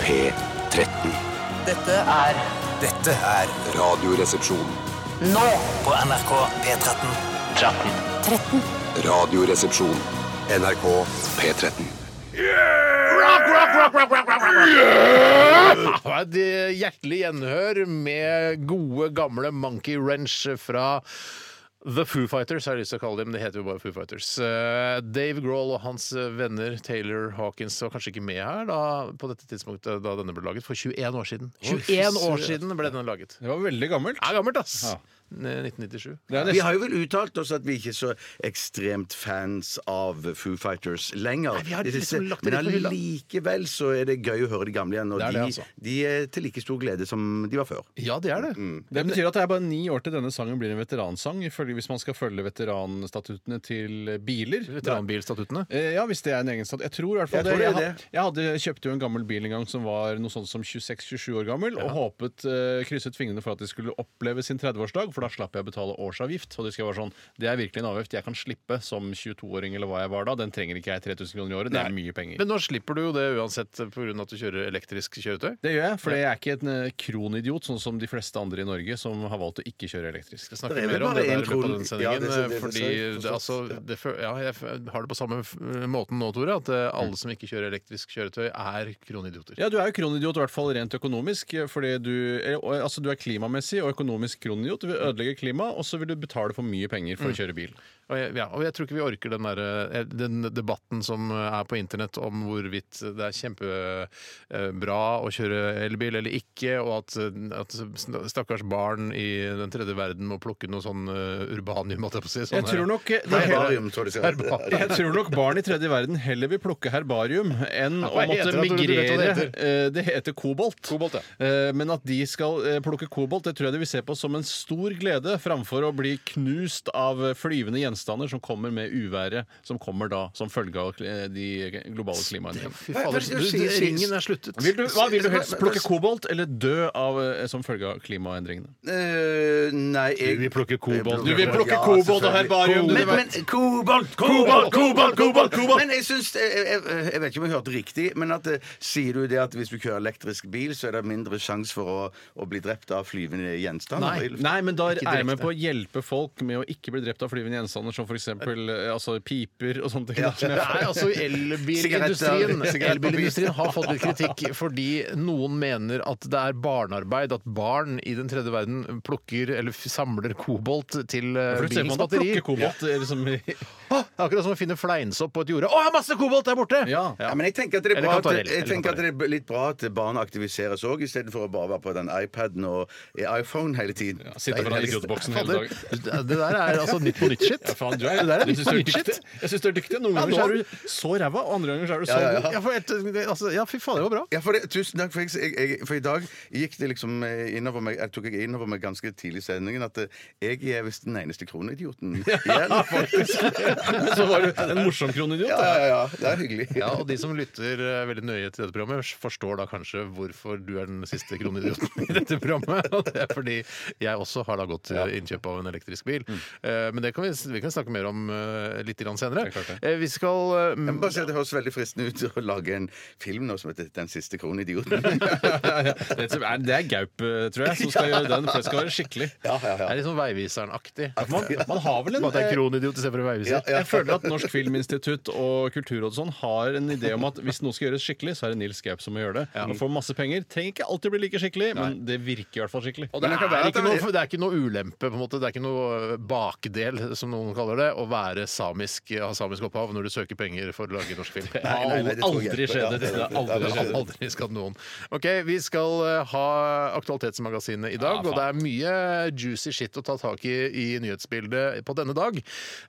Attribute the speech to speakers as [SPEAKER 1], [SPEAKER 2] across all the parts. [SPEAKER 1] P13.
[SPEAKER 2] Dette er
[SPEAKER 3] Dette er
[SPEAKER 1] Radioresepsjon.
[SPEAKER 2] nå
[SPEAKER 3] på NRK P13.
[SPEAKER 1] Radioresepsjon. NRK P13.
[SPEAKER 4] Det var et eh, hjertelig gjenhør med gode, gamle Monkey Wrench fra The Foo Fighters, har jeg lyst til å kalle dem. Det heter jo bare Foo Fighters. Eh, Dave Grohl og hans venner Taylor Hawkins var kanskje ikke med her da, på dette tidspunktet da denne ble laget, for 21 år siden. 21 år siden ble denne laget.
[SPEAKER 5] Det var veldig gammelt.
[SPEAKER 4] Det er gammelt, ass! 1997.
[SPEAKER 5] Det er
[SPEAKER 6] Vi
[SPEAKER 5] nesten
[SPEAKER 6] har jo vel uttalt oss at vi ikke er så ekstremt fans av Foo Fighters lenger.
[SPEAKER 4] Nei, vi har
[SPEAKER 6] Det
[SPEAKER 4] liksom
[SPEAKER 6] siste-
[SPEAKER 4] lagt det
[SPEAKER 6] men
[SPEAKER 4] litt på hylla.
[SPEAKER 6] allikevel så er det gøy å høre de gamle igjen. Og
[SPEAKER 4] Det er
[SPEAKER 6] de,
[SPEAKER 4] det, altså.
[SPEAKER 6] de er til like stor glede som de var før.
[SPEAKER 4] Ja, det er det.
[SPEAKER 5] Mm. Det betyr at det er bare ni år til denne sangen blir en veteransang, ifølge- hvis man skal følge veteranstatuttene til biler.
[SPEAKER 4] Veteranbilstatuttene.
[SPEAKER 5] Eh, Ja, hvis det er en egen stat. Jeg tror i hvert fall
[SPEAKER 6] Jeg tror
[SPEAKER 5] det. Jeg,
[SPEAKER 6] det er
[SPEAKER 5] had- jeg hadde, kjøpte jo en gammel bil en gang som var noe sånt som 26-27 år gammel, og håpet, eh, krysset fingrene for at de skulle oppleve sin 30-årsdag, for da slapp jeg å betale årsavgift. Og det skal være sånn, det er virkelig en avgift jeg kan slippe som 22-åring eller hva jeg var da. Den trenger ikke jeg 3000 kroner i året. Det er mye penger.
[SPEAKER 4] Men nå slipper du jo det uansett pga. at du kjører elektrisk kjøretøy.
[SPEAKER 5] det gjør jeg, for jeg er ikke en eh, kronidiot, sånn som de fleste andre i Norge som har valgt å ikke kjøre elektrisk.
[SPEAKER 4] skal
[SPEAKER 6] Det
[SPEAKER 4] snakke
[SPEAKER 6] er
[SPEAKER 4] mer
[SPEAKER 6] vel
[SPEAKER 4] om
[SPEAKER 6] bare
[SPEAKER 4] det der i
[SPEAKER 6] en
[SPEAKER 4] løpet av
[SPEAKER 6] kron-
[SPEAKER 4] den sendingen.
[SPEAKER 6] Ja,
[SPEAKER 4] eh,
[SPEAKER 6] det- det- det-
[SPEAKER 4] fordi
[SPEAKER 6] det-
[SPEAKER 4] det, altså, det, fø- ja, jeg f- har det på samme f- måten nå, Tore, at eh,
[SPEAKER 6] Mm.
[SPEAKER 4] alle som ikke kjører elektrisk kjøretøy, er kronidioter.
[SPEAKER 5] Ja, du er jo kronidiot, i hvert fall rent økonomisk. Fordi du, eh, og- altså, du er klimamessig og økonomisk kronidiot. Du vil ødelegge klimaet, og så vil du betale for mye penger
[SPEAKER 4] Mm.
[SPEAKER 5] for å kjøre bil.
[SPEAKER 4] Og jeg, ja, og jeg tror ikke vi orker den, der, eh, den debatten som eh, er på internett om hvorvidt det er kjempebra å kjøre elbil eller ikke, og at, eh, at stakkars barn i den tredje verden må plukke noe sånn eh, urbanium, holdt jeg på å si.
[SPEAKER 5] Jeg
[SPEAKER 4] sånn her-
[SPEAKER 5] tror nok de
[SPEAKER 6] Herbarium, tror jeg det skal hete.
[SPEAKER 5] Jeg tror nok barn i tredje verden heller vil plukke herbarium enn å
[SPEAKER 4] Hva heter det?
[SPEAKER 5] måtte
[SPEAKER 4] Du- du vet hva
[SPEAKER 5] migrere
[SPEAKER 4] det heter.
[SPEAKER 5] Eh, Det heter kobolt.
[SPEAKER 4] Kobolt, ja.
[SPEAKER 5] Eh, Men at de skal eh, plukke kobolt, det tror jeg de vil se på som en stor glede, framfor å bli knust av eh, flyvende gjenstander som kommer med uværet som kommer da som følge av eh, de globale klimaendringene.
[SPEAKER 4] Fy
[SPEAKER 6] Hva- hva
[SPEAKER 4] fader,
[SPEAKER 6] skal
[SPEAKER 4] du,
[SPEAKER 6] jeg si- si-
[SPEAKER 4] ringen er sluttet.
[SPEAKER 5] Vil du, hva vil du helst?
[SPEAKER 6] Hva- hva-
[SPEAKER 5] Plukke kobolt eller dø av, eh, som følge av klimaendringene?
[SPEAKER 6] Eh, nei, jeg
[SPEAKER 4] Vi plukker kobolt.
[SPEAKER 5] Du vil plukke
[SPEAKER 6] Ja,
[SPEAKER 5] kobolt og
[SPEAKER 6] selvfølgelig.
[SPEAKER 5] herbarium! du
[SPEAKER 6] Men,
[SPEAKER 5] vet.
[SPEAKER 6] men kobolt, kobolt, kobolt, kobolt, kobolt! Men jeg syns jeg, jeg, eh, jeg vet ikke om jeg hørte riktig, men at eh, sier du det at hvis du kjører elektrisk bil, så er det mindre sjanse for å, å bli drept av flyvende gjenstander?
[SPEAKER 5] Nei, nei, men da
[SPEAKER 6] Ikke
[SPEAKER 5] er jeg med
[SPEAKER 6] direkte.
[SPEAKER 5] på å hjelpe folk med å ikke bli drept av flyvende gjenstander, som f.eks. Altså, piper og sånne ting. da, som jeg-
[SPEAKER 4] Nei, altså elbilindustrien
[SPEAKER 6] Sigaretter. Sigaretter på
[SPEAKER 4] Elbilindustrien har fått litt kritikk fordi noen mener at det er barnearbeid at barn i den tredje verden plukker eller f- samler kobolt til eh,
[SPEAKER 5] For eksempel,
[SPEAKER 4] bilens
[SPEAKER 5] man da
[SPEAKER 4] batteri.
[SPEAKER 5] plukker kobolt eh, liksom, i-
[SPEAKER 4] Å, det er akkurat som å finne fleinsopp på et jorde. Å, jeg har masse kobolt der borte!
[SPEAKER 5] Ja.
[SPEAKER 6] Ja, men jeg tenker at det er,
[SPEAKER 4] Eller
[SPEAKER 6] bra at,
[SPEAKER 4] kantarell,
[SPEAKER 6] jeg
[SPEAKER 4] eller
[SPEAKER 6] tenker at det er litt bra at barn aktiviseres òg, istedenfor å bare være på den iPaden og eh, iPhone hele tiden.
[SPEAKER 5] Sitter foran idiotboksen hele
[SPEAKER 4] Fader,
[SPEAKER 5] dagen.
[SPEAKER 4] det der er altså nytt på nytt-shit.
[SPEAKER 5] Ja, faen, du
[SPEAKER 4] det
[SPEAKER 5] er,
[SPEAKER 4] der er
[SPEAKER 5] jeg
[SPEAKER 4] nytt
[SPEAKER 5] syns
[SPEAKER 4] på
[SPEAKER 5] du er
[SPEAKER 4] nytt-shit.
[SPEAKER 5] dyktig. Jeg synes du er dyktig. Noen
[SPEAKER 4] Ja,
[SPEAKER 5] ganger
[SPEAKER 4] nå-
[SPEAKER 5] så er du så ræva, og andre ganger så er du så
[SPEAKER 6] Ja, ja,
[SPEAKER 5] god.
[SPEAKER 4] Ja, for et, det- altså, ja, fy faen, det var bra.
[SPEAKER 6] Ja, for det, tusen takk. For, jeg, jeg, jeg, for i dag gikk det liksom eh, innover meg, jeg tok jeg innover meg ganske tidlig i sendingen at eh, jeg er visst den eneste kronidioten igjen, faktisk.
[SPEAKER 5] Men så var du en morsom kronidiot.
[SPEAKER 6] Ja,
[SPEAKER 5] da.
[SPEAKER 6] ja, ja. Det er hyggelig.
[SPEAKER 4] Ja, og de som lytter eh, veldig nøye til dette programmet, forstår da kanskje hvorfor du er den siste kronidioten i dette programmet. Og det er fordi jeg også har da gått til innkjøp av en elektrisk bil.
[SPEAKER 6] Mm.
[SPEAKER 4] Eh, Men det kan vi, vi kan snakke mer om eh, litt grann senere.
[SPEAKER 5] Det er klart
[SPEAKER 4] Eh, Vi skal eh,
[SPEAKER 6] Jeg må bare si at Det høres veldig fristende ut å lage en film nå som heter 'Den siste kronidioten'.
[SPEAKER 5] Det er- det er Gaup, eh, tror jeg, som skal gjøre den. For det skal være skikkelig.
[SPEAKER 6] Ja, ja,
[SPEAKER 4] Det
[SPEAKER 6] ja.
[SPEAKER 4] er litt sånn Veiviseren-aktig.
[SPEAKER 5] Man, man har vel en
[SPEAKER 4] Bare at det
[SPEAKER 5] eh,
[SPEAKER 4] er kronidiot istedenfor en veiviser.
[SPEAKER 6] Ja,
[SPEAKER 5] Jeg føler at Norsk Filminstitutt og Kulturrådet og sånn har en idé om at hvis noe skal gjøres skikkelig, så er det Nils Gaup som må gjøre det. Han får masse penger. Trenger ikke alltid bli like skikkelig, men det virker i hvert fall skikkelig.
[SPEAKER 4] Og det,
[SPEAKER 6] Men det kan
[SPEAKER 4] er
[SPEAKER 6] være at
[SPEAKER 4] ikke
[SPEAKER 6] det-
[SPEAKER 4] noe, det er ikke noe ulempe, på en måte. Det er ikke noe eh, bakdel, som noen kaller det, å være samisk, ha samisk opphav når du søker penger for å lage norsk film.
[SPEAKER 5] Nei, nei, det tror jeg
[SPEAKER 6] aldri
[SPEAKER 5] ikke.
[SPEAKER 6] skjedde.
[SPEAKER 5] Ja, det
[SPEAKER 6] Det har aldri
[SPEAKER 5] aldri
[SPEAKER 4] Det har
[SPEAKER 5] skjedd.
[SPEAKER 4] aldri skadd noen. Ok, Vi skal eh, ha Aktualitetsmagasinet i dag,
[SPEAKER 5] Ja, faen.
[SPEAKER 4] og det er mye juicy shit å ta tak i i nyhetsbildet på denne dag.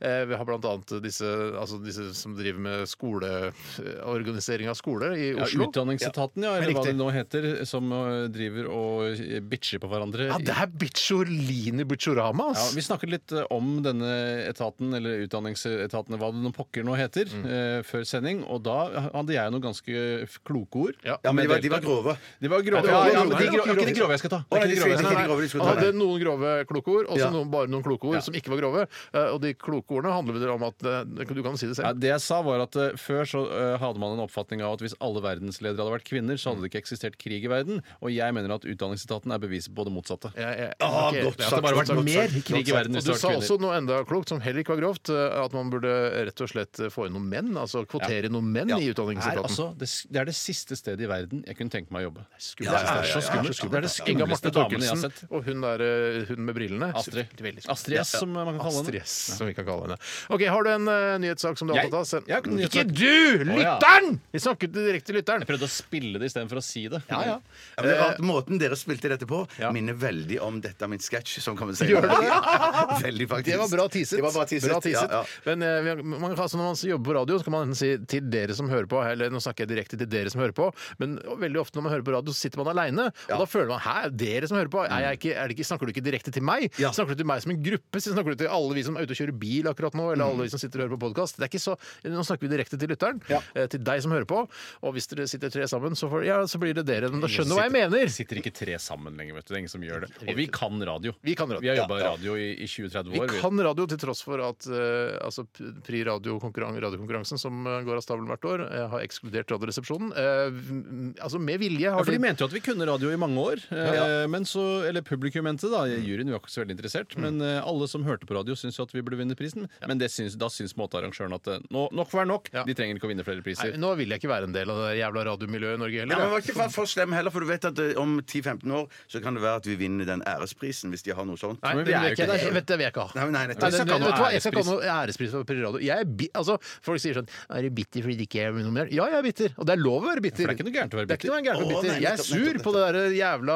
[SPEAKER 4] Eh, vi har bl.a. Disse, altså disse som driver med skole, eh, organisering av skole i
[SPEAKER 5] Ja,
[SPEAKER 4] Oslo.
[SPEAKER 5] Utdanningsetaten, ja, eller hva
[SPEAKER 4] Riktig.
[SPEAKER 5] det nå heter, som eh, driver og eh, bitcher på hverandre.
[SPEAKER 4] Ja, det er bitchord Lamborghini Bucciorama.
[SPEAKER 5] Ja,
[SPEAKER 4] ass.
[SPEAKER 5] vi snakket litt eh, om denne etaten, eller utdanningsetaten, hva det nå pokker nå heter,
[SPEAKER 4] Mm.
[SPEAKER 5] eh, før sending, og da hadde jeg noen ganske f- kloke ord.
[SPEAKER 4] Ja.
[SPEAKER 6] Ja, men de var, de var grove.
[SPEAKER 5] De var grove.
[SPEAKER 4] Ja,
[SPEAKER 5] Ja,
[SPEAKER 4] det var
[SPEAKER 5] ja, men
[SPEAKER 4] grove.
[SPEAKER 5] de grove, det er ikke de grove jeg skal ta. Det er
[SPEAKER 6] Å, nei,
[SPEAKER 5] ikke de
[SPEAKER 6] de
[SPEAKER 5] grove jeg skal
[SPEAKER 6] skal-
[SPEAKER 5] ta.
[SPEAKER 6] de skal- grove
[SPEAKER 4] Han
[SPEAKER 6] diskutere.
[SPEAKER 4] hadde noen grove klokeord, og
[SPEAKER 6] Ja.
[SPEAKER 4] noen, bare noen kloke ord som ikke var grove. Eh, Og de kloke ordene handler vel om at eh, Du kan si det
[SPEAKER 5] Ja,
[SPEAKER 4] selv.
[SPEAKER 5] det jeg sa var at eh, Før så eh, hadde man en oppfatning av at hvis alle verdensledere hadde vært kvinner, så hadde det ikke eksistert krig i verden. Og jeg mener at utdanningsetaten er beviset på det motsatte.
[SPEAKER 4] Jeg- jeg-
[SPEAKER 6] Ah,
[SPEAKER 4] ok, det er-
[SPEAKER 6] godt
[SPEAKER 5] At det
[SPEAKER 6] sagt,
[SPEAKER 5] bare
[SPEAKER 6] godt
[SPEAKER 5] hadde vært
[SPEAKER 6] sagt, godt
[SPEAKER 5] mer
[SPEAKER 6] sagt,
[SPEAKER 5] krig
[SPEAKER 6] godt
[SPEAKER 5] i
[SPEAKER 6] sagt.
[SPEAKER 5] verden
[SPEAKER 4] Og
[SPEAKER 5] hvis
[SPEAKER 4] du
[SPEAKER 5] det
[SPEAKER 4] sa
[SPEAKER 5] hadde vært
[SPEAKER 4] også
[SPEAKER 5] kvinner.
[SPEAKER 4] noe enda klokt, som heller ikke var grovt, eh, at man burde rett og slett få inn noen menn. Altså kvotere noen menn
[SPEAKER 5] Ja.
[SPEAKER 4] i
[SPEAKER 5] Er
[SPEAKER 4] utdanningsetaten.
[SPEAKER 5] altså det, s- det er det siste stedet i verden jeg kunne tenke meg å jobbe.
[SPEAKER 4] Skummelt.
[SPEAKER 5] Det er så skummelt. Det er det
[SPEAKER 4] Inga Marte
[SPEAKER 5] skumleste damene jeg har sett.
[SPEAKER 4] Thorkildsen og hun, der, eh, hun med brillene.
[SPEAKER 5] Astrid.
[SPEAKER 4] Veldig skummelt.
[SPEAKER 5] Astrid S,
[SPEAKER 4] Ja.
[SPEAKER 5] som man kan kalle henne.
[SPEAKER 4] Astrid S, som vi kan kalle henne. Ok, Har du en eh, nyhetssak som du er
[SPEAKER 5] Jeg-
[SPEAKER 4] opptatt av? Send-
[SPEAKER 5] jeg har ikke en
[SPEAKER 4] Ikke
[SPEAKER 5] nyhetssak.
[SPEAKER 4] du!
[SPEAKER 5] Å, ja.
[SPEAKER 4] Lytteren! Vi snakket direkte til lytteren.
[SPEAKER 5] Jeg prøvde å spille det istedenfor å si det.
[SPEAKER 4] Ja, ja.
[SPEAKER 6] Ja, men det er rart, Måten dere spilte dette på,
[SPEAKER 4] Eh. Ja.
[SPEAKER 6] minner veldig om dette er min sketsj. som kommer
[SPEAKER 4] Gjør
[SPEAKER 6] senere.
[SPEAKER 4] det det?
[SPEAKER 6] Ja, Veldig, faktisk.
[SPEAKER 4] Det var bra teaset.
[SPEAKER 6] Det var bra teaset. Ja, ja.
[SPEAKER 4] Men eh, vi har- man kan, altså, når man jobber på radio, så kan man enten si til dere som hører på, eller nå snakker jeg direkte til dere som hører på, men veldig ofte når man hører på radio, så sitter man aleine, og da føler man hæ, dere som hører på, er jeg ikke, er det ikke, snakker du ikke direkte til meg?
[SPEAKER 6] Ja.
[SPEAKER 4] Snakker du til meg som en gruppe? Så snakker du til alle vi som er ute og kjører bil akkurat nå,
[SPEAKER 6] Mm.
[SPEAKER 4] eller alle vi som sitter og hører på podkast? Det er ikke så Nå snakker vi direkte til lytteren, eh, til deg som hører på, og hvis dere sitter tre sammen, så, får, ja, så blir det dere. Men da skjønner du hva jeg
[SPEAKER 5] Vi
[SPEAKER 4] mener.
[SPEAKER 5] sitter ikke tre sammen lenger, vet du. Det er ingen som gjør det. Og vi kan radio.
[SPEAKER 4] Vi kan radio.
[SPEAKER 5] har jobba i radio i, i 20-30
[SPEAKER 4] Vi
[SPEAKER 5] år. vi.
[SPEAKER 4] kan radio til tross for at eh, altså, P- Pri radiokonkurran- radiokonkurransen som eh, går av stabelen hvert år, eh, har ekskludert Radioresepsjonen. Eh, m- altså med vilje
[SPEAKER 5] Ja,
[SPEAKER 4] har
[SPEAKER 5] for De
[SPEAKER 4] de
[SPEAKER 5] mente jo at vi kunne radio i mange år. Eh, men så, eller publikum mente da, juryen var ikke så veldig
[SPEAKER 4] Mm.
[SPEAKER 5] interessert. Men eh, alle som hørte på radio, syntes jo at vi burde vinne prisen. Men det syns, da syns måtearrangøren at eh, nå, nok får være nok.
[SPEAKER 4] Ja.
[SPEAKER 5] De trenger ikke å vinne flere
[SPEAKER 4] Nei,
[SPEAKER 5] priser.
[SPEAKER 4] Nå vil jeg ikke være en del av det jævla radiomiljøet i Norge
[SPEAKER 6] Ja,
[SPEAKER 4] heller.
[SPEAKER 6] men Var ikke for- for slem heller, for du vet at eh, om 10-15 år så kan det være at vi vinner den æresprisen, hvis de har noe sånt.
[SPEAKER 4] Nei,
[SPEAKER 5] Men
[SPEAKER 4] det vil
[SPEAKER 5] vi er jo
[SPEAKER 4] jeg ikke.
[SPEAKER 5] ikke
[SPEAKER 4] Jeg vet det vil jeg ikke ha.
[SPEAKER 6] Nei, men nei, nettopp.
[SPEAKER 4] Nei,
[SPEAKER 5] skal
[SPEAKER 4] den,
[SPEAKER 5] ikke ha
[SPEAKER 4] vet
[SPEAKER 5] noe
[SPEAKER 4] du hva, jeg skal ikke ha
[SPEAKER 5] ærespris.
[SPEAKER 4] noe ærespris for Pri Radio. Jeg er bi altså, folk sier sånn Er du bitter fordi det ikke er noe mer? Ja, jeg er bitter. Og det er lov å være bitter.
[SPEAKER 5] For det er ikke noe gærent å være
[SPEAKER 4] Det er ikke noe gærent å være
[SPEAKER 6] Å, nei,
[SPEAKER 4] bitter. Jeg er
[SPEAKER 6] nettopp,
[SPEAKER 4] sur
[SPEAKER 6] nettopp,
[SPEAKER 4] på det der jævla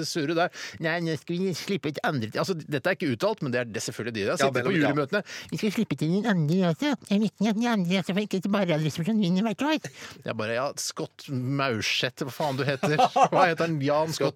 [SPEAKER 4] det surre der. Nei, nå skal vi slippe et andre Altså, dette er ikke uttalt, men det er det er selvfølgelig de der
[SPEAKER 6] Ja,
[SPEAKER 4] sitter på
[SPEAKER 6] mellom- ja.
[SPEAKER 4] julemøtene.
[SPEAKER 7] Vi skal slippe til den andre også. Jeg vet ikke at den andre også får ikke bare Radioresepsjonen vinner hvert år.
[SPEAKER 4] Jeg bare Ja, Scott Maurseth, hva faen du heter? Hva heter han? Jan Scott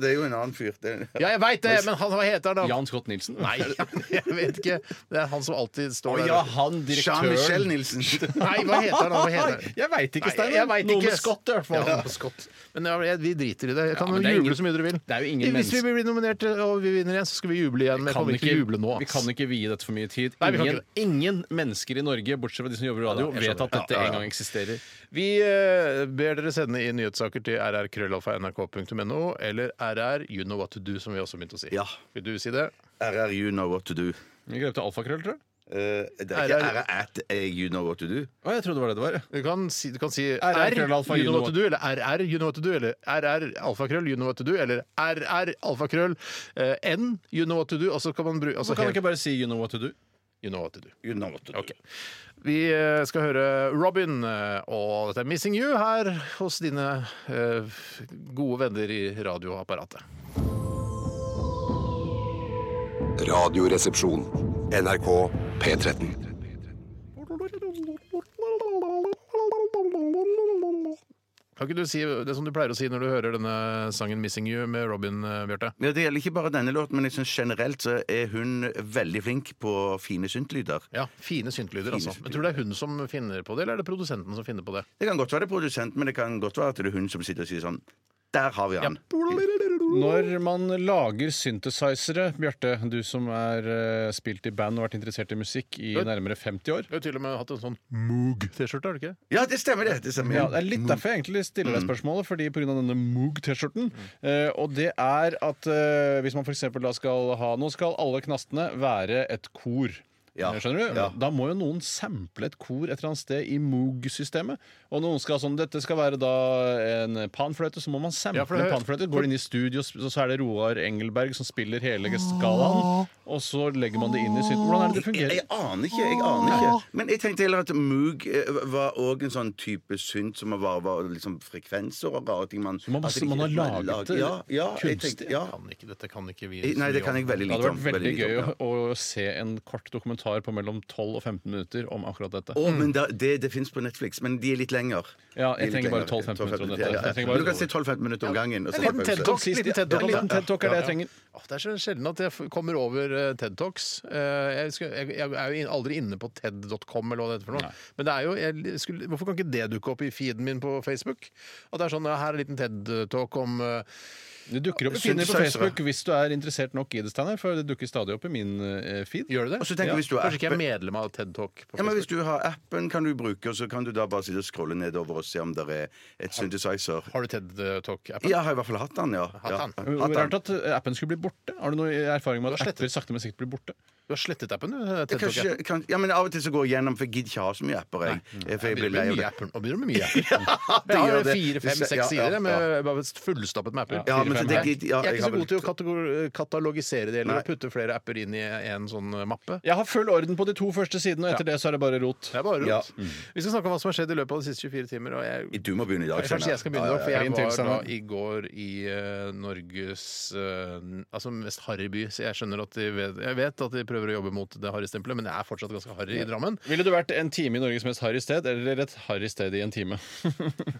[SPEAKER 4] Nilsen?
[SPEAKER 6] det er jo en annen fyr. Det-
[SPEAKER 4] Ja, jeg veit det, men han, hva heter han da?
[SPEAKER 5] Jan Scott Nilsen?
[SPEAKER 4] Nei, jeg vet ikke. Det er han som alltid
[SPEAKER 5] Å
[SPEAKER 4] står der.
[SPEAKER 5] ja, han
[SPEAKER 6] Jean-Michel
[SPEAKER 5] direktøren.
[SPEAKER 6] Nilsen.
[SPEAKER 4] Nei, hva heter han? da? Hva heter han?
[SPEAKER 5] Jeg veit ikke,
[SPEAKER 4] Nei,
[SPEAKER 5] Steinar.
[SPEAKER 4] jeg vet
[SPEAKER 5] Noe
[SPEAKER 4] ikke.
[SPEAKER 5] med Scott, i hvert fall.
[SPEAKER 4] Ja, noe med Scott. Men ja, vi driter i det. Jeg kan
[SPEAKER 5] Ja,
[SPEAKER 4] jo
[SPEAKER 5] men det er
[SPEAKER 4] juble
[SPEAKER 5] ingen-
[SPEAKER 4] så mye dere vil.
[SPEAKER 5] det er jo ingen
[SPEAKER 4] Hvis vi
[SPEAKER 5] mennesker-
[SPEAKER 4] blir nominert eh, og vi vinner igjen, så skal vi juble igjen. Men jeg
[SPEAKER 5] kan
[SPEAKER 4] kommer ikke til å juble nå.
[SPEAKER 5] vi
[SPEAKER 4] ass.
[SPEAKER 5] kan ikke vie dette for mye tid.
[SPEAKER 4] Nei, vi kan
[SPEAKER 5] ingen, ingen mennesker i Norge, bortsett fra de som jobber i radio,
[SPEAKER 4] jeg
[SPEAKER 5] vet
[SPEAKER 4] skjønner.
[SPEAKER 5] at dette
[SPEAKER 4] Ja, ja, ja.
[SPEAKER 5] en gang eksisterer.
[SPEAKER 4] Vi eh, ber dere sende inn nyhetssaker til rrkrøllalfa.nrk.no eller rr you know what to do, som vi også begynte å si.
[SPEAKER 6] Ja.
[SPEAKER 4] Vil du si det?
[SPEAKER 6] RR, you know what to do.
[SPEAKER 5] Vi grep til alfakrøll, tror jeg.
[SPEAKER 6] Eh, det er
[SPEAKER 4] RR
[SPEAKER 6] ikke RR at eh, you know what to do.
[SPEAKER 5] Å, jeg trodde det var det det var. ja.
[SPEAKER 4] Du kan si, du kan si
[SPEAKER 5] RR
[SPEAKER 4] rr
[SPEAKER 5] krøllalfa,
[SPEAKER 4] you
[SPEAKER 5] you
[SPEAKER 4] know
[SPEAKER 5] know
[SPEAKER 4] what to do, eller rr you know what to do, eller rr alfakrøll you know what to do, eller rr alfakrøll eh, n you know what to do, og så kan man bruke altså,
[SPEAKER 5] Så kan vi
[SPEAKER 4] helt-
[SPEAKER 5] ikke bare si 'you know what to do'?
[SPEAKER 4] you know what to do.
[SPEAKER 6] You know what to do.
[SPEAKER 4] Vi eh, skal høre Robin eh, og dette er 'Missing You' her hos dine eh, gode venner i radioapparatet.
[SPEAKER 1] Radioresepsjon. NRK P13.
[SPEAKER 4] Kan ikke du si det som du pleier å si når du hører denne sangen 'Missing You' med Robin, eh, Bjarte?
[SPEAKER 6] Ja, det gjelder ikke bare denne låten, men jeg synes generelt så er hun veldig flink på fine syntlyder.
[SPEAKER 4] Ja, Fine syntlyder, altså. Men tror du det er hun som finner på det, eller er det produsenten som finner på det?
[SPEAKER 6] Det kan godt være det er produsenten, men det kan godt være at det er hun som sitter og sier sånn Der har vi han.
[SPEAKER 5] Når man lager synthesizere, Bjarte, du som er eh, spilt i band og vært interessert i musikk i
[SPEAKER 4] Vet-
[SPEAKER 5] nærmere 50 år
[SPEAKER 4] Du har jo til og med hatt en sånn Moog-T-skjorte, har du ikke?
[SPEAKER 6] Ja, det stemmer, det. det stemmer.
[SPEAKER 5] ja, Det er litt
[SPEAKER 4] Mm.
[SPEAKER 5] derfor jeg egentlig stiller deg spørsmålet, fordi pga. denne Moog-T-skjorten. eh, og det er at eh, hvis man f.eks. da skal ha Nå skal alle knastene være et kor. Eh,
[SPEAKER 6] Ja.
[SPEAKER 5] Skjønner du?
[SPEAKER 6] Ja.
[SPEAKER 5] Da må jo noen sample et kor et eller annet sted i Moog-systemet. Og noen skal sånn Dette skal være da en panfløyte, så må man sample
[SPEAKER 4] Ja, for det-
[SPEAKER 5] en panfløyte. Går inn i studio, så så er det Roar Engelberg som spiller hele skalaen. Og så legger man det inn i synten. Hvordan er det det
[SPEAKER 6] Jeg,
[SPEAKER 5] fungerer?
[SPEAKER 6] jeg aner ikke. jeg aner ikke Men jeg tenkte heller at Moog eh, var òg en sånn type synt som var, var liksom frekvenser og rare ting. Man,
[SPEAKER 5] man bare-
[SPEAKER 6] at det ikke- sånn
[SPEAKER 5] man har laget det
[SPEAKER 6] ja, ja, jeg
[SPEAKER 5] kunstig.
[SPEAKER 6] tenkte- ja.
[SPEAKER 4] Kan ikke, dette kan ikke vi
[SPEAKER 6] Jeg- Nei, det kan jeg veldig
[SPEAKER 5] Det
[SPEAKER 6] lite
[SPEAKER 5] hadde
[SPEAKER 6] om.
[SPEAKER 5] vært veldig
[SPEAKER 6] lite om,
[SPEAKER 5] gøy
[SPEAKER 6] ja.
[SPEAKER 5] å, å se en kort dokumentar på mellom 12 og 15 minutter om akkurat dette.
[SPEAKER 6] Å, men da, det, det fins på Netflix, men de er litt lenger.
[SPEAKER 5] Ja, jeg
[SPEAKER 6] De er litt
[SPEAKER 5] trenger bare 12-15
[SPEAKER 6] lenger.
[SPEAKER 5] minutter om
[SPEAKER 6] 12-15
[SPEAKER 5] dette.
[SPEAKER 6] ja, ja.
[SPEAKER 5] Jeg trenger bare-
[SPEAKER 6] Men Du kan si 12-15 minutter om gangen. Og så
[SPEAKER 4] En liten
[SPEAKER 6] pause.
[SPEAKER 4] TED Talk.
[SPEAKER 5] Siste-
[SPEAKER 4] Liten TED Talk
[SPEAKER 5] ja,
[SPEAKER 4] om
[SPEAKER 5] liten
[SPEAKER 4] det.
[SPEAKER 5] TED Talk er det jeg trenger.
[SPEAKER 4] Åh, Det er så sjelden at jeg f- kommer over eh, TED Talks. Eh, Jeg, skal, jeg, jeg er jo in- aldri inne på TED.com eller hva det heter for noe. Men det er jo, jeg skulle, hvorfor kan ikke det dukke opp i feeden min på Facebook? At det er sånn ja, her er en liten TED Talk om eh,
[SPEAKER 5] Det dukker opp i
[SPEAKER 6] Syns-
[SPEAKER 5] feeden din på
[SPEAKER 6] syns-
[SPEAKER 5] Facebook hvis du er interessert nok i det, Steinar. For det dukker stadig opp i min eh, feed.
[SPEAKER 4] Gjør det
[SPEAKER 6] Og så
[SPEAKER 4] det?
[SPEAKER 6] tenker jeg hvis du er
[SPEAKER 4] Kanskje ikke jeg er
[SPEAKER 6] appen-
[SPEAKER 4] medlem av TED Talk på
[SPEAKER 6] Ja, men Hvis
[SPEAKER 4] Facebook.
[SPEAKER 6] du har appen, kan du bruke, og så kan du da bare sitte og scrolle nedover og se om det er et synthesizer.
[SPEAKER 4] Har du TED Talk-appen?
[SPEAKER 6] Ja, jeg har i hvert fall hatt den, ja.
[SPEAKER 4] Hatt
[SPEAKER 6] Ja,
[SPEAKER 4] han.
[SPEAKER 6] hatt
[SPEAKER 5] Rart at eh, appen skulle bli borte. Har du noe erfaring
[SPEAKER 4] Du
[SPEAKER 5] med
[SPEAKER 4] har
[SPEAKER 5] at
[SPEAKER 4] slettet-
[SPEAKER 5] apper sakte, men sikkert blir borte?
[SPEAKER 4] Du har slettet appen, du? eh, TED Talk-appen.
[SPEAKER 6] Kanskje, kan, ja, men Av og til så går jeg gjennom, for jeg gidder ikke ha så mye apper. Jeg, for jeg blir
[SPEAKER 4] begynner med
[SPEAKER 6] lei av
[SPEAKER 4] mye
[SPEAKER 6] det.
[SPEAKER 4] apper. Nå begynner du med mye apper.
[SPEAKER 6] det
[SPEAKER 4] Jeg
[SPEAKER 6] gjør
[SPEAKER 4] har
[SPEAKER 6] det.
[SPEAKER 4] fire, fem,
[SPEAKER 6] Ja,
[SPEAKER 4] seks
[SPEAKER 6] ja,
[SPEAKER 4] sider jeg,
[SPEAKER 6] ja.
[SPEAKER 4] med bare fullstappet med apper.
[SPEAKER 6] Ja, men
[SPEAKER 4] Fire,
[SPEAKER 6] så
[SPEAKER 4] fem.
[SPEAKER 6] det gidder- ja,
[SPEAKER 4] jeg er
[SPEAKER 6] jeg
[SPEAKER 4] ikke
[SPEAKER 6] har
[SPEAKER 4] så god til å
[SPEAKER 6] vel-
[SPEAKER 4] kategor- katalogisere det eller
[SPEAKER 6] Nei.
[SPEAKER 4] å putte flere apper inn i en sånn mappe.
[SPEAKER 5] Jeg har full orden på de to første sidene, og etter det så er det bare rot.
[SPEAKER 4] Det er bare rot.
[SPEAKER 6] Ja. Mm.
[SPEAKER 4] Vi skal snakke om hva som har skjedd i løpet av de siste 24 timer. Og jeg,
[SPEAKER 6] Du må begynne i dag.
[SPEAKER 4] kanskje jeg skal begynne, da, for
[SPEAKER 5] Din
[SPEAKER 4] jeg
[SPEAKER 5] tur,
[SPEAKER 4] var da
[SPEAKER 5] Steinar.
[SPEAKER 4] i går i eh, Norges eh, altså mest harry by. Så jeg skjønner at de vet, jeg vet at de prøver å jobbe mot det harrystempelet, men det er fortsatt ganske harry i Drammen.
[SPEAKER 5] Ville du vært en time i Norges mest harry sted, eller et harry sted i en time?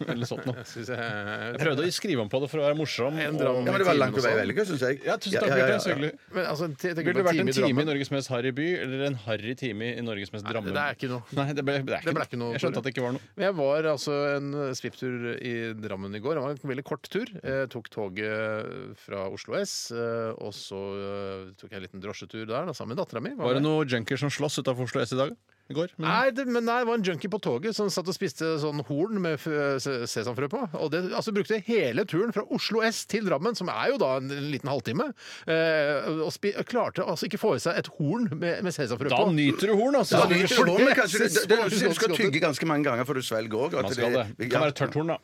[SPEAKER 5] eller sånt noe.
[SPEAKER 4] Synes jeg,
[SPEAKER 5] Jeg prøvde å skrive om på det for å være morsom.
[SPEAKER 4] En
[SPEAKER 5] og-
[SPEAKER 4] dram-
[SPEAKER 6] Ja, men Det var langt på vei veldig gøy, syns jeg.
[SPEAKER 5] Ja, tusen takk,
[SPEAKER 6] Ja, ja, ja,
[SPEAKER 5] Bjarte.
[SPEAKER 6] ja.
[SPEAKER 5] Så hyggelig.
[SPEAKER 4] men altså, jeg tenker
[SPEAKER 5] Ville
[SPEAKER 4] på
[SPEAKER 5] du vært en time i
[SPEAKER 4] Drammen.
[SPEAKER 5] Norges mest harry by, eller en harry time i Norges mest dramme?
[SPEAKER 4] det er ikke noe.
[SPEAKER 5] Nei, det ble, det er ikke,
[SPEAKER 4] Det ble ikke noe,
[SPEAKER 5] Jeg skjønte at det ikke var noe.
[SPEAKER 4] Jeg var altså en eh, svipptur i Drammen i går. Det var en veldig kort tur. Jeg tok toget fra Oslo S, eh, og så eh, tok jeg en liten drosjetur der da, sammen med dattera mi.
[SPEAKER 5] Var det noen junkier som sloss utafor Oslo S i dag? I går? Men-
[SPEAKER 4] Nei, det, men nei, det var en junkie på toget som satt og spiste sånn horn med f- se- sesamfrø på. Og det altså, brukte hele turen fra Oslo S til Drammen, som er jo da en, en liten halvtime, eh, og, spi, og klarte altså ikke få i seg et horn med, med sesamfrø
[SPEAKER 5] Da
[SPEAKER 4] på.
[SPEAKER 5] nyter du horn, altså!
[SPEAKER 6] Ja,
[SPEAKER 5] Man
[SPEAKER 6] du,
[SPEAKER 5] skal
[SPEAKER 6] du, men kanskje, du, det,
[SPEAKER 4] Smakes
[SPEAKER 6] det, du skal
[SPEAKER 4] godt.
[SPEAKER 6] tygge ganske mange ganger før du svelger òg.
[SPEAKER 5] det. Det kan være tørt horn, da.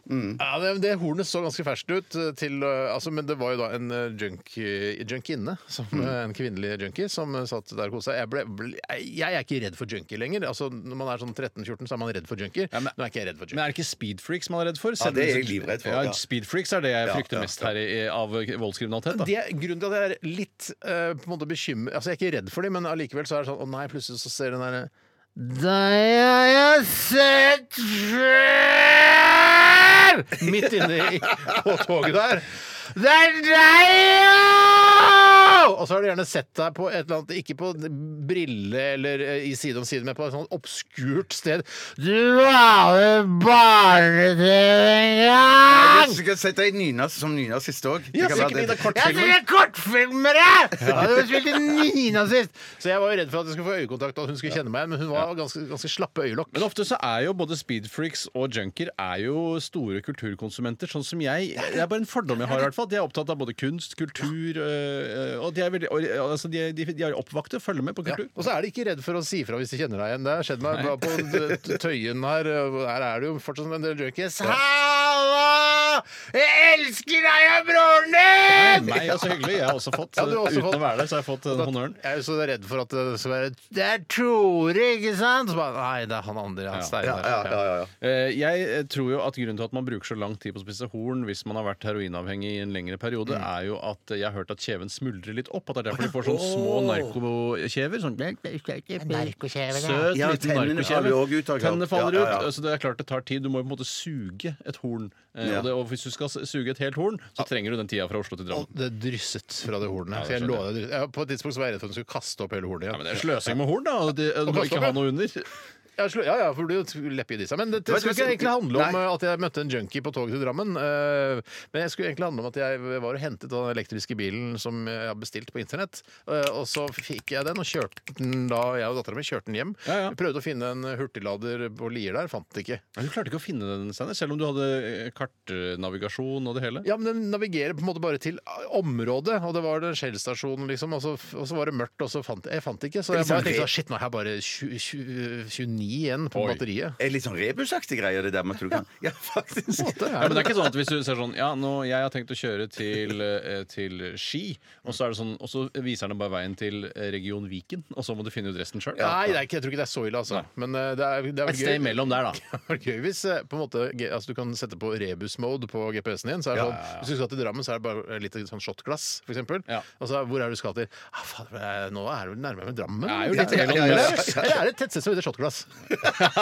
[SPEAKER 4] Ja, det, det hornet så ganske ferskt ut, eh, til, eh, altså, men det var jo da en eh, junkie, junkinne, som, eh, en kvinnelig junkie, som eh, satt der og kosa seg. Jeg, ble, ble, jeg, jeg er ikke redd for junkie lenger. Altså, når man er sånn 13-14, så er man redd for junkier.
[SPEAKER 5] men-
[SPEAKER 4] Nå er ikke jeg redd for
[SPEAKER 5] Men
[SPEAKER 4] junkier.
[SPEAKER 5] er det ikke speedfreaks man er redd for?
[SPEAKER 6] Ja, det er jeg livredd for,
[SPEAKER 5] Ja,
[SPEAKER 6] ja.
[SPEAKER 5] Speedfreaks er det jeg
[SPEAKER 6] Ja,
[SPEAKER 5] frykter
[SPEAKER 6] ja,
[SPEAKER 5] mest her i, i- av voldskriminalitet. Da.
[SPEAKER 4] Det er grunnen til at jeg er litt eh, på en måte bekymret Altså, Jeg er ikke redd for dem, men allikevel så er det sånn Å nei, plutselig så ser den eh, derre Deg har jeg sett før! Midt inne i, på toget der. Det er deg! ja! Og så har du gjerne sett deg på et eller annet Ikke på brille eller eh, i side om side, men på et sånt obskurt sted. Du var vel barne-TV en gang!
[SPEAKER 6] Du skal sette deg i nynas som nynazist òg.
[SPEAKER 4] Ja, så ikke de der kortfilmer. Jeg ser kortfilmer, jeg! Ja, det var spilt en nynazist. Så jeg var jo redd for at jeg skulle få øyekontakt, og at hun skulle kjenne meg, men hun var ganske, ganske slappe øyelokk.
[SPEAKER 5] Men ofte så er jo både speedfreaks og junkier er jo store kulturkonsumenter, sånn som jeg. Det er bare en fordom jeg har, i hvert fall. De er opptatt av både kunst, kultur øh, øh, Og de er, veldig, og, altså, de, er- de, de er oppvakte, følger med på
[SPEAKER 4] Ja.
[SPEAKER 5] kultur.
[SPEAKER 4] Og så er de ikke redd for å si fra hvis de kjenner deg igjen. Det har skjedd meg bare på t- Tøyen her. og Her er det jo fortsatt en del junkies. Halla! Jeg elsker deg og broren din!
[SPEAKER 5] Meg, ja, så hyggelig. Jeg har også fått,
[SPEAKER 4] Ja, du har også
[SPEAKER 5] uten
[SPEAKER 4] fått-
[SPEAKER 5] å være der, så har jeg fått øh, honnøren.
[SPEAKER 4] Jeg er jo så redd for at det skal være Det er Tore, ikke sant? Så bare, Nei, det er han andre. Han
[SPEAKER 6] Ja,
[SPEAKER 4] Steinar.
[SPEAKER 6] ja, ja, ja, ja.
[SPEAKER 5] Eh, Jeg eh, tror jo at grunnen til at man bruker så lang tid på å spise horn hvis man har vært heroinavhengig i en lengre periode,
[SPEAKER 4] Mm.
[SPEAKER 5] er jo at eh, jeg har hørt at kjeven smuldrer litt opp. At det er derfor de får sånne små narkokjever. Sånn
[SPEAKER 7] Narkokjeven, ja.
[SPEAKER 5] søt
[SPEAKER 6] Ja,
[SPEAKER 5] liten
[SPEAKER 6] tennene faller jo også
[SPEAKER 5] narkokjeve.
[SPEAKER 6] ut, har jeg hørt.
[SPEAKER 5] Tennene faller
[SPEAKER 6] Ja,
[SPEAKER 5] ut.
[SPEAKER 6] ja, ja.
[SPEAKER 5] Så det er klart det tar tid. Du må jo på en måte suge et horn. Eh,
[SPEAKER 6] Ja.
[SPEAKER 5] Og, det, og hvis du skal s- suge et helt horn, så trenger du den tida fra Oslo til Drammen.
[SPEAKER 4] Og det drysset fra det hornet.
[SPEAKER 5] det
[SPEAKER 4] Så jeg
[SPEAKER 5] skjønner
[SPEAKER 4] lovet det. Jeg, på et tidspunkt så var jeg redd for at hun skulle kaste opp hele hornet
[SPEAKER 5] Ja, men
[SPEAKER 4] igjen.
[SPEAKER 5] det er sløsing med horn, da. og Det, du må
[SPEAKER 4] kaste
[SPEAKER 5] ikke
[SPEAKER 4] opp,
[SPEAKER 5] ha
[SPEAKER 4] ja.
[SPEAKER 5] noe under.
[SPEAKER 4] Jeg slo- Ja, ja, for det blir jo leppe i disse. Men det, det
[SPEAKER 6] Vet du
[SPEAKER 4] skulle
[SPEAKER 6] hva
[SPEAKER 4] ikke
[SPEAKER 6] som-
[SPEAKER 4] egentlig handle om
[SPEAKER 6] Nei.
[SPEAKER 4] eh, at jeg møtte en junkie på toget til Drammen. eh, Men jeg skulle egentlig handle om at jeg var og hentet den elektriske bilen som jeg har bestilt på internett. eh, Og så fikk jeg den, og kjørte den da jeg og dattera mi kjørte den hjem.
[SPEAKER 5] Ja, ja.
[SPEAKER 4] Vi Prøvde å finne en hurtiglader på Lier der, fant det ikke.
[SPEAKER 5] Ja, Du klarte ikke å finne den, Steinar, selv om du hadde eh, kartnavigasjon og det hele.
[SPEAKER 4] Ja, men den navigerer på en måte bare til ah, området, og det var den Shell-stasjonen, liksom, og så, og så var det mørkt, og så fant jeg fant det ikke. Så jeg bare tenkte shit, nå har jeg bare 20, 20, 29 igjen på
[SPEAKER 5] Oi.
[SPEAKER 4] batteriet.
[SPEAKER 6] Er det litt sånn rebusaktig greie, det der med at du kan Ja, faktisk.
[SPEAKER 4] Det
[SPEAKER 5] Ja,
[SPEAKER 4] er
[SPEAKER 5] men
[SPEAKER 4] det.
[SPEAKER 5] det er ikke sånn at hvis du ser sånn Ja, nå, jeg har tenkt å kjøre til, eh, til Ski, og så, er det sånn, og så viser den bare veien til eh, region Viken, og så må du finne ut resten sjøl.
[SPEAKER 4] Nei, det er ikke, jeg tror ikke det er så ille, altså. Men eh, det er, det er
[SPEAKER 5] Et
[SPEAKER 4] vel
[SPEAKER 5] sted
[SPEAKER 4] gøy.
[SPEAKER 5] imellom der, da.
[SPEAKER 4] Det er gøy hvis eh, på en måte, ge- altså, du kan sette på rebus-mode på GPS-en din. Så er det
[SPEAKER 5] Ja,
[SPEAKER 4] sånn,
[SPEAKER 5] ja, ja.
[SPEAKER 4] Hvis du skal til Drammen, så er det bare litt sånn shotglass, f.eks.
[SPEAKER 5] Ja.
[SPEAKER 4] Og så er- hvor er det du skal til? Ah, fader, eh, nå er det vel nærmere med Drammen?
[SPEAKER 5] Det er jo litt
[SPEAKER 4] eller,
[SPEAKER 5] imellom
[SPEAKER 4] eller,
[SPEAKER 5] der.
[SPEAKER 4] eller er det et tettsted som heter Shotglass?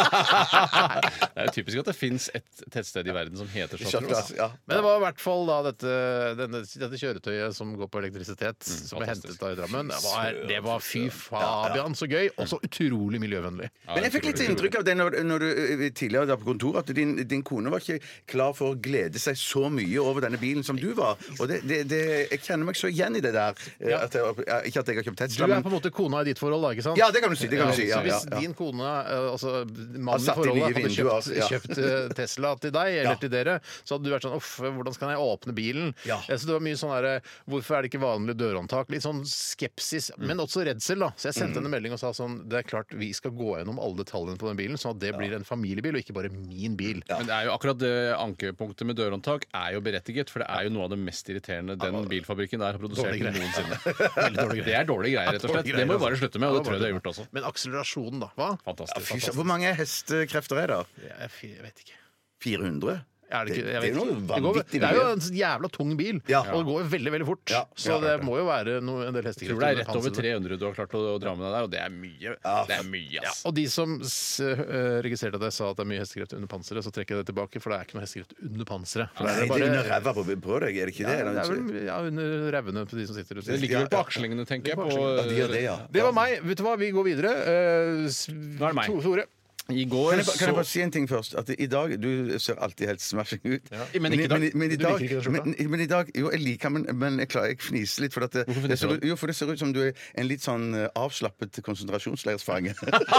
[SPEAKER 5] det er jo typisk at det fins et tettsted i verden som heter Chartreuse.
[SPEAKER 6] Chartreuse, ja.
[SPEAKER 4] altså. Men det var i hvert fall da dette, denne, dette kjøretøyet som går på elektrisitet, som ble hentet
[SPEAKER 5] fantastisk.
[SPEAKER 4] da i Drammen. Det var, det var fy fabian så gøy, og så utrolig miljøvennlig.
[SPEAKER 6] Men jeg fikk litt inntrykk av det når, når du eh, tidligere var på kontor, at din, din kone var ikke klar for å glede seg så mye over denne bilen som du var. Og det, det, det, jeg kjenner meg så igjen i det der. eh, At jeg, eh, ikke at jeg har kjøpt
[SPEAKER 4] Du
[SPEAKER 6] Tesla,
[SPEAKER 4] er på
[SPEAKER 6] men
[SPEAKER 4] en måte kona i ditt forhold, da, ikke sant?
[SPEAKER 6] Ja, det kan du si. Det kan du si ja,
[SPEAKER 4] så
[SPEAKER 6] ja,
[SPEAKER 4] Hvis
[SPEAKER 6] ja.
[SPEAKER 4] din kone, eh, altså mannen i
[SPEAKER 6] satt i nye
[SPEAKER 4] forholdet, hadde
[SPEAKER 6] vinduer, altså,
[SPEAKER 4] kjøpt,
[SPEAKER 6] ja.
[SPEAKER 4] kjøpt eh, Tesla til deg eller til dere, så hadde du vært sånn uff, hvordan skal jeg åpne bilen?
[SPEAKER 6] Ja.
[SPEAKER 4] Eh, Så det var mye sånn derre hvorfor er det ikke vanlig dørhåndtak? Litt sånn skepsis,
[SPEAKER 6] Mm.
[SPEAKER 4] men også redsel, da. Så jeg sendte henne en melding og sa sånn det er klart vi skal gå gjennom alle detaljene på den bilen, sånn at det blir en familiebil og ikke bare min bil.
[SPEAKER 5] Men det er jo akkurat det ankepunktet med dørhåndtak er jo berettiget, for det er jo noe av det mest irriterende den bilfabrikken der har
[SPEAKER 6] sånn
[SPEAKER 5] produsert
[SPEAKER 4] Dårlig greier.
[SPEAKER 5] noensinne.
[SPEAKER 4] Veldig dårlige
[SPEAKER 5] Det er dårlige greier, rett og slett. Det må
[SPEAKER 6] altså.
[SPEAKER 5] vi bare slutte med, og det tror jeg de har gjort også.
[SPEAKER 4] Men akselerasjonen, da? Hva?
[SPEAKER 6] Fy
[SPEAKER 5] Fantastisk.
[SPEAKER 6] søren, Hvor mange hestekrefter er det?
[SPEAKER 4] Jeg, jeg vet ikke.
[SPEAKER 6] 400?
[SPEAKER 4] Er det, ikke, jeg
[SPEAKER 6] Det- det
[SPEAKER 4] vet
[SPEAKER 6] er
[SPEAKER 4] ikke.
[SPEAKER 6] noe
[SPEAKER 4] det, går,
[SPEAKER 6] vanvittig
[SPEAKER 4] det er jo
[SPEAKER 6] mye.
[SPEAKER 4] en sånn jævla tung bil,
[SPEAKER 6] Ja.
[SPEAKER 4] og det går jo veldig veldig fort.
[SPEAKER 6] Ja.
[SPEAKER 4] Så
[SPEAKER 6] Ja,
[SPEAKER 4] det
[SPEAKER 6] klart det.
[SPEAKER 4] må jo være no, en del hestekrefter.
[SPEAKER 5] Jeg tror det er rett
[SPEAKER 4] under
[SPEAKER 5] over
[SPEAKER 4] panseret.
[SPEAKER 5] 300 du har klart å å dra med deg der, og det er mye. Det er mye, altså. ass.
[SPEAKER 4] Og de som s eh, registrerte at jeg sa at det er mye hestekreft under panseret, så trekker jeg det tilbake, for det er ikke noe hestekreft under panseret. For
[SPEAKER 6] Nei,
[SPEAKER 4] det er
[SPEAKER 6] det er under
[SPEAKER 4] bare
[SPEAKER 6] ræva på, på deg, er det ikke det?
[SPEAKER 4] ja,
[SPEAKER 6] Er
[SPEAKER 4] det
[SPEAKER 6] det
[SPEAKER 4] er vel ja, under revene på de som sitter
[SPEAKER 5] Det
[SPEAKER 4] ute.
[SPEAKER 5] ligger vel på akslingene, tenker jeg.
[SPEAKER 4] på
[SPEAKER 5] På,
[SPEAKER 6] Ja, de gjør det, ja.
[SPEAKER 4] Det var meg. Vet du hva, vi går videre. Eh, s-
[SPEAKER 5] er det meg.
[SPEAKER 4] To- Tore.
[SPEAKER 5] I
[SPEAKER 6] Kan
[SPEAKER 5] går
[SPEAKER 6] jeg, ba- kan jeg bare
[SPEAKER 5] så
[SPEAKER 6] si en ting først? At i dag, Du ser alltid helt smashing ut.
[SPEAKER 5] Ja, men ikke i dag.
[SPEAKER 6] Men, men, i
[SPEAKER 4] Du
[SPEAKER 6] dag,
[SPEAKER 4] liker ikke den skjorta?
[SPEAKER 6] men, men i dag Jo, jeg liker den, men- men jeg klarer jeg fniser litt. For at det,
[SPEAKER 5] Hvorfor
[SPEAKER 6] det ser,
[SPEAKER 5] fniser du?
[SPEAKER 6] ut- jo, for det ser ut som du er en litt sånn eh, avslappet konsentrasjonsleirsfange.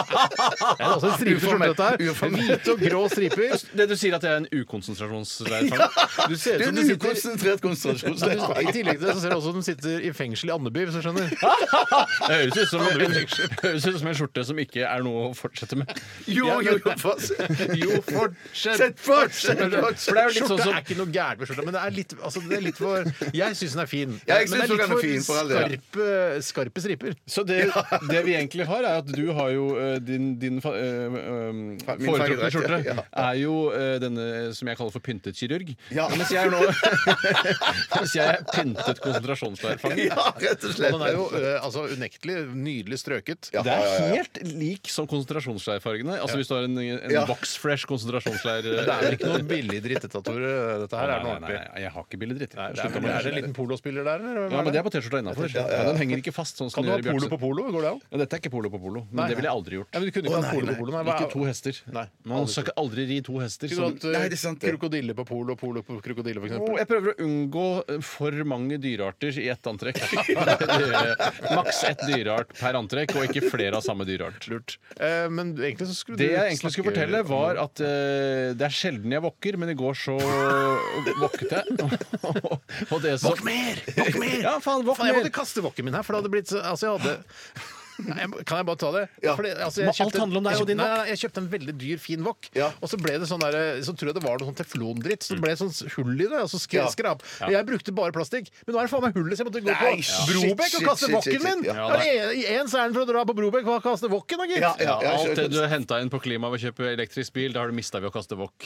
[SPEAKER 4] Det er også en stripete skjorte,
[SPEAKER 6] Uformell.
[SPEAKER 4] dette her.
[SPEAKER 6] Uformell.
[SPEAKER 4] Hvite og grå striper.
[SPEAKER 5] Det du sier at jeg er en ukonsentrasjonsleirfang? Du ser
[SPEAKER 6] Du
[SPEAKER 5] ut som
[SPEAKER 6] er en
[SPEAKER 5] du sitter
[SPEAKER 6] ukonsentrert
[SPEAKER 4] I
[SPEAKER 6] konsentrasjonsleirsfange.
[SPEAKER 4] tillegg til det så ser det også ut som den sitter i fengsel i Andeby, hvis du skjønner.
[SPEAKER 5] Det høres ut som en, høres ut som en skjorte som ikke er noe å fortsette med.
[SPEAKER 6] Jo, jo, jo, fortsett.
[SPEAKER 4] Jo, fortsett!
[SPEAKER 6] Sett fortsett,
[SPEAKER 4] Men det-
[SPEAKER 6] fortsett.
[SPEAKER 4] for det er jo litt
[SPEAKER 5] Skjorta
[SPEAKER 4] sånn som
[SPEAKER 5] er
[SPEAKER 4] er ikke noe gærent med skjorta, men det er litt, altså, det er litt for Jeg syns den er fin.
[SPEAKER 6] Ja, jeg
[SPEAKER 4] men
[SPEAKER 6] synes
[SPEAKER 4] det er litt
[SPEAKER 6] den er fin, for all del.
[SPEAKER 4] skarpe, skarpe striper.
[SPEAKER 5] Så det, det vi egentlig har, er at du har jo eh, din, din fa- eh, eh, foretrukne
[SPEAKER 6] fargedrekt,
[SPEAKER 5] skjorte.
[SPEAKER 6] ja.
[SPEAKER 5] Er jo eh, denne som jeg kaller for pyntet kirurg.
[SPEAKER 6] Ja.
[SPEAKER 5] Mens jeg er nå Mens jeg er pyntet konsentrasjonsleirfange.
[SPEAKER 6] Ja, rett og slett.
[SPEAKER 4] Og den er jo eh, altså, unektelig nydelig strøket.
[SPEAKER 6] Ja,
[SPEAKER 5] Det er
[SPEAKER 6] ja, ja, ja.
[SPEAKER 5] helt lik som konsentrasjonsleirfargene. Altså Hvis du har en, en
[SPEAKER 6] Ja.
[SPEAKER 5] Box Fresh konsentrasjonsleir...
[SPEAKER 4] Det er vel ikke noe billig drittetatovering, dette her?
[SPEAKER 5] Nei,
[SPEAKER 4] Er det noe
[SPEAKER 5] nei, nei,
[SPEAKER 4] ordentlig?
[SPEAKER 5] jeg har ikke billedritt.
[SPEAKER 4] Nei, det er, vel- er det en liten polospiller der, eller?
[SPEAKER 5] Ja, men det er på T-skjorta innafor. Den henger ikke fast. sånn som
[SPEAKER 4] Kan du
[SPEAKER 5] den
[SPEAKER 4] ha
[SPEAKER 5] gjør i
[SPEAKER 4] polo
[SPEAKER 5] Bjørnsen.
[SPEAKER 4] på polo? Går det an?
[SPEAKER 5] Ja, dette er ikke polo på polo, men
[SPEAKER 4] Nei.
[SPEAKER 5] det ville jeg aldri gjort.
[SPEAKER 4] Ja, men du kunne ikke
[SPEAKER 6] Å,
[SPEAKER 4] hatt
[SPEAKER 6] nei,
[SPEAKER 4] polo
[SPEAKER 6] nei.
[SPEAKER 4] på polo. Nei, hva-
[SPEAKER 5] Ikke to hester.
[SPEAKER 4] Nei.
[SPEAKER 5] Man skal ikke aldri ri to hester.
[SPEAKER 4] Skulle
[SPEAKER 5] Som...
[SPEAKER 4] du hatt eh,
[SPEAKER 6] Nei, det er sant, det.
[SPEAKER 4] krokodille på polo og polo på krokodille, for
[SPEAKER 5] Å,
[SPEAKER 4] eksempel?
[SPEAKER 5] jeg prøver å unngå eh, for mange dyrearter i ett antrekk. Det- Maks ett dyreart per antrekk, og ikke flere av samme dyreart.
[SPEAKER 4] Lurt. Eh, men egentlig så skulle
[SPEAKER 5] Det
[SPEAKER 4] du
[SPEAKER 5] jeg egentlig skulle
[SPEAKER 4] snakke-
[SPEAKER 5] fortelle, var at eh, det er sjelden jeg våkker, men i går så våkket jeg. Og det som-
[SPEAKER 4] Våkn mer! Våkn mer!
[SPEAKER 5] Ja, faen, våkn
[SPEAKER 4] Faen, jeg måtte
[SPEAKER 5] mer!
[SPEAKER 4] kaste wokken min her, for det hadde blitt så Altså, jeg hadde Nei, jeg må- Kan jeg bare ta det?
[SPEAKER 6] Ja.
[SPEAKER 4] Fordi, altså,
[SPEAKER 5] Må alt handle om deg
[SPEAKER 4] jeg
[SPEAKER 5] og din
[SPEAKER 4] kjøpte- nei,
[SPEAKER 5] wok?
[SPEAKER 4] nei, Jeg kjøpte en veldig dyr, fin wok,
[SPEAKER 6] Ja.
[SPEAKER 4] og så ble det sånn der, Så tror jeg det var noe sånn teflondritt. Så det ble sånn hull i det, og så skre,
[SPEAKER 6] Ja.
[SPEAKER 4] skrap. Og Jeg brukte bare plastikk, men nå er det faen meg hullet, så jeg måtte gå
[SPEAKER 6] Nei,
[SPEAKER 4] på
[SPEAKER 6] shit,
[SPEAKER 4] Brobekk
[SPEAKER 6] shit,
[SPEAKER 4] og kaste
[SPEAKER 6] shit, shit,
[SPEAKER 4] wokken min!
[SPEAKER 6] shit,
[SPEAKER 5] ja.
[SPEAKER 4] Er det en- I én så er den for å dra på Brobekk og kaste wokken, da, gitt.
[SPEAKER 6] Ja, ja, ja,
[SPEAKER 5] Alt det
[SPEAKER 6] jeg-
[SPEAKER 5] du henta inn på klima ved å kjøpe elektrisk bil, det har du mista ved å kaste wok.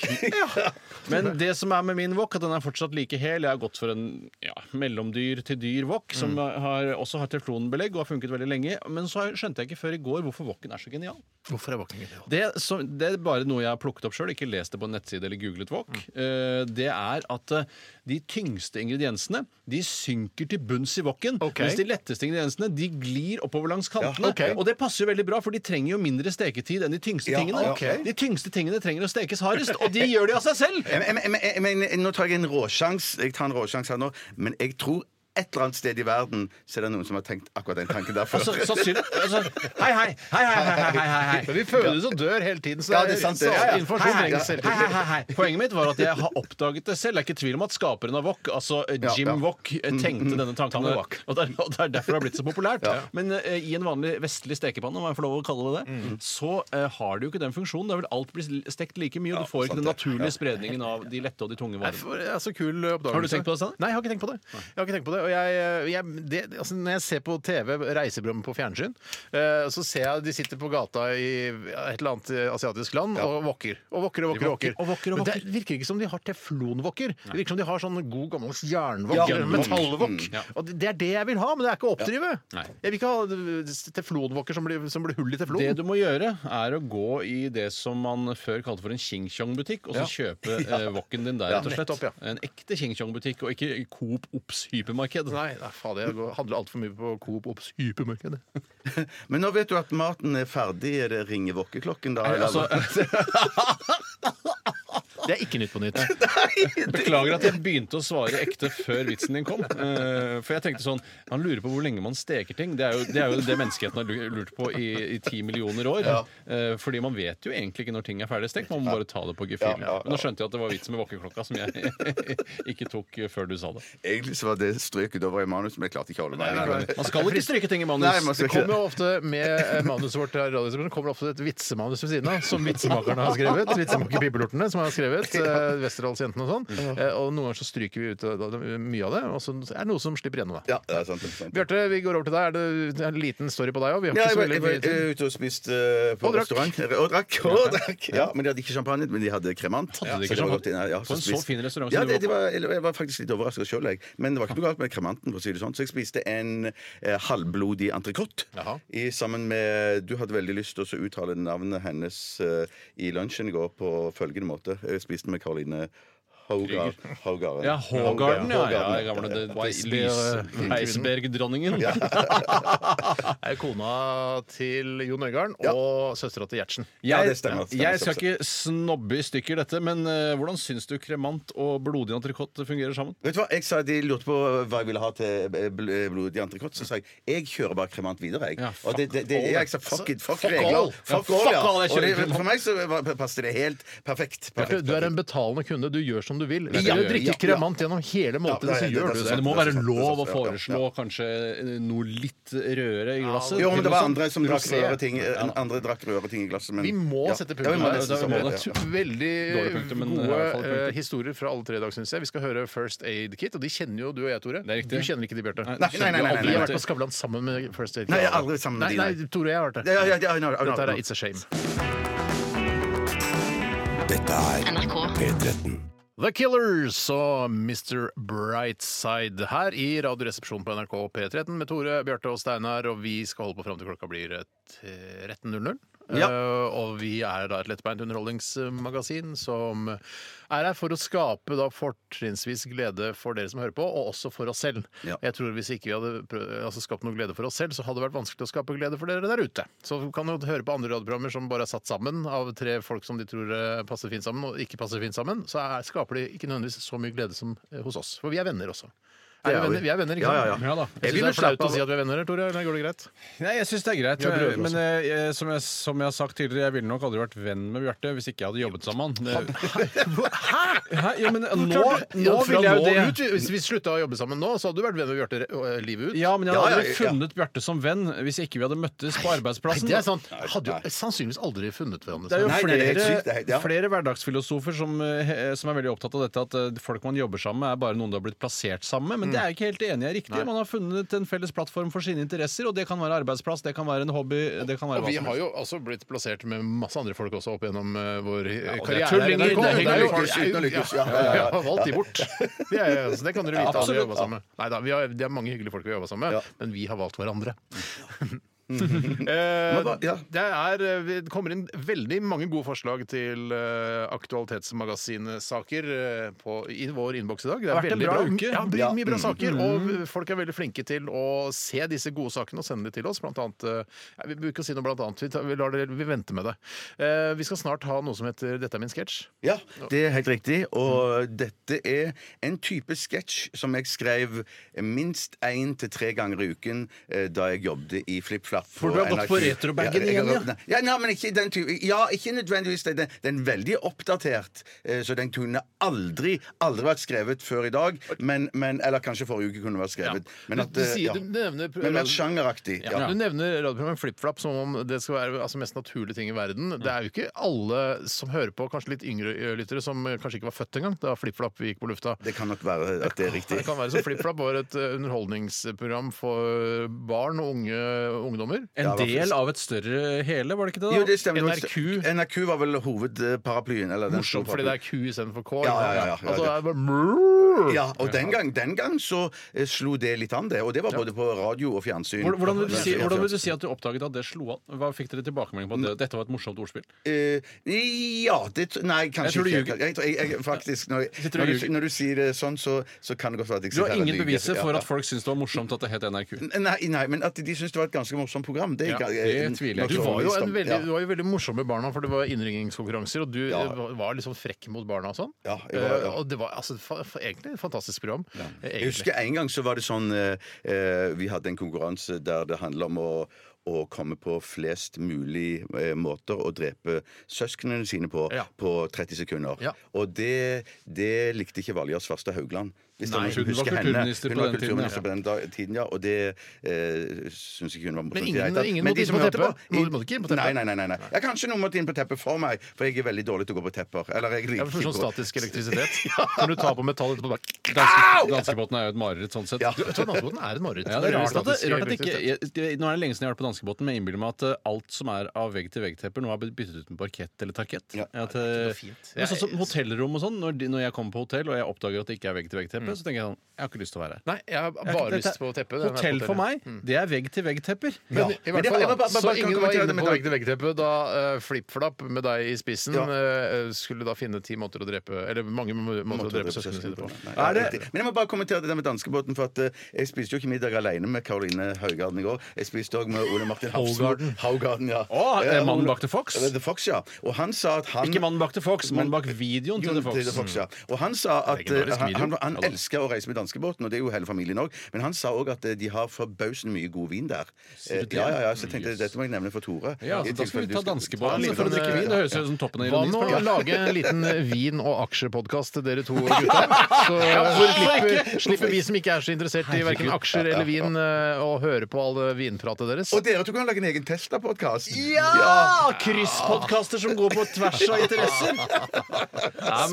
[SPEAKER 5] Men det som er med min wok, at den er fortsatt like hel. Jeg har gått for en ja, mellomdyr til dyr wok, som har, også har teflonbelegg og har funket veldig lenge. Men så har- skjønte jeg ikke før i går hvorfor woken er så genial.
[SPEAKER 4] Hvorfor er wokken genial?
[SPEAKER 5] Det, som, det er bare noe jeg har plukket opp sjøl, ikke lest det på en nettside eller googlet wok. Eh, Det er at eh, de tyngste ingrediensene de synker til bunns i woken,
[SPEAKER 4] Ok.
[SPEAKER 5] mens de letteste ingrediensene de glir oppover langs kantene.
[SPEAKER 4] ok.
[SPEAKER 5] Og det passer jo veldig bra, for de trenger jo mindre steketid enn de tyngste
[SPEAKER 6] Ja,
[SPEAKER 5] tingene.
[SPEAKER 6] ok.
[SPEAKER 5] De tyngste tingene trenger å stekes hardest, og de gjør de av seg selv!
[SPEAKER 6] Jeg- jeg- jeg- jeg- jeg- jeg- Nå tar jeg en råsjans Jeg tar en råsjans her nå, men jeg tror et eller annet sted i verden så er det noen som har tenkt akkurat den tanken der før.
[SPEAKER 5] Altså, sannsynlig- altså, hei, hei, hei, hei, hei, hei, hei, hei.
[SPEAKER 4] Men vi fødes og dør hele tiden, så
[SPEAKER 6] Ja, det er sant, det.
[SPEAKER 4] så
[SPEAKER 6] Ja, ja.
[SPEAKER 4] informasjon
[SPEAKER 5] Hei,
[SPEAKER 4] trengs hele
[SPEAKER 5] hei,
[SPEAKER 4] tiden.
[SPEAKER 5] hei, hei. Poenget mitt var at jeg har oppdaget det selv. Det er ikke tvil om at skaperen av Wok, altså eh,
[SPEAKER 6] Ja,
[SPEAKER 5] Jim
[SPEAKER 6] ja.
[SPEAKER 5] Wok, eh, tenkte denne tanken.
[SPEAKER 4] Tommy
[SPEAKER 5] Og
[SPEAKER 4] Wok.
[SPEAKER 5] det er- og det er derfor det har blitt så populært. Men eh, i en vanlig vestlig stekepanne, om jeg får lov å kalle det det, så eh, har det jo ikke den funksjonen. Det vil alt bli stekt like mye, og du får ikke den naturlige spredningen av de lette og de tunge
[SPEAKER 4] Nei,
[SPEAKER 5] varene.
[SPEAKER 4] for, altså, kul oppdagelse.
[SPEAKER 5] Har du tenkt på det, Steinar?
[SPEAKER 4] Nei, jeg har ikke tenkt på det. Jeg har ikke tenkt på det, Og og jeg, jeg det, altså, Når jeg ser på TV, reiseprogrammet på fjernsyn, eh, så ser jeg de sitter på gata i et eller annet eh, asiatisk land og vokker. Og vokker og vokker. og vokker.
[SPEAKER 5] vokker, og vokker, og
[SPEAKER 4] Men
[SPEAKER 5] vokker.
[SPEAKER 4] Det virker ikke som de har teflonvokker. Det virker som de har sånn god gammel jernvokk eller metallvokk.
[SPEAKER 5] Mm. Ja.
[SPEAKER 4] Og det er det jeg vil ha, men det er ikke å oppdrive.
[SPEAKER 5] Nei.
[SPEAKER 4] Jeg vil ikke ha eh, teflonvokker som blir, som blir hull i
[SPEAKER 5] Det
[SPEAKER 4] teflonen.
[SPEAKER 5] du må gjøre, er å gå i det som man før kalte for en Ching Chong-butikk, og så kjøpe eh, wokken din der,
[SPEAKER 4] Ja,
[SPEAKER 5] rett og slett.
[SPEAKER 4] nettopp, ja.
[SPEAKER 5] En ekte Ching Chong-butikk, og ikke Coop Ops hypermarked.
[SPEAKER 4] Nei, nei faen, jeg går- handler altfor mye på Coop Obs hypermarked.
[SPEAKER 6] Men nå vet du at maten er ferdig. Er det ringer våkkeklokken da? eller?
[SPEAKER 5] Altså,
[SPEAKER 4] Det er ikke Nytt på Nytt.
[SPEAKER 5] beklager at jeg begynte å svare ekte før vitsen din kom. Eh, for jeg tenkte sånn Han lurer på hvor lenge man steker ting. Det er jo det, er jo det menneskeheten har lu- lurt på i ti millioner år. Eh, fordi man vet jo egentlig ikke når ting er ferdig stekt. Man må bare ta det på gefühlen.
[SPEAKER 6] Ja, ja, ja.
[SPEAKER 5] Men Nå skjønte jeg at det var vitsen med våkeklokka som jeg ikke tok eh, før du sa det.
[SPEAKER 6] Egentlig så var det strøket over i manus, men jeg klarte ikke å holde meg.
[SPEAKER 5] Man skal ikke stryke ting i manus.
[SPEAKER 6] Nei, man skal
[SPEAKER 4] Det
[SPEAKER 6] ikke
[SPEAKER 4] kommer jo ofte med eh, manuset vårt her, i Radioresepsjonen, kommer det ofte et vitsemanus ved siden av, som vitsemakerne har skrevet. Vitsemaker Pipelortene, som har skrevet. Eh, Westerdalsjentene og sånn. Eh, og noen ganger så stryker vi ut av det- mye av det, og så er det noe som slipper gjennom. da.
[SPEAKER 6] Ja, det er sant. det er sant.
[SPEAKER 4] Bjarte, vi går over til deg. Er det- det er en liten story på deg òg? Vi har
[SPEAKER 6] Ja,
[SPEAKER 4] ikke
[SPEAKER 6] jeg
[SPEAKER 4] så
[SPEAKER 6] var, jeg
[SPEAKER 4] veldig
[SPEAKER 6] var
[SPEAKER 4] mye tid.
[SPEAKER 6] eh, ute og spiste eh, på
[SPEAKER 4] Og drakk.
[SPEAKER 6] restaurant. Og drakk. Og drakk. Ja, men de hadde ikke champagne, men de hadde kremant.
[SPEAKER 5] Hadde de
[SPEAKER 6] Så det
[SPEAKER 5] kremant?
[SPEAKER 6] var godt inn- ja,
[SPEAKER 5] På en så
[SPEAKER 6] spiste-
[SPEAKER 5] fin restaurant som
[SPEAKER 6] Ja,
[SPEAKER 5] du
[SPEAKER 6] det,
[SPEAKER 5] var
[SPEAKER 6] det var, eller jeg var faktisk litt overraska sjøl, jeg. Men det var ikke noe galt med kremanten, for å si det sånn. Så jeg spiste en eh, halvblodig entrecôte
[SPEAKER 4] Jaha.
[SPEAKER 6] i- sammen med Du hadde veldig lyst til å så uttale navnet hennes eh, i lunsjen i går på følgende måte. Jeg spiste med Caroline Haugar. Haugarden.
[SPEAKER 5] Ja, Hågarden, ja. ja,
[SPEAKER 6] Haugarden,
[SPEAKER 5] ja gamle det,
[SPEAKER 6] eh,
[SPEAKER 4] Weisberg-
[SPEAKER 5] Weisberg-dronningen.
[SPEAKER 4] er kona til Jon Øigarden og søstera til Gjertsen.
[SPEAKER 6] Ja,
[SPEAKER 5] Jeg,
[SPEAKER 6] det stemmer, stemmer,
[SPEAKER 5] jeg skal
[SPEAKER 6] stemmer.
[SPEAKER 5] ikke snobbe i stykker dette, men eh, hvordan syns du kremant og blodig entrecôte fungerer sammen?
[SPEAKER 6] Vet du hva, jeg sa De lurte på hva jeg ville ha til eh, bl- eh, blodig entrecôte. Så sa jeg jeg kjører bare kremant videre. jeg
[SPEAKER 5] Ja,
[SPEAKER 6] og det, det, det,
[SPEAKER 5] all,
[SPEAKER 6] jeg sa fuck it, fuck,
[SPEAKER 5] Fuck all.
[SPEAKER 6] regler.
[SPEAKER 5] Ja,
[SPEAKER 6] Fuck all, ja.
[SPEAKER 5] fuck all, jeg
[SPEAKER 6] Og det,
[SPEAKER 5] kjører kremant.
[SPEAKER 6] for meg så var- passet det helt perfekt.
[SPEAKER 4] Bjarte,
[SPEAKER 6] perfekt,
[SPEAKER 4] du er en
[SPEAKER 6] perfekt.
[SPEAKER 4] betalende kunde. Du gjør som du vil. Hvis
[SPEAKER 6] Ja,
[SPEAKER 4] du drikker
[SPEAKER 6] ja, ja.
[SPEAKER 4] kremant gjennom hele måltidet,
[SPEAKER 6] Ja,
[SPEAKER 4] så
[SPEAKER 6] det er-
[SPEAKER 4] gjør
[SPEAKER 6] det
[SPEAKER 4] du
[SPEAKER 6] er så
[SPEAKER 4] det.
[SPEAKER 5] Så det må
[SPEAKER 6] det er
[SPEAKER 5] være
[SPEAKER 6] sant, det er
[SPEAKER 5] lov å
[SPEAKER 6] sant, ja, ja.
[SPEAKER 5] foreslå kanskje eh, noe litt rødere i glasset.
[SPEAKER 6] jo, men det var andre som drakk
[SPEAKER 5] Rosé.
[SPEAKER 6] røde ting, eh, andre drakk røde ting i glasset. Men,
[SPEAKER 4] Vi må
[SPEAKER 6] ja.
[SPEAKER 4] sette
[SPEAKER 6] Ja, vi
[SPEAKER 4] punktum
[SPEAKER 6] må
[SPEAKER 4] der.
[SPEAKER 6] nesten
[SPEAKER 4] Det er
[SPEAKER 6] sette
[SPEAKER 4] jo
[SPEAKER 6] det, ja.
[SPEAKER 4] Veldig
[SPEAKER 5] Dårlig punktum, men det er
[SPEAKER 4] gode
[SPEAKER 5] i hvert fall et punktum.
[SPEAKER 4] eh, historier fra alle tre i dag, syns jeg. Vi skal høre First Aid Kit, og de kjenner jo du og jeg, Tore.
[SPEAKER 5] Det er riktig.
[SPEAKER 4] Du kjenner ikke de, Bjarte.
[SPEAKER 5] Nei,
[SPEAKER 6] Nei, nei, nei, nei,
[SPEAKER 4] Vi
[SPEAKER 6] nei,
[SPEAKER 4] har
[SPEAKER 6] nei.
[SPEAKER 4] vært på Skavlan sammen med First Aid Kit.
[SPEAKER 6] Nei, jeg har aldri sammen med
[SPEAKER 4] Nei,
[SPEAKER 6] de, nei.
[SPEAKER 4] nei, Tore og jeg har vært det.
[SPEAKER 6] Ja, ja, ja, I know, I know.
[SPEAKER 4] Dette her er It's a Shame.
[SPEAKER 1] Dette er P13.
[SPEAKER 4] The Killers og Mr. Brightside her i Radioresepsjonen på NRK P13 med Tore, Bjarte og Steinar, og vi skal holde på fram til klokka blir eh, 13.00.
[SPEAKER 6] Ja.
[SPEAKER 4] Eh, og vi er da et lettbeint underholdningsmagasin som er her for å skape da fortrinnsvis glede for dere som hører på, og også for oss selv.
[SPEAKER 6] Ja.
[SPEAKER 4] Jeg tror Hvis ikke vi hadde prøv, altså skapt noe glede for oss selv, så hadde det vært vanskelig å skape glede for dere der ute. Så du kan jo høre på andre radioprogrammer som bare er satt sammen av tre folk som de tror eh, passer fint sammen, og ikke passer fint sammen. Så er, skaper de ikke nødvendigvis så mye glede som eh, hos oss. For vi er venner også.
[SPEAKER 6] Det
[SPEAKER 4] Er
[SPEAKER 6] er
[SPEAKER 4] vi,
[SPEAKER 6] vi.
[SPEAKER 4] venner? vi er venner, ikke
[SPEAKER 6] Ja,
[SPEAKER 4] sant?
[SPEAKER 6] ja, ja.
[SPEAKER 5] Ja da.
[SPEAKER 4] Jeg
[SPEAKER 6] vil
[SPEAKER 4] synes det er
[SPEAKER 6] jo slappe
[SPEAKER 4] flaut å
[SPEAKER 6] av.
[SPEAKER 4] si at vi er venner her, Tore. Eller går det greit?
[SPEAKER 5] Nei, jeg syns det er greit.
[SPEAKER 4] Vi har brødre
[SPEAKER 5] men
[SPEAKER 4] også.
[SPEAKER 5] eh, jeg, som, jeg, som jeg har sagt tidligere, jeg ville nok aldri vært venn med Bjarte hvis ikke jeg hadde jobbet sammen med han. Det- Hæ? Ja, men, nå, nå
[SPEAKER 4] Ja, fra
[SPEAKER 5] vil jeg jo
[SPEAKER 4] nå
[SPEAKER 5] det.
[SPEAKER 4] ut, hvis vi slutta å jobbe sammen nå, så hadde du vært venn med Bjarte eh, livet ut.
[SPEAKER 5] Ja, men jeg hadde
[SPEAKER 6] Ja, ja,
[SPEAKER 5] aldri
[SPEAKER 6] ja.
[SPEAKER 5] funnet Bjarte som venn hvis ikke vi hadde møttes på
[SPEAKER 4] Nei,
[SPEAKER 5] arbeidsplassen.
[SPEAKER 4] det er sant. Hadde jo sannsynligvis aldri funnet hverandre.
[SPEAKER 5] Det er jo
[SPEAKER 6] Nei, det er helt
[SPEAKER 5] flere,
[SPEAKER 6] sykt, det er helt- ja.
[SPEAKER 5] flere hverdagsfilosofer som, eh, som er veldig opptatt av dette at eh, folk man jobber sammen med, er bare noen du har blitt plassert sammen
[SPEAKER 6] Mm.
[SPEAKER 5] med. Men det er jeg ikke helt enig i er riktig. Man har funnet en felles plattform for sine interesser, og det kan være arbeidsplass, det kan være en hobby, det kan være
[SPEAKER 4] Og
[SPEAKER 5] hva
[SPEAKER 4] vi
[SPEAKER 5] som
[SPEAKER 4] har
[SPEAKER 5] helst.
[SPEAKER 4] jo også blitt plassert med masse andre folk også opp gjennom eh, vår eh,
[SPEAKER 5] og det er
[SPEAKER 4] karriere.
[SPEAKER 5] tullinger,
[SPEAKER 4] her i NRK.
[SPEAKER 5] det er
[SPEAKER 4] Det er jo-
[SPEAKER 6] lykkes, uten å lykkes. Ja, ja, ja, ja.
[SPEAKER 4] Vi har valgt de bort. Det er, så det kan dere vite. alle vi
[SPEAKER 5] absolutt.
[SPEAKER 4] jobber sammen. med. Neida, vi har, det er mange hyggelige folk vi har jobba sammen med, men vi har valgt hverandre. Eh,
[SPEAKER 6] hva- ja.
[SPEAKER 4] det, er, eh, det kommer inn veldig mange gode forslag til eh, aktualitetsmagasinsaker eh, på- i vår innboks i dag. Det
[SPEAKER 5] har
[SPEAKER 4] er
[SPEAKER 5] vært en
[SPEAKER 4] veldig
[SPEAKER 5] bra
[SPEAKER 4] bra.
[SPEAKER 5] uke.
[SPEAKER 4] Ja, mye, mye
[SPEAKER 6] Mm.
[SPEAKER 4] bra saker. Og eh, folk er veldig flinke til å se disse gode sakene og sende de til oss. Blant annet, eh, ja, vi bruker å si noe blant annet. Vi, tar, vi, lar det, vi venter med det. Eh, vi skal snart ha noe som heter 'Dette er min sketsj'.
[SPEAKER 6] Ja, det er helt riktig. Og dette er en type sketsj som jeg skrev minst én til tre ganger i uken eh, da jeg jobbet i FlippFlapp slapp
[SPEAKER 4] For du har gått
[SPEAKER 6] NRK.
[SPEAKER 4] på retrobagen
[SPEAKER 6] Ja, jeg har
[SPEAKER 4] igjen, ja.
[SPEAKER 6] gått- nei, ja. Nei, men ikke den type Ja, ikke nødvendigvis. Den, den- den er veldig oppdatert, eh, så den kunne aldri aldri vært skrevet før i dag. Men, men, eller kanskje forrige uke kunne vært skrevet. Men, at,
[SPEAKER 4] du,
[SPEAKER 6] eh,
[SPEAKER 4] sier,
[SPEAKER 6] ja.
[SPEAKER 4] du nevner
[SPEAKER 6] men mer sjangeraktig.
[SPEAKER 4] Ja.
[SPEAKER 6] Ja.
[SPEAKER 4] Du nevner radioprogrammet FlippFlapp som om det skal være altså, mest naturlige ting i verden. Det er jo ikke alle som hører på, kanskje litt yngre ø, lyttere, som eh, kanskje ikke var født engang da FlippFlapp gikk på lufta.
[SPEAKER 6] Det kan nok være at det er riktig.
[SPEAKER 4] Det kan være som FlippFlapp var et eh, underholdningsprogram for barn og unge ungdommer.
[SPEAKER 5] En del av et større hele, var det ikke det? da?
[SPEAKER 6] Jo, det stemmer.
[SPEAKER 4] NRQ.
[SPEAKER 6] NRK var vel hovedparaplyen. Eller den
[SPEAKER 4] Morsomt fordi det er Q istedenfor K.
[SPEAKER 6] Ja, ja, ja, ja.
[SPEAKER 4] Altså, det er bare brrr.
[SPEAKER 6] Ja, og den gang, den gang så eh, slo det litt an, det. Og det var både på radio og fjernsyn.
[SPEAKER 5] Hvordan- Hvordan vil, du si,
[SPEAKER 6] Ja,
[SPEAKER 5] hvordan vil du si at du oppdaget at det slo an? Hva Fikk dere tilbakemelding på at det- dette var et morsomt ordspill?
[SPEAKER 6] Eh, ja det, tr- Nei, kanskje
[SPEAKER 5] tror du
[SPEAKER 6] ikke.
[SPEAKER 5] ljuger.
[SPEAKER 6] Jeg, tror- jeg, jeg, faktisk, når,
[SPEAKER 5] Jeg tror du
[SPEAKER 6] når, du,
[SPEAKER 5] ljuger.
[SPEAKER 6] når du sier det sånn, så, så kan det godt være at jeg
[SPEAKER 5] Du har
[SPEAKER 6] sier at jeg
[SPEAKER 5] ingen
[SPEAKER 6] ljuger.
[SPEAKER 5] beviser
[SPEAKER 6] Ja,
[SPEAKER 5] for at
[SPEAKER 6] ja.
[SPEAKER 5] folk syntes det var morsomt at det het NRQ.
[SPEAKER 6] Nei, nei, men at de syns det var et ganske morsomt program. Det,
[SPEAKER 5] Ja,
[SPEAKER 6] kan-
[SPEAKER 5] det
[SPEAKER 6] eh,
[SPEAKER 5] tviler jeg
[SPEAKER 6] nok
[SPEAKER 5] ikke
[SPEAKER 4] Du
[SPEAKER 5] på.
[SPEAKER 6] sånn
[SPEAKER 4] var, jo
[SPEAKER 6] visdom.
[SPEAKER 4] en veldig,
[SPEAKER 6] Ja.
[SPEAKER 4] du var jo veldig morsom med barna, for det var innringningskonkurranser, og du
[SPEAKER 6] Ja.
[SPEAKER 4] eh, var- var litt sånn frekk mot barna og sånn.
[SPEAKER 6] Ja, jeg var- ja.
[SPEAKER 4] Eh, Og det var altså, fa fa- egentlig et fantastisk program. Eh,
[SPEAKER 6] Jeg
[SPEAKER 4] Egentlig.
[SPEAKER 6] husker en gang så var det sånn eh, eh, Vi hadde en konkurranse der det handla om å å komme på flest mulig eh, måter å drepe søsknene sine på
[SPEAKER 4] Ja.
[SPEAKER 6] på 30 sekunder.
[SPEAKER 4] Ja.
[SPEAKER 6] Og det, det likte ikke Valgerd Svarstad Haugland. Hvis
[SPEAKER 4] Nei,
[SPEAKER 6] noen som
[SPEAKER 5] hun var
[SPEAKER 6] husker henne.
[SPEAKER 5] kulturminister
[SPEAKER 6] Hun
[SPEAKER 5] på
[SPEAKER 6] var
[SPEAKER 5] den tiden,
[SPEAKER 6] kulturminister
[SPEAKER 5] ja.
[SPEAKER 6] på den da- tiden, ja. Og det eh, syns ikke hun var morsomt.
[SPEAKER 4] Men
[SPEAKER 6] i det hele
[SPEAKER 4] ingen-
[SPEAKER 6] tatt.
[SPEAKER 4] ingen
[SPEAKER 6] Men
[SPEAKER 4] måtte
[SPEAKER 6] de
[SPEAKER 4] inn
[SPEAKER 6] som
[SPEAKER 4] på
[SPEAKER 6] hørte
[SPEAKER 4] teppet?
[SPEAKER 6] på-
[SPEAKER 4] Må- måtte ikke inn på teppet?
[SPEAKER 6] Nei, nei, nei, nei, nei. Ja, kanskje noen måtte inn på teppet for meg, for jeg er veldig dårlig til å gå på tepper. Eller
[SPEAKER 4] Jeg
[SPEAKER 6] jeg liker
[SPEAKER 4] får sånn
[SPEAKER 6] ikke å gå-
[SPEAKER 4] statisk elektrisitet. Når du tar på metall etterpå bare
[SPEAKER 5] Danske- Danskebåten er jo et mareritt sånn sett.
[SPEAKER 6] Ja.
[SPEAKER 4] Du, vet du hva, Nattbåten er et mareritt.
[SPEAKER 5] Ja, det er rart at, det-
[SPEAKER 4] Statisk
[SPEAKER 5] rart at det ikke,
[SPEAKER 4] elektrisitet.
[SPEAKER 5] jeg, det- nå er det lenge siden jeg har vært på danskebåten, men jeg innbiller meg at eh, alt som er av vegg-til-vegg-tepper, nå har blitt byttet ut med parkett eller tarkett.
[SPEAKER 6] Ja.
[SPEAKER 5] At,
[SPEAKER 4] Det
[SPEAKER 5] eh,
[SPEAKER 4] er fint.
[SPEAKER 5] men sånn som
[SPEAKER 4] Jeg-
[SPEAKER 5] hotellrom og sånn, når, de- når jeg kommer på hotell og jeg oppdager at det ikke er vegg-til-vegg-teppe, så tenker jeg sånn Jeg har ikke lyst til å være her.
[SPEAKER 4] Nei, jeg har
[SPEAKER 5] Jeg har ikke-
[SPEAKER 4] bare lyst
[SPEAKER 5] dette-
[SPEAKER 4] på teppet. den er på
[SPEAKER 5] Hotell for
[SPEAKER 4] hotellet.
[SPEAKER 5] meg, Mm. det er vegg-til-vegg-tepper.
[SPEAKER 4] Men, i
[SPEAKER 6] Men
[SPEAKER 4] hvert
[SPEAKER 6] det-
[SPEAKER 4] fall,
[SPEAKER 6] jeg
[SPEAKER 4] da,
[SPEAKER 6] må bare- bare-
[SPEAKER 4] så
[SPEAKER 6] bare kan
[SPEAKER 4] ingen var
[SPEAKER 6] kommentere
[SPEAKER 4] inne
[SPEAKER 6] det med
[SPEAKER 4] på
[SPEAKER 6] det.
[SPEAKER 4] vegg-til-vegg-teppet da uh, FlippFlapp med deg i spissen
[SPEAKER 6] Ja.
[SPEAKER 4] eh, skulle da finne ti måter å drepe Eller mange må- måter å drepe søsknene sine på.
[SPEAKER 6] Nei, ja, riktig. Men jeg må bare kommentere det der med danskebåten. For at eh, jeg spiste jo ikke middag alene med Karoline Haugarden i går. Jeg spiste òg med Ole Martin Hafsmo.
[SPEAKER 4] Haugarden.
[SPEAKER 6] Haugarden, ja.
[SPEAKER 5] Å, er det
[SPEAKER 6] Eh,
[SPEAKER 5] mannen
[SPEAKER 6] Ole-
[SPEAKER 5] bak The Fox?
[SPEAKER 6] Eh, The Fox, ja. Og han sa at han
[SPEAKER 5] Ikke mannen bak The Fox, mannen bak videoen
[SPEAKER 6] Jo,
[SPEAKER 5] til The Fox. Mm.
[SPEAKER 6] ja. Og han sa at eh,
[SPEAKER 4] Legendarisk
[SPEAKER 6] han,
[SPEAKER 4] video.
[SPEAKER 6] han, han
[SPEAKER 5] Ja da.
[SPEAKER 6] elsker å reise med danskebåten, og det er jo hele familien òg. Men han sa òg at eh, de har forbausende mye god vin der. Eh,
[SPEAKER 5] det?
[SPEAKER 6] Ja, ja, ja, så jeg tenkte dette må jeg nevne for Tore.
[SPEAKER 5] Ja, altså, da
[SPEAKER 6] I
[SPEAKER 5] skal vi
[SPEAKER 6] tilfelle du
[SPEAKER 5] ta
[SPEAKER 6] skal-
[SPEAKER 5] danskebåten
[SPEAKER 6] ta
[SPEAKER 5] for å
[SPEAKER 6] en liten-
[SPEAKER 5] drikke vin.
[SPEAKER 6] Ja.
[SPEAKER 5] Det høres jo ut som toppen av
[SPEAKER 4] eh, Hva med å
[SPEAKER 5] ironien.
[SPEAKER 4] lage en liten eh, vin- og aksjepodkast til dere to gutta? Så eh, slipper, slipper vi som ikke er så interessert i verken aksjer eller vin, eh, å høre på all det vinpratet deres.
[SPEAKER 6] Og dere to kan lage en egen Testa-podkast.
[SPEAKER 5] Ja! Krysspodkaster som går på tvers av interesser.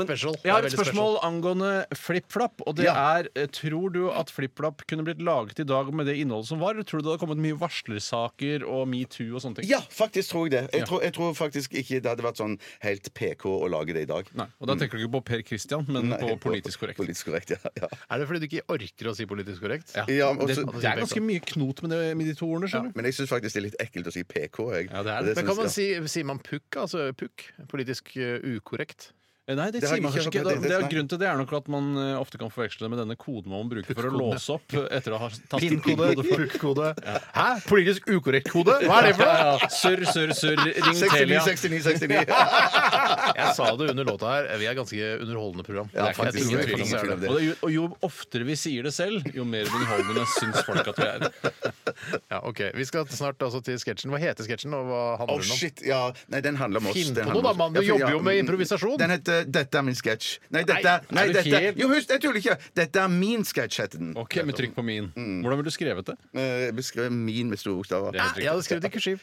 [SPEAKER 4] Special.
[SPEAKER 5] Jeg har
[SPEAKER 4] Det er
[SPEAKER 5] et
[SPEAKER 4] veldig
[SPEAKER 5] spørsmål angående FlippFlapp. Og det
[SPEAKER 6] Ja.
[SPEAKER 5] er eh, Tror du at FlippFlapp kunne blitt laget i dag med det innholdet som var? Eller tror du det hadde kommet mye varslersaker og metoo og sånne ting?
[SPEAKER 6] Ja, faktisk tror jeg det. Jeg, tror, jeg tror faktisk ikke det hadde vært sånn helt PK å lage det i dag.
[SPEAKER 5] Nei, og da tenker du ikke på Per Christian, men
[SPEAKER 6] Nei,
[SPEAKER 5] på politisk korrekt.
[SPEAKER 6] Politisk korrekt, ja. ja.
[SPEAKER 4] Er det fordi du ikke orker å si politisk korrekt?
[SPEAKER 5] Ja.
[SPEAKER 6] Ja, men
[SPEAKER 5] det,
[SPEAKER 6] også-
[SPEAKER 5] det er ganske mye knot med, det, med de to ordene, skjønner du.
[SPEAKER 6] Men jeg syns faktisk det er litt ekkelt å si PK. Jeg.
[SPEAKER 5] Ja, det er det.
[SPEAKER 4] Men kan man
[SPEAKER 6] synes jeg-
[SPEAKER 4] si, Sier man pukk? Altså pukk? Politisk eh, ukorrekt?
[SPEAKER 5] Eh, Nei, det,
[SPEAKER 6] Det har
[SPEAKER 5] sier man
[SPEAKER 6] jeg
[SPEAKER 5] kanskje
[SPEAKER 6] ikke
[SPEAKER 5] ikke.
[SPEAKER 6] hørt om.
[SPEAKER 5] Det, det er
[SPEAKER 6] Nei.
[SPEAKER 5] grunnen til det er nok at man eh, ofte kan forveksle det med denne koden man bruker for å
[SPEAKER 4] Pukkode.
[SPEAKER 5] låse opp eh, etter å ha tatt
[SPEAKER 4] pukkode. Hæ? Politisk ukorrekt kode? Hva er det for noe?
[SPEAKER 5] Ja, ja. Surr, surr, surr. Ring
[SPEAKER 6] 69,
[SPEAKER 5] Telia.
[SPEAKER 6] 69, 69.
[SPEAKER 4] Jeg sa det under låta her. Vi er ganske underholdende program.
[SPEAKER 6] Ja,
[SPEAKER 4] Det er ikke-
[SPEAKER 6] faktisk.
[SPEAKER 4] det er
[SPEAKER 6] Det er
[SPEAKER 4] ingen tvil om det.
[SPEAKER 6] det.
[SPEAKER 5] Og, det, er jo- og jo oftere vi sier det selv, jo mer underholdende syns folk at vi er.
[SPEAKER 4] Ja, ok. Vi skal snart altså, til sketsjen. Hva heter sketsjen, og hva handler
[SPEAKER 6] Oh,
[SPEAKER 4] den om?
[SPEAKER 6] shit, ja. Nei, den handler om oss.
[SPEAKER 4] Finn
[SPEAKER 6] Den
[SPEAKER 4] på
[SPEAKER 6] handler
[SPEAKER 4] noe,
[SPEAKER 6] om
[SPEAKER 4] da, mann. Du
[SPEAKER 6] oss. Ja, for-
[SPEAKER 4] jobber
[SPEAKER 6] ja,
[SPEAKER 4] jo med
[SPEAKER 6] mm,
[SPEAKER 4] improvisasjon.
[SPEAKER 6] Den heter 'Dette er min sketsj'. Nei, dette nei,
[SPEAKER 5] er du
[SPEAKER 6] dette,
[SPEAKER 5] helt-
[SPEAKER 6] Jo, husk, jeg tuller ikke! 'Dette er min sketsj', heter den.
[SPEAKER 5] Ok, Med trykk på min.
[SPEAKER 4] Mm.
[SPEAKER 5] Hvordan ville du skrevet det?
[SPEAKER 6] Eh, Jeg beskrev min med store bokstaver.
[SPEAKER 5] Det er helt
[SPEAKER 4] Jeg hadde skrevet i kursiv.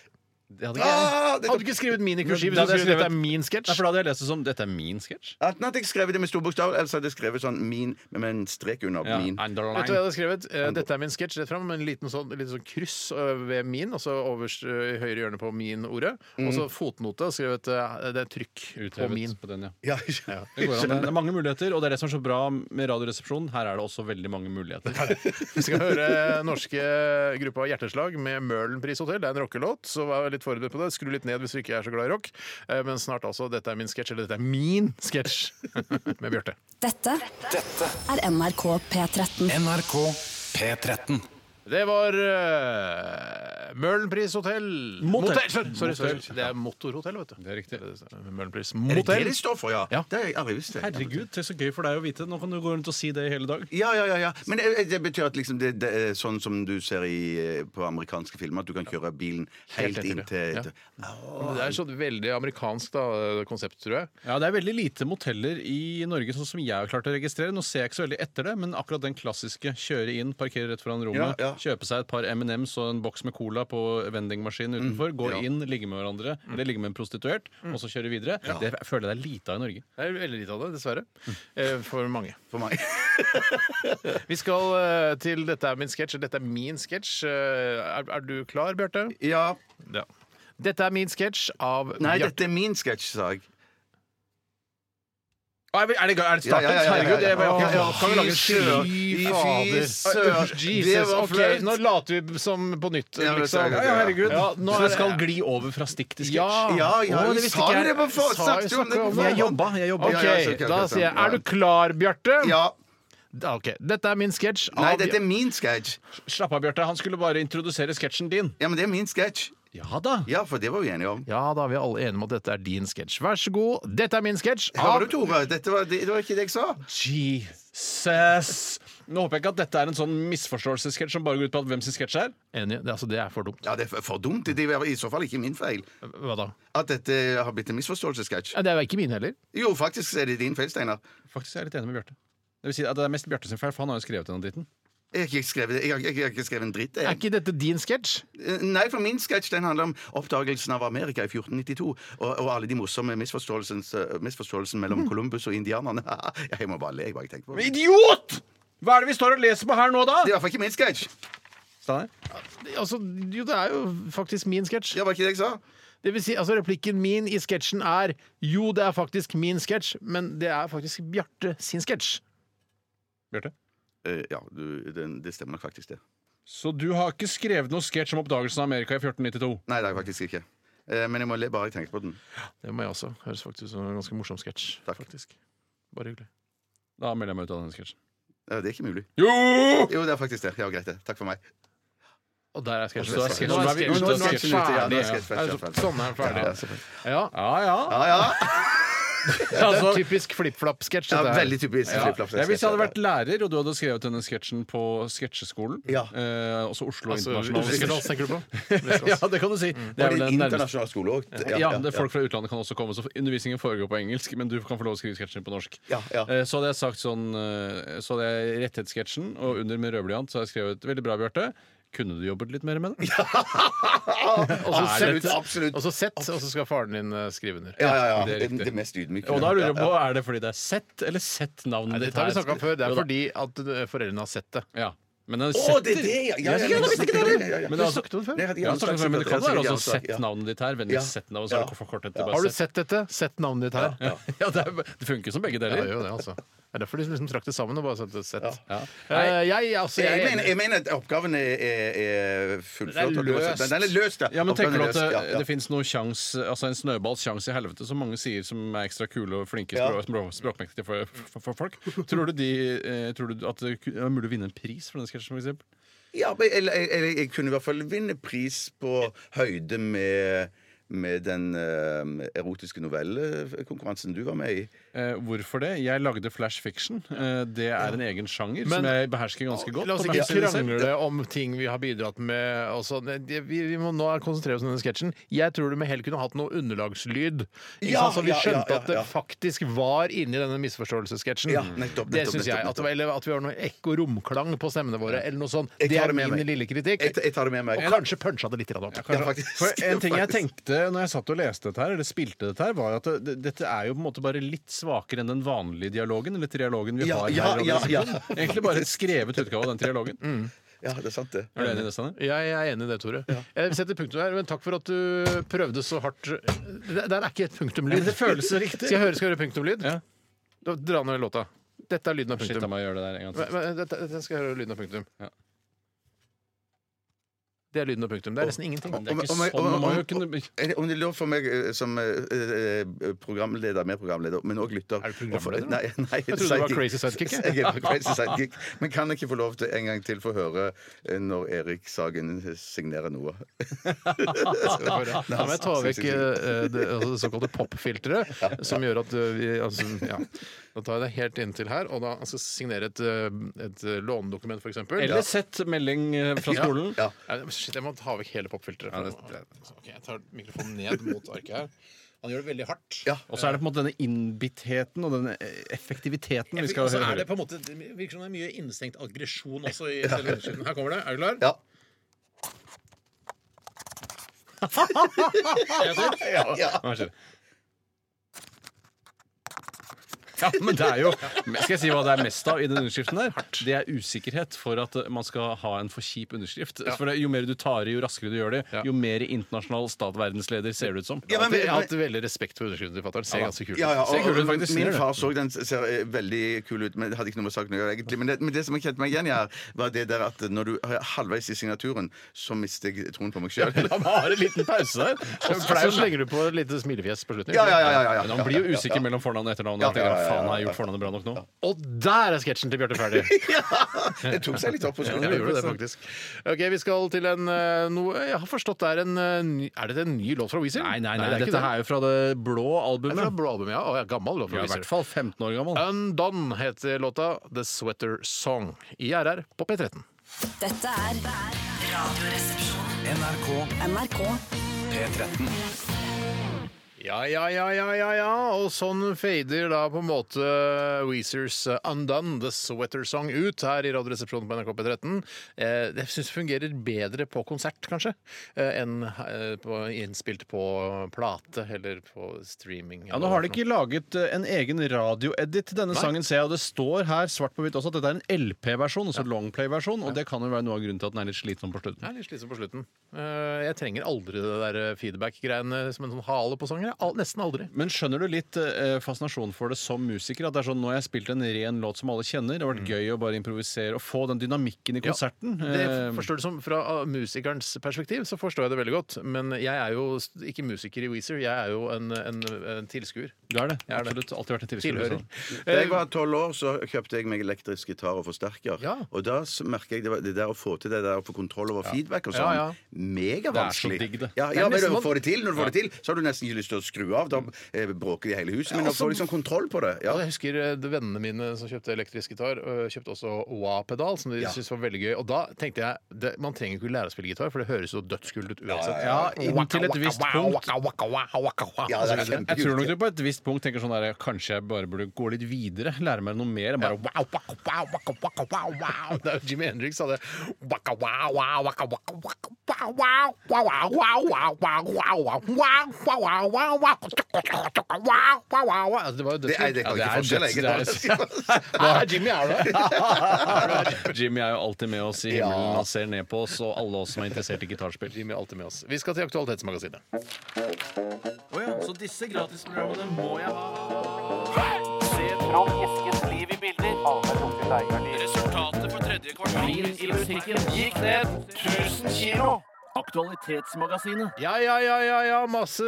[SPEAKER 5] Det hadde jeg.
[SPEAKER 6] Ah,
[SPEAKER 4] Hadde du ikke skrevet min i kursiv?
[SPEAKER 5] Da
[SPEAKER 4] Hvis
[SPEAKER 5] hadde
[SPEAKER 4] du skrev dette
[SPEAKER 5] jeg skrevet-
[SPEAKER 4] er min
[SPEAKER 5] Nei,
[SPEAKER 4] sketsj?
[SPEAKER 5] for da hadde jeg lest det som 'Dette er min sketsj'.
[SPEAKER 6] Enten Ah, at jeg skrev det med store bokstaver, eller så hadde jeg skrevet sånn 'min' med en strek under
[SPEAKER 5] Ja,
[SPEAKER 4] Vet du
[SPEAKER 6] 'min'.
[SPEAKER 4] hva jeg
[SPEAKER 5] underline.
[SPEAKER 4] hadde skrevet? Eh, Dette er min sketsj rett fram, med en liten sånn, liten sånn kryss eh, ved min, altså øverst eh, i høyre hjørne på min-ordet. Og så fotnote og skrevet eh, det er trykk på min.
[SPEAKER 5] Uthevet på den, ja.
[SPEAKER 6] Ja,
[SPEAKER 5] Det, går an, det. det er mange muligheter, og det er det som er så bra med Radioresepsjonen. Her er det også veldig mange muligheter.
[SPEAKER 4] Vi skal høre norske gruppa Hjerteslag med Møhlenpris hotell. Det er en rockelåt, så vær litt forberedt på det. Skru litt ned hvis du ikke er så glad i rock. Eh, Men snart altså 'Dette er min sketsj', eller 'Dette er min sketsj' med Bjarte.
[SPEAKER 8] Dette er NRK P13.
[SPEAKER 3] NRK P13.
[SPEAKER 4] Det var uh, Møhlenpris hotell
[SPEAKER 5] Motell.
[SPEAKER 4] Sorry, sorry, sorry.
[SPEAKER 5] Motell.
[SPEAKER 4] Det er motorhotell, vet du.
[SPEAKER 5] Det er riktig.
[SPEAKER 4] Møhlenpris
[SPEAKER 6] Er det det
[SPEAKER 4] motell.
[SPEAKER 6] det står for, ja?
[SPEAKER 4] Ja.
[SPEAKER 6] Det har jeg aldri visst. det.
[SPEAKER 5] Herregud, det er så gøy for deg å vite. Nå kan du gå rundt og si det i hele dag.
[SPEAKER 6] Ja, ja, ja, ja. Men det, det betyr at liksom det, det er sånn som du ser i, eh, på amerikanske filmer, at du kan kjøre bilen helt,
[SPEAKER 4] etter,
[SPEAKER 6] inn til
[SPEAKER 4] ja. Men Det er sånn veldig amerikansk da, konsept, tror jeg.
[SPEAKER 5] Ja, Det er veldig lite moteller i Norge, sånn som jeg har klart å registrere. Nå ser jeg ikke så veldig etter det, men akkurat den klassiske kjøre inn, parkere rett foran rommet,
[SPEAKER 6] Ja, ja.
[SPEAKER 5] kjøpe seg et par M&M's og en boks med cola på vendingmaskinen
[SPEAKER 4] Mm,
[SPEAKER 5] utenfor, gå inn, ligge med hverandre, eller ligge med en prostituert, og så kjøre videre. Det føler jeg det er lite av i Norge.
[SPEAKER 4] Det er veldig lite av det, dessverre. Eh, For mange.
[SPEAKER 6] for meg.
[SPEAKER 4] Vi skal eh, til Dette er min sketsj. Dette er min sketsj. Eh, Er, er du klar, Bjarte?
[SPEAKER 6] Ja.
[SPEAKER 4] Ja. Dette er min sketsj av
[SPEAKER 6] Nei,
[SPEAKER 4] Bjarte.
[SPEAKER 6] dette er min sketsj, sa jeg.
[SPEAKER 5] Er det,
[SPEAKER 6] Ja, ja, ja, ja, ja, ja.
[SPEAKER 5] Herregud, jeg, jeg, jeg,
[SPEAKER 6] Åh,
[SPEAKER 5] kan jo lage en
[SPEAKER 6] fy
[SPEAKER 5] skjø...
[SPEAKER 6] Fy
[SPEAKER 4] Fader.
[SPEAKER 6] søren. Det
[SPEAKER 4] Jesus.
[SPEAKER 6] var
[SPEAKER 4] Ok,
[SPEAKER 6] flaut.
[SPEAKER 4] nå later vi som på nytt,
[SPEAKER 6] Ja, men
[SPEAKER 4] liksom.
[SPEAKER 6] så er det-
[SPEAKER 5] Ja, herregud.
[SPEAKER 4] Ja, nå
[SPEAKER 5] så
[SPEAKER 4] er
[SPEAKER 5] det
[SPEAKER 4] det-
[SPEAKER 5] skal gli over fra stikk til sketsj.
[SPEAKER 4] Ja,
[SPEAKER 6] Ja, ja,
[SPEAKER 4] Å,
[SPEAKER 6] vi
[SPEAKER 4] det visste
[SPEAKER 6] sa
[SPEAKER 4] ikke jeg.
[SPEAKER 6] det på for-
[SPEAKER 4] Sa-
[SPEAKER 6] snakket om det på
[SPEAKER 4] om
[SPEAKER 5] Jeg jobba, jeg jobba.
[SPEAKER 4] Ok,
[SPEAKER 6] Ja, ja, ja, så- ok,
[SPEAKER 4] da
[SPEAKER 6] ok,
[SPEAKER 4] sier jeg
[SPEAKER 6] sånn.
[SPEAKER 4] Er du klar, Bjarte?
[SPEAKER 6] Ja.
[SPEAKER 4] Da- Ok, Dette er min sketsj. av-
[SPEAKER 6] Nei, dette er min sketsj.
[SPEAKER 5] Slapp av, Bjarte. Han skulle bare introdusere sketsjen din.
[SPEAKER 6] Ja, men det er min sketsj.
[SPEAKER 5] Ja da.
[SPEAKER 6] Ja, for det var vi enige om.
[SPEAKER 4] Ja, da er vi alle enige om at dette er din sketsj. Vær så god. Dette er min sketsj
[SPEAKER 6] Hører
[SPEAKER 4] av
[SPEAKER 6] du, Tore? Dette var, det, det var ikke det jeg sa.
[SPEAKER 5] Jesus! Nå håper jeg ikke at dette er en sånn misforståelsessketsj som bare går ut på at hvem sin sketsj er.
[SPEAKER 4] Enig. det- Altså, det er for dumt.
[SPEAKER 6] Ja, det er for dumt. Det var i så fall ikke min feil.
[SPEAKER 4] Hva da?
[SPEAKER 6] At dette har blitt en misforståelsessketsj.
[SPEAKER 4] Ja, Det er ikke min heller.
[SPEAKER 6] Jo, faktisk er det din feil, Steinar.
[SPEAKER 5] Faktisk er jeg litt enig med Bjarte. Det vil si at det er mest Bjarte sin feil, for han har jo skrevet denne dritten.
[SPEAKER 6] Jeg har ikke skrevet, jeg har, jeg har ikke skrevet en dritt.
[SPEAKER 4] Er
[SPEAKER 6] Jeg.
[SPEAKER 4] ikke dette din sketsj?
[SPEAKER 6] Eh, Nei, for min sketsj den handler om oppdagelsen av Amerika i 1492 og, og alle de morsomme misforståelsene
[SPEAKER 5] Mhm.
[SPEAKER 6] misforståelsen mellom Columbus og indianerne. Jeg må bare le. jeg bare tenker på det.
[SPEAKER 5] Idiot! Hva er det vi står og leser på her nå, da?
[SPEAKER 6] Det er i hvert fall ikke min sketsj!
[SPEAKER 5] Steinar?
[SPEAKER 4] Altså, jo, det er jo faktisk min sketsj.
[SPEAKER 6] Det var ikke det jeg sa.
[SPEAKER 4] Det vil si, altså Replikken min i sketsjen er jo, det er faktisk min sketsj, men det er faktisk Bjarte sin sketsj.
[SPEAKER 5] Bjarte?
[SPEAKER 6] Eh, ja, du, den, det stemmer nok faktisk, det.
[SPEAKER 5] Så du har ikke skrevet noen sketsj om oppdagelsen av Amerika i 1492?
[SPEAKER 6] Nei, det er jeg faktisk ikke. Eh, men jeg må le bare jeg tenker på den.
[SPEAKER 4] Det må jeg også. Høres faktisk ut som en ganske morsom sketsj.
[SPEAKER 6] Takk.
[SPEAKER 4] faktisk. Bare hyggelig.
[SPEAKER 5] Da melder jeg meg ut av denne sketsjen.
[SPEAKER 6] Eh, det er ikke mulig.
[SPEAKER 5] Jo!
[SPEAKER 6] Jo, det er faktisk det. Ja, greit, det. Takk for meg.
[SPEAKER 4] Og der er sketsjen.
[SPEAKER 5] Så er sketsjen-
[SPEAKER 4] Nå
[SPEAKER 5] nå er vi
[SPEAKER 4] sketsjen-
[SPEAKER 5] ute av
[SPEAKER 4] nå er
[SPEAKER 5] sketsjen ute, ja.
[SPEAKER 4] ferdig.
[SPEAKER 5] Nå er
[SPEAKER 6] sketsjen ferdig,
[SPEAKER 4] Altså, Sånn er den ferdig.
[SPEAKER 6] Ja, selvfølgelig.
[SPEAKER 4] Ja,
[SPEAKER 5] Ja ja.
[SPEAKER 6] Ja, ja.
[SPEAKER 4] det er en typisk flip-flap-sketsj.
[SPEAKER 6] ja
[SPEAKER 4] dette her.
[SPEAKER 6] veldig typisk.
[SPEAKER 5] Ja.
[SPEAKER 6] flip-flop.
[SPEAKER 5] Ja, hvis jeg hadde vært lærer, og du hadde skrevet denne sketsjen på sketsjeskolen
[SPEAKER 6] Ja.
[SPEAKER 5] eh, Også Oslo
[SPEAKER 4] Altså, Mm.
[SPEAKER 5] Internasjonale
[SPEAKER 4] Westerdals, tenker du på?
[SPEAKER 5] ja, det kan du si. Det er vel
[SPEAKER 6] Og det er
[SPEAKER 5] den
[SPEAKER 6] en
[SPEAKER 5] nærmeste
[SPEAKER 6] internasjonal skole òg.
[SPEAKER 5] Ja, det, folk fra utlandet kan også komme, så undervisningen foregår på engelsk, men du kan få lov å skrive sketsjen på norsk.
[SPEAKER 6] Ja, ja.
[SPEAKER 5] Eh, Så hadde jeg sagt sånn eh, Så hadde jeg rettighetssketsjen, og under med rødblyant så har jeg skrevet 'Veldig bra, Bjarte'. Kunne du jobbet litt mer med det?
[SPEAKER 4] Og så
[SPEAKER 6] Absolutt,
[SPEAKER 4] sett-
[SPEAKER 6] absolutt.
[SPEAKER 4] Og så sett, og så skal faren din eh, skrive under.
[SPEAKER 6] Ja, ja, ja.
[SPEAKER 5] Det er
[SPEAKER 6] Det,
[SPEAKER 5] riktig.
[SPEAKER 6] det mest ydmyke.
[SPEAKER 5] Og da lurer jeg på, Er det fordi det er sett, eller sett navnet
[SPEAKER 4] Nei,
[SPEAKER 5] ditt
[SPEAKER 4] Dette har vi
[SPEAKER 5] her?
[SPEAKER 4] snakka om før. Det
[SPEAKER 5] Jo
[SPEAKER 4] er
[SPEAKER 5] da.
[SPEAKER 4] fordi at eh, foreldrene har sett det.
[SPEAKER 5] ja. Men den
[SPEAKER 6] Å,
[SPEAKER 5] setter
[SPEAKER 6] det er det, ja! ja, ja,
[SPEAKER 5] Jeg visste ikke det!
[SPEAKER 6] Ja, ja, ja.
[SPEAKER 5] Men det
[SPEAKER 4] Vi
[SPEAKER 5] er altså-
[SPEAKER 4] snakket om det før.
[SPEAKER 6] Nei, jeg hadde
[SPEAKER 5] Ja,
[SPEAKER 6] gjerne
[SPEAKER 5] men
[SPEAKER 6] sagt
[SPEAKER 5] det men det kan
[SPEAKER 6] det, jeg
[SPEAKER 5] være altså
[SPEAKER 6] hadde gjerne sagt,
[SPEAKER 5] sett
[SPEAKER 6] ja.
[SPEAKER 5] navnet ditt her. Vennligst
[SPEAKER 6] Ja.
[SPEAKER 5] sett navn, og så er
[SPEAKER 6] Ja.
[SPEAKER 5] det forkortet til bare
[SPEAKER 4] Har du
[SPEAKER 5] sett.
[SPEAKER 4] sett dette? Sett navnet ditt her.
[SPEAKER 5] Ja, ja det, er, det funker jo som begge
[SPEAKER 4] Ja, det
[SPEAKER 5] deler.
[SPEAKER 4] gjør jo det, altså. Det er derfor de liksom trakk det sammen og bare satte sett.
[SPEAKER 5] Ja.
[SPEAKER 4] Eh, jeg, altså, jeg,
[SPEAKER 6] Jeg
[SPEAKER 4] er
[SPEAKER 6] mener,
[SPEAKER 4] enig.
[SPEAKER 6] jeg mener at oppgaven er, er, er fullført.
[SPEAKER 4] Den er
[SPEAKER 6] og det var-
[SPEAKER 4] løst.
[SPEAKER 6] Den, den er løst, ja.
[SPEAKER 5] Ja, men tenker
[SPEAKER 6] Oppgaven
[SPEAKER 5] du
[SPEAKER 6] er
[SPEAKER 5] at det,
[SPEAKER 6] løst, ja, ja.
[SPEAKER 5] det fins noe sjans, altså en snøballs sjanse i helvete, som mange sier som er ekstra kule og flinke
[SPEAKER 6] Ja.
[SPEAKER 5] språk, språk- språkmektige for, for, for folk? Tror du, de, eh, tror du at det ku- er mulig å vinne en pris for den sketsjen, for eksempel?
[SPEAKER 6] ja men, eller, eller jeg kunne i hvert fall vinne pris på høyde med med den eh, erotiske novellekonkurransen du var med i.
[SPEAKER 5] Eh, hvorfor det? Jeg lagde flash fiction. Eh, det er en egen sjanger
[SPEAKER 4] Men-
[SPEAKER 5] som jeg behersker ganske godt.
[SPEAKER 4] La oss
[SPEAKER 5] og
[SPEAKER 4] ikke
[SPEAKER 5] behersker selv.
[SPEAKER 4] krangle om ting vi har bidratt med. Altså, det- det- vi, vi må nå konsentrere oss om denne sketsjen. Jeg tror du med hell kunne hatt noe underlagslyd. Ikke
[SPEAKER 6] Ja,
[SPEAKER 4] sant? Så vi
[SPEAKER 6] ja, ja,
[SPEAKER 4] skjønte
[SPEAKER 6] ja,
[SPEAKER 4] at det
[SPEAKER 6] ja.
[SPEAKER 4] faktisk var inni denne misforståelsessketsjen.
[SPEAKER 6] Ja, nettopp,
[SPEAKER 4] det
[SPEAKER 6] nettopp,
[SPEAKER 4] syns jeg.
[SPEAKER 6] nettopp,
[SPEAKER 4] At, det var- eller at vi har noe ekko romklang på stemmene våre, eller noe sånt.
[SPEAKER 6] Jeg
[SPEAKER 4] Det
[SPEAKER 6] tar
[SPEAKER 4] er
[SPEAKER 6] det med
[SPEAKER 4] min
[SPEAKER 6] meg.
[SPEAKER 4] lille kritikk.
[SPEAKER 6] Jeg, jeg tar det med
[SPEAKER 4] Og
[SPEAKER 6] meg.
[SPEAKER 4] kanskje punsja det litt grann opp.
[SPEAKER 5] Kanskje-
[SPEAKER 6] Ja, faktisk.
[SPEAKER 5] For en ting jeg
[SPEAKER 6] Faktisk.
[SPEAKER 5] tenkte når jeg satt og leste dette her, eller spilte dette her, var at det, dette er jo på en måte bare litt svakere enn den vanlige dialogen, eller trialogen vi
[SPEAKER 6] Ja,
[SPEAKER 5] har
[SPEAKER 6] ja,
[SPEAKER 5] her. i
[SPEAKER 6] ja,
[SPEAKER 5] radioresepsjonen.
[SPEAKER 6] ja.
[SPEAKER 5] Egentlig bare et skrevet utgave av den trialogen.
[SPEAKER 6] Ja, det er sant, det.
[SPEAKER 5] Er du enig i det, Steinar?
[SPEAKER 4] Jeg er enig i det, Tore. Jeg setter punktum her, men takk for at du prøvde så hardt. Det der er ikke et punktumlyd.
[SPEAKER 5] Det føles så riktig.
[SPEAKER 4] Skal jeg høre, skal jeg høre punktumlyd?
[SPEAKER 5] Ja.
[SPEAKER 4] Da Dra ned låta. Dette er lyden av
[SPEAKER 5] Shit,
[SPEAKER 4] punktum.
[SPEAKER 5] jeg må gjøre det der en gang til.
[SPEAKER 4] Men, men, dette, dette skal jeg høre lyden av punktum. Det er lyden og punktum. Det er nesten ingenting.
[SPEAKER 5] Det er ikke sånn, man må jo kunne
[SPEAKER 6] Er det- Om det er lov for meg eh, som eh, eh, programleder, mer programleder, men òg lytter
[SPEAKER 4] Er du
[SPEAKER 6] å få-
[SPEAKER 4] programleder,
[SPEAKER 6] Nei, nei,
[SPEAKER 4] Jeg trodde du var
[SPEAKER 6] sidekick.
[SPEAKER 4] crazy sidekick, jeg.
[SPEAKER 6] Jeg er bare crazy sidekick. Men kan jeg ikke få lov til en gang til få høre eh, når Erik Sagen eh, signerer noe?
[SPEAKER 4] Da må jeg ta vekk eh, det altså, det såkalte popfilteret, som gjør at eh, vi altså, ja. Da tar jeg det helt inntil her, og da skal jeg signere et, eh, et eh, lånedokument, f.eks.
[SPEAKER 5] Eller sett melding eh, fra
[SPEAKER 6] Ja,
[SPEAKER 5] skolen.
[SPEAKER 6] ja.
[SPEAKER 4] Shit, jeg må ta vekk hele popfilteret. Ok, jeg tar mikrofonen ned mot arket her. Han gjør det veldig hardt.
[SPEAKER 6] Ja.
[SPEAKER 5] Og så er det på en måte denne innbittheten og denne eh, effektiviteten vi skal
[SPEAKER 4] Og så er
[SPEAKER 5] høre.
[SPEAKER 4] det på en måte, det virker som det er mye innestengt aggresjon også. i selve undersiden. Her kommer det. Er du klar?
[SPEAKER 6] Ja.
[SPEAKER 5] Vær så god. Ja, men det er jo Skal jeg si hva det er mest av i den underskriften der? Det er usikkerhet for at eh, man skal ha en for kjip underskrift. For det- jo mer du tar i, jo raskere du gjør det, jo mer internasjonal stat verdensleder ser det ut som.
[SPEAKER 6] Ja, men-
[SPEAKER 4] Jeg har hatt veldig respekt for underskriften til fatter'n. Ser ganske kult ut.
[SPEAKER 6] Ja, ja,
[SPEAKER 5] Ser
[SPEAKER 6] og,
[SPEAKER 5] kul ut,
[SPEAKER 6] og,
[SPEAKER 5] faktisk. Ser
[SPEAKER 6] min
[SPEAKER 5] det.
[SPEAKER 6] far så den ser eh, veldig kul ut, men det hadde ikke noe med saken å gjøre egentlig. Men det, men det som jeg kjente meg igjen i her, var det der at når du er halvveis i signaturen, så mister jeg troen på meg sjøl.
[SPEAKER 5] La meg ha en liten pause der.
[SPEAKER 4] Så pleier å slenge du på et lite smilefjes på slutten.
[SPEAKER 6] Ja, ja, ja, ja, ja, ja.
[SPEAKER 5] Men han blir jo usikker mellom fornavn og etternavn.
[SPEAKER 6] Ja,
[SPEAKER 5] og tenker,
[SPEAKER 6] ja, ja, ja,
[SPEAKER 5] faen, har
[SPEAKER 6] ja,
[SPEAKER 5] jeg
[SPEAKER 6] ja.
[SPEAKER 5] gjort fornavnet bra nok nå?
[SPEAKER 4] Og der er sketsjen til Bjarte ferdig!
[SPEAKER 6] Det tok seg litt opp på
[SPEAKER 4] Ja, det gjorde det
[SPEAKER 6] skolen.
[SPEAKER 4] faktisk. Ok, Vi skal til en eh, noe jeg har forstått det er en eh, ny, Er det en ny låt fra Weezer?
[SPEAKER 5] Nei, nei, nei,
[SPEAKER 4] det er
[SPEAKER 5] dette her er jo fra det
[SPEAKER 4] ikke det. Det
[SPEAKER 5] blå
[SPEAKER 4] er fra
[SPEAKER 5] albumet.
[SPEAKER 4] Broadbum, ja. Å, ja, gammel låt
[SPEAKER 5] Ja,
[SPEAKER 4] fra
[SPEAKER 5] I hvert
[SPEAKER 4] Weezer.
[SPEAKER 5] fall 15 år gammel.
[SPEAKER 4] Undone heter låta. The Sweater Song. I RR på P13.
[SPEAKER 8] Dette er Radioresepsjonen.
[SPEAKER 3] NRK
[SPEAKER 8] NRK
[SPEAKER 3] P13.
[SPEAKER 4] Ja, ja, ja, ja, ja, ja. Og sånn fader da på en måte Weezers Undone, The Sweater Song, ut her i Radioresepsjonen på NRK P13. Eh, det syns jeg fungerer bedre på konsert, kanskje, eh, enn eh, på, innspilt på plate eller på streaming.
[SPEAKER 5] Ja, Nå har de ikke laget eh, en egen radioedit til denne sangen, ser jeg. Og det står her svart på hvitt også at dette er en LP-versjon, altså longplay-versjon. Og det kan jo være noe av grunnen til at den er litt slitsom på
[SPEAKER 4] Jeg
[SPEAKER 5] slutten.
[SPEAKER 4] er litt slitsom på slutten. Eh, Jeg trenger aldri det der eh, feedback-greiene som en sånn hale på sanger. Al- Nesten aldri.
[SPEAKER 5] Men skjønner du litt eh, fascinasjonen for det som musiker? At det er sånn, nå har jeg spilt en ren låt som alle kjenner. Det har vært gøy å bare improvisere og få den dynamikken i konserten.
[SPEAKER 4] Det
[SPEAKER 5] Eh,
[SPEAKER 4] forstår du som Fra ah, musikerens perspektiv så forstår jeg det veldig godt. Men jeg er jo s- ikke musiker i Weezer, jeg er jo en, en, en tilskuer.
[SPEAKER 5] Du er det.
[SPEAKER 4] Jeg er det.
[SPEAKER 5] Absolutt. Alltid vært en tilskuer. altså.
[SPEAKER 4] Tilhører.
[SPEAKER 6] Da jeg var tolv år, så kjøpte jeg meg elektrisk gitar og forsterker.
[SPEAKER 4] Ja.
[SPEAKER 6] Og da s- merker jeg det, var, det der å få til det der å få kontroll over feedback og sånn,
[SPEAKER 4] Ja, ja.
[SPEAKER 6] megavanskelig.
[SPEAKER 5] Det er så digg, det.
[SPEAKER 6] Ja,
[SPEAKER 4] Det
[SPEAKER 6] ja
[SPEAKER 4] er
[SPEAKER 6] men
[SPEAKER 4] nesten
[SPEAKER 6] du
[SPEAKER 4] man-
[SPEAKER 6] får det til. Når du får det til, så har du nesten ikke lyst til å skru av. Da eh, bråker det i hele huset. Men
[SPEAKER 4] Ja,
[SPEAKER 6] å få
[SPEAKER 4] altså-
[SPEAKER 6] liksom kontroll på det
[SPEAKER 4] Ja,
[SPEAKER 6] ja.
[SPEAKER 4] jeg husker eh, de vennene mine som kjøpte elektrisk gitar, øh, kjøpte også OA-pedal, som de syntes var veldig gøy. Og da tenkte jeg det, man trenger ikke lære å spille gitar, for det høres jo dødskult ut uansett.
[SPEAKER 5] Ja, inntil et visst punkt.
[SPEAKER 6] Ja, det er
[SPEAKER 5] Jeg
[SPEAKER 6] kjempekult.
[SPEAKER 5] tror nok du på et visst punkt tenker sånn der, Kanskje jeg bare burde gå litt videre, lære meg noe mer. Bare, wow, wow, wow, wow, wow, wow, wow.
[SPEAKER 4] Det er jo Jimmy Hendrix sa det. Waka, wow, wow, waka, waka, waka, wow, wow, wow, wow, wow, wow, wow, wow, wow, wow, wow, wow, wow, wow, wow, wow. Altså, Det Altså, var jo
[SPEAKER 6] Det, nei, det kan
[SPEAKER 5] Ja, det
[SPEAKER 6] ikke
[SPEAKER 5] er
[SPEAKER 6] forskjell, jeg.
[SPEAKER 5] døds-
[SPEAKER 4] dødskult. Jimmy er det.
[SPEAKER 5] Jimmy er jo alltid med oss i himmelen og ser ned på oss og alle oss som er interessert i gitarspill.
[SPEAKER 4] Jimmy er alltid med oss. altså, Vi skal til Aktualitetsmagasinet.
[SPEAKER 5] Så disse gratisprogrammene må jeg ha.
[SPEAKER 4] Ja, ja, ja, ja, ja. Masse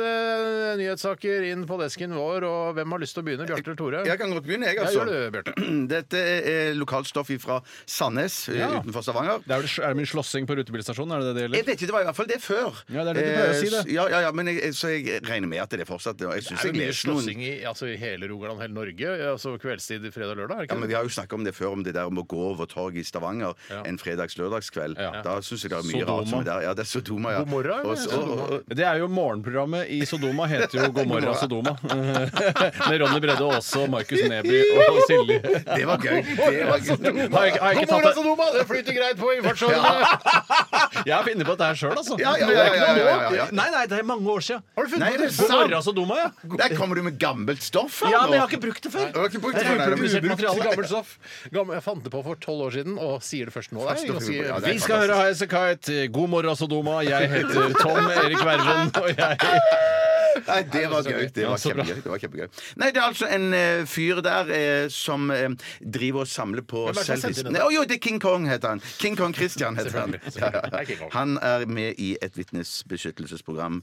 [SPEAKER 4] nyhetssaker inn på desken vår, og hvem har lyst til å begynne? Bjarte eller Tore?
[SPEAKER 6] Jeg kan godt begynne, jeg,
[SPEAKER 4] Ja,
[SPEAKER 6] altså.
[SPEAKER 4] gjør det, Bjarte.
[SPEAKER 6] Dette er lokalt stoff fra Sandnes eh,
[SPEAKER 5] Ja.
[SPEAKER 6] utenfor Stavanger.
[SPEAKER 5] Det er, vel, er det min slåssing på rutebilstasjonen? Er det det det
[SPEAKER 6] Jeg
[SPEAKER 5] gjelder?
[SPEAKER 6] vet ikke, Det var i hvert fall det før.
[SPEAKER 5] Ja, det er det du pleier å si, det.
[SPEAKER 6] Eh, s- Ja, ja, ja, men jeg, jeg- så jeg regner med at det er fortsatt det. og Jeg
[SPEAKER 4] Det
[SPEAKER 6] synes
[SPEAKER 4] er
[SPEAKER 6] jeg
[SPEAKER 4] jo mye
[SPEAKER 6] leser noen
[SPEAKER 4] slåssing i, altså, i hele Rogaland, hele Norge. Altså kveldstid fredag og lørdag, er det
[SPEAKER 6] ja,
[SPEAKER 4] ikke
[SPEAKER 6] men
[SPEAKER 4] det?
[SPEAKER 6] Vi har jo snakka om det før, om det der om å gå over torget i Stavanger en fredags-lørdagskveld.
[SPEAKER 5] Ja.
[SPEAKER 6] Da syns jeg det er mye
[SPEAKER 5] Sodoma.
[SPEAKER 6] rart som er der. Ja, det er Sodoma, ja.
[SPEAKER 4] God morgen, eller?
[SPEAKER 6] Og så- og- og-
[SPEAKER 5] Det er jo morgenprogrammet i Sodoma heter jo God morgen Sodoma. Med Ronny Bredde Aase og Markus Neby og Silje.
[SPEAKER 6] det var gøy. Det var gøy.
[SPEAKER 5] Har jeg, har jeg,
[SPEAKER 4] God morgen,
[SPEAKER 5] ikke tatt det?
[SPEAKER 4] Sodoma! Det flyter greit på i fartsårene!
[SPEAKER 5] jeg er inne på dette her sjøl, altså.
[SPEAKER 6] Ja, ja, ja, ja, ja, ja, ja, ja.
[SPEAKER 5] Nei, nei, det er mange år siden.
[SPEAKER 4] Har du
[SPEAKER 6] Nei,
[SPEAKER 4] funnet
[SPEAKER 6] det er
[SPEAKER 4] det?
[SPEAKER 5] God
[SPEAKER 6] sant.
[SPEAKER 5] morgen Sodoma, ja.
[SPEAKER 6] Der kommer du med gammelt stoff! her
[SPEAKER 5] Ja,
[SPEAKER 6] nå.
[SPEAKER 5] men jeg har ikke brukt det
[SPEAKER 6] Du
[SPEAKER 5] før.
[SPEAKER 6] har ikke brukt
[SPEAKER 5] Det er
[SPEAKER 6] det, nei, nei,
[SPEAKER 5] ubrukt.
[SPEAKER 6] nei.
[SPEAKER 5] Ubrukt materiale.
[SPEAKER 4] Gammelt stoff. Gammel, jeg fant det på for tolv år siden, og sier det først nå. Det er ganske-
[SPEAKER 6] Ja, det er
[SPEAKER 5] Vi skal høre Highasakite. God morgen, Sodoma. Jeg heter Tom Erik Verven, og jeg
[SPEAKER 6] Nei, det var gøy. Det
[SPEAKER 5] Ja,
[SPEAKER 6] var
[SPEAKER 5] så bra.
[SPEAKER 6] kjempegøy. Det var kjempegøy. Nei, det er altså en eh, fyr der eh, som eh, driver og samler på
[SPEAKER 4] Hvem er det som
[SPEAKER 6] selfies.
[SPEAKER 4] sendte inn
[SPEAKER 6] Nei, Å jo, det er King Kong, heter han. King Kong Christian heter han.
[SPEAKER 4] Selvfølgelig,
[SPEAKER 6] Ja,
[SPEAKER 4] selvfølgelig. Det er King
[SPEAKER 6] ja.
[SPEAKER 4] Kong.
[SPEAKER 6] Han er med i et vitnesbeskyttelsesprogram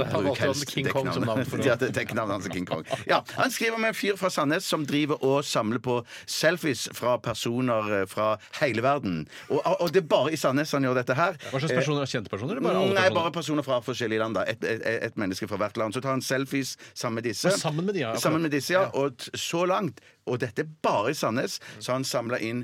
[SPEAKER 4] der har valgt
[SPEAKER 6] bruker
[SPEAKER 4] han
[SPEAKER 6] helst
[SPEAKER 4] altså King Kong som navn for å-
[SPEAKER 6] Ja, det- dekknavnet hans er King Kong. Ja, han skriver om en fyr fra Sandnes som driver og samler på selfies fra personer eh, fra hele verden. Og, og det er bare i Sandnes han gjør dette her.
[SPEAKER 5] Hva slags
[SPEAKER 6] Eh,
[SPEAKER 5] personer er kjente personer? Eller bare alle
[SPEAKER 6] Mm, Nei,
[SPEAKER 5] personer?
[SPEAKER 6] bare personer fra forskjellige land. da et, et, et menneske fra hvert land. Så tar han selfies sammen med disse.
[SPEAKER 5] Ja, sammen med de, ja, akkurat.
[SPEAKER 6] Sammen med disse, ja. Og t- så langt, og dette er bare i Sandnes, så har han samla inn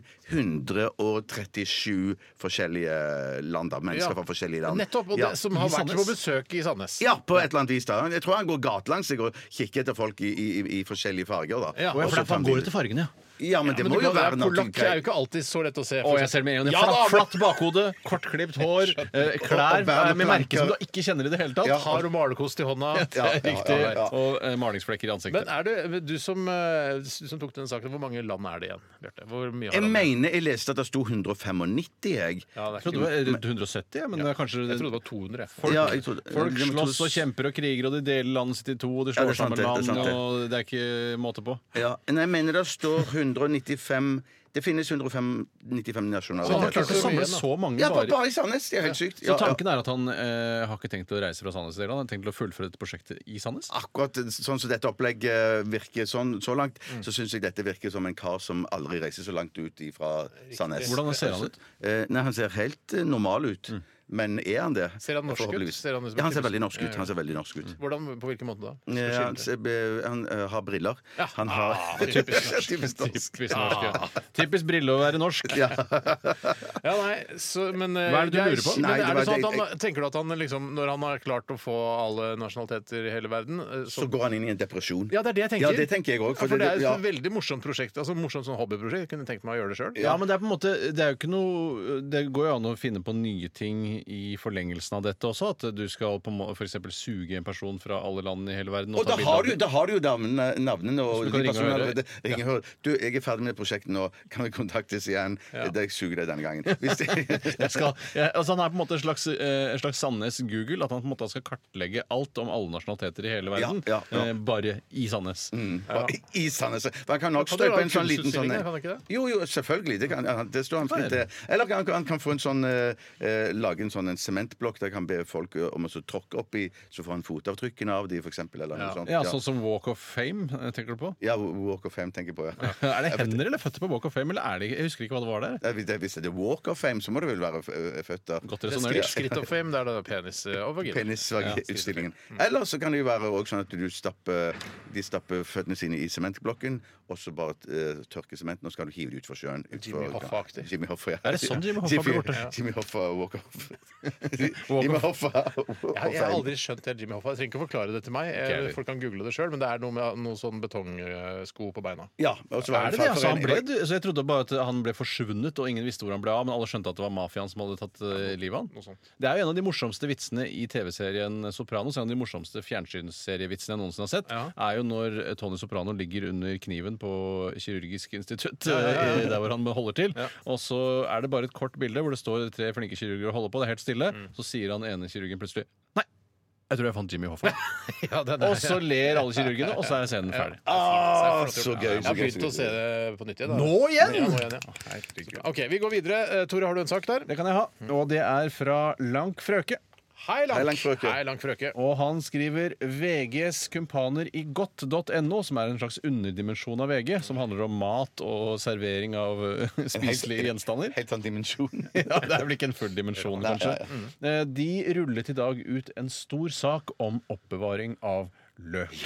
[SPEAKER 6] 137 forskjellige land. da Mennesker
[SPEAKER 4] Ja.
[SPEAKER 6] fra forskjellige land.
[SPEAKER 4] Nettopp. Og
[SPEAKER 6] Ja.
[SPEAKER 4] det, som har
[SPEAKER 5] I
[SPEAKER 4] vært på
[SPEAKER 5] Sandnes.
[SPEAKER 4] besøk i Sandnes.
[SPEAKER 6] Ja, på et eller annet vis. da Jeg tror han går gatelangs jeg, og kikker etter folk i, i, i forskjellige farger. da
[SPEAKER 4] Ja,
[SPEAKER 5] Å, ja, for
[SPEAKER 6] Og så
[SPEAKER 5] det er-
[SPEAKER 6] tar
[SPEAKER 5] han
[SPEAKER 6] bilder.
[SPEAKER 5] går etter fargene, ja.
[SPEAKER 6] Ja, men det
[SPEAKER 4] Men
[SPEAKER 6] må
[SPEAKER 4] du
[SPEAKER 6] jo
[SPEAKER 4] kan-
[SPEAKER 6] være noe
[SPEAKER 4] Polakk er jo ikke alltid så lett å se. for
[SPEAKER 5] Å, jeg ser
[SPEAKER 4] eksempel.
[SPEAKER 5] det med en gang.
[SPEAKER 4] Ja
[SPEAKER 5] Flatt,
[SPEAKER 4] da,
[SPEAKER 5] flatt bakhode, kortklipt hår, eh, klær
[SPEAKER 6] Og- og band-
[SPEAKER 5] med merker som
[SPEAKER 6] planker.
[SPEAKER 5] du ikke kjenner i det hele tatt.
[SPEAKER 6] Ja.
[SPEAKER 4] Har du malerkost i hånda?
[SPEAKER 5] Det er
[SPEAKER 6] Ja, ja,
[SPEAKER 5] riktig.
[SPEAKER 6] ja, ja.
[SPEAKER 5] Og eh, malingsflekker i ansiktet.
[SPEAKER 4] Men er det, du som, eh, du som tok den saken, hvor mange land er det igjen, Bjarte? Hvor mye har
[SPEAKER 6] Jeg
[SPEAKER 4] land igjen?
[SPEAKER 6] mener jeg leste at det sto 195, jeg.
[SPEAKER 4] Ja, det er
[SPEAKER 5] Jeg trodde det var rundt 170, ja, men det er kanskje
[SPEAKER 4] Jeg trodde det var 200. jeg.
[SPEAKER 5] Folk,
[SPEAKER 6] Ja, jeg trodde-
[SPEAKER 5] folk
[SPEAKER 6] jeg trodde-
[SPEAKER 5] slåss og kjemper og kriger, og de deler landet sitt i to, og de slår
[SPEAKER 6] det er sant
[SPEAKER 5] sammen
[SPEAKER 6] det, det er
[SPEAKER 5] land,
[SPEAKER 6] sant det.
[SPEAKER 5] og det er ikke måte på.
[SPEAKER 6] Ja, nei, jeg mener det står 195 Det finnes 195
[SPEAKER 5] Så han har
[SPEAKER 4] det er
[SPEAKER 5] klart
[SPEAKER 6] nasjonaliteter.
[SPEAKER 5] å
[SPEAKER 4] så
[SPEAKER 5] samle
[SPEAKER 4] mye igjen, da.
[SPEAKER 5] så mange
[SPEAKER 6] Ja, bare,
[SPEAKER 5] bare
[SPEAKER 6] bare i Sandnes. Det er helt sykt.
[SPEAKER 5] Så
[SPEAKER 6] Ja,
[SPEAKER 5] tanken er at han eh, har ikke tenkt å reise fra Sandnes i dag, han har tenkt å fullføre dette prosjektet i Sandnes?
[SPEAKER 6] ja. Akkurat sånn som dette opplegget virker sånn, så langt,
[SPEAKER 5] Mm.
[SPEAKER 6] så syns jeg dette virker som en kar som aldri reiser så langt ut ifra Sandnes.
[SPEAKER 5] Hvordan ser Mm. han ut?
[SPEAKER 6] Eh, Nei, han ser helt eh, normal ut. Men er han det?
[SPEAKER 4] Ser han norsk ut?
[SPEAKER 6] Forhåpentligvis.
[SPEAKER 4] Ser han ut som
[SPEAKER 6] ja, han
[SPEAKER 4] en
[SPEAKER 6] ser
[SPEAKER 4] typisk-
[SPEAKER 6] veldig norsk
[SPEAKER 4] Ja,
[SPEAKER 6] ut.
[SPEAKER 4] ja.
[SPEAKER 6] Han ser veldig norsk ut.
[SPEAKER 4] Hvordan, på hvilken måte da?
[SPEAKER 5] Mm.
[SPEAKER 6] Eh, Han,
[SPEAKER 4] Skildre.
[SPEAKER 6] ser, eh, han eh, har briller. Han har
[SPEAKER 4] Ah, typisk norsk.
[SPEAKER 6] Typisk norsk.
[SPEAKER 5] Typisk norsk, ja. Typisk Brille å være norsk.
[SPEAKER 4] Ja, nei, så, men, eh,
[SPEAKER 5] Hva er det du
[SPEAKER 4] jeg-
[SPEAKER 5] lurer på?
[SPEAKER 6] Nei,
[SPEAKER 4] Men,
[SPEAKER 6] det
[SPEAKER 4] er det
[SPEAKER 6] var-
[SPEAKER 4] sånn at
[SPEAKER 6] det-
[SPEAKER 4] han, tenker du at han liksom, når han har klart å få alle nasjonaliteter i hele verden eh,
[SPEAKER 6] Så
[SPEAKER 4] så,
[SPEAKER 6] går han inn i en depresjon.
[SPEAKER 4] Ja, det er det jeg tenker.
[SPEAKER 6] Ja, det tenker jeg òg.
[SPEAKER 4] Ja, for det er sånn- et veldig morsomt prosjekt. Altså morsomt sånn hobbyprosjekt. Jeg kunne tenkt meg å gjøre det sjøl.
[SPEAKER 5] Ja, men det er på en måte Det er jo ikke noe Det går jo an å finne på nye ting i forlengelsen av dette også. At du skal på en må- for eksempel suge en person fra alle land i hele verden.
[SPEAKER 6] Og
[SPEAKER 5] ta
[SPEAKER 6] da
[SPEAKER 5] bilde
[SPEAKER 6] har,
[SPEAKER 5] av
[SPEAKER 6] du,
[SPEAKER 5] den.
[SPEAKER 6] da har du jo navnene, navnene
[SPEAKER 5] Så
[SPEAKER 6] og
[SPEAKER 5] du kan
[SPEAKER 6] de
[SPEAKER 5] ringe og
[SPEAKER 6] personene
[SPEAKER 5] høre.
[SPEAKER 6] allerede. Ring og hør. Du, jeg er ferdig med prosjektet nå. Kan vi kontaktes igjen? Det- Jeg suger deg denne gangen. Hvis det,
[SPEAKER 5] jeg skal, jeg, altså han er på en måte en slags, eh, en slags Sandnes Google. At han på en måte skal kartlegge alt om alle nasjonaliteter i hele verden.
[SPEAKER 6] Ja, ja, Mm, ja.
[SPEAKER 5] eh, Bare i Sandnes.
[SPEAKER 6] Bare i- I Sandnes. Man kan nok
[SPEAKER 4] Kan det
[SPEAKER 6] støpe
[SPEAKER 4] være
[SPEAKER 6] en sånn liten sånn
[SPEAKER 4] kunstutstilling, kan det ikke det?
[SPEAKER 6] Jo, jo, selvfølgelig. Det, kan, han- det står han fritt
[SPEAKER 5] Kan
[SPEAKER 6] til. Eller han, han kan få en sånn eh, eh, lage en sånn en sementblokk der han kan be folk eh, om å så tråkke opp i, så får han fotavtrykkene av de, for eksempel, eller noe sånt.
[SPEAKER 5] Ja, Sånn som Walk of Fame, eh, tenker du på?
[SPEAKER 6] Ja, Walk of Fame tenker jeg på, ja.
[SPEAKER 5] Er det hender eller føtter på Walk of Fame? Eller er det, ikke- jeg husker ikke hva det var der.
[SPEAKER 6] Nei, Hvis det- hvis det er Walk of Fame, så må det vel være eh, født der.
[SPEAKER 5] Godt
[SPEAKER 4] Det er
[SPEAKER 5] resonnert.
[SPEAKER 4] skritt, skritt of fame, det er det da penis eh, og vagina.
[SPEAKER 6] Penisutstillingen. Eller så kan det jo være også sånn at du stapper, de stapper føttene sine i sementblokken, og så bare eh, tørker sementen, og så kan du hive det utfor sjøen. ut
[SPEAKER 4] Jimmy
[SPEAKER 6] for-
[SPEAKER 4] Hoffa-aktig.
[SPEAKER 6] Jimmy Hoffa, ja.
[SPEAKER 5] Er det sånn Jimmy Hoffa
[SPEAKER 6] Jimmy-
[SPEAKER 5] blir borte?
[SPEAKER 6] Jimmy Hoffa walk off. Jimmy Hoffa walk
[SPEAKER 4] Jeg, jeg har
[SPEAKER 6] off.
[SPEAKER 4] aldri skjønt helt Jimmy Hoffa. Jeg trenger ikke forklare det til meg. Eh,
[SPEAKER 5] heller.
[SPEAKER 4] Folk kan google det sjøl, men det er noe med noe sånn betongsko på beina.
[SPEAKER 6] Ja, og så var
[SPEAKER 5] Er
[SPEAKER 6] han
[SPEAKER 5] det det? Altså, han ble,
[SPEAKER 6] fagforening.
[SPEAKER 5] så jeg trodde bare at han ble forsvunnet, og ingen visste hvor han ble av, men alle skjønte at det var mafiaen som hadde tatt eh, livet av han. Det er jo en av de morsomste vitsene i TV-serien Sopranos. En av de morsomste fjernsynsserievitsene jeg noensinne har sett,
[SPEAKER 4] Ja.
[SPEAKER 5] er jo når eh, Tony Soprano ligger under kniven på kirurgisk institutt, eh, der hvor han holder til. Og så er det bare et kort bilde hvor det står tre flinke kirurger og holder på, det er helt stille. Så sier han ene kirurgen plutselig Nei, jeg tror jeg fant Jimmy Hoffa. og så ler alle kirurgene, og så er scenen ferdig.
[SPEAKER 6] Ah, så gøy.
[SPEAKER 4] Jeg
[SPEAKER 6] Så
[SPEAKER 4] har
[SPEAKER 6] gøy,
[SPEAKER 4] begynt å
[SPEAKER 6] så
[SPEAKER 4] se
[SPEAKER 6] gøy.
[SPEAKER 4] det på nytt igjen. da.
[SPEAKER 5] Nå igjen?
[SPEAKER 4] Ja, nå igjen ja. Så bra. OK, vi går videre. Eh, Tore, har du en sak der?
[SPEAKER 5] Det kan jeg ha.
[SPEAKER 4] Mm.
[SPEAKER 5] Og det er fra Lank Frøke.
[SPEAKER 4] Hei, Lank.
[SPEAKER 6] Hei, Lank Frøke.
[SPEAKER 4] Hei, Lank Frøke.
[SPEAKER 5] Og han skriver VGs kumpaner i godt.no, som er en slags underdimensjon av VG, som handler om mat og servering av eh, spiselige gjenstander.
[SPEAKER 6] Helt annen dimensjon.
[SPEAKER 5] Ja, Det er vel ikke en full dimensjon, kanskje.
[SPEAKER 4] mm.
[SPEAKER 5] Eh, De rullet i dag ut en stor sak om oppbevaring av løk.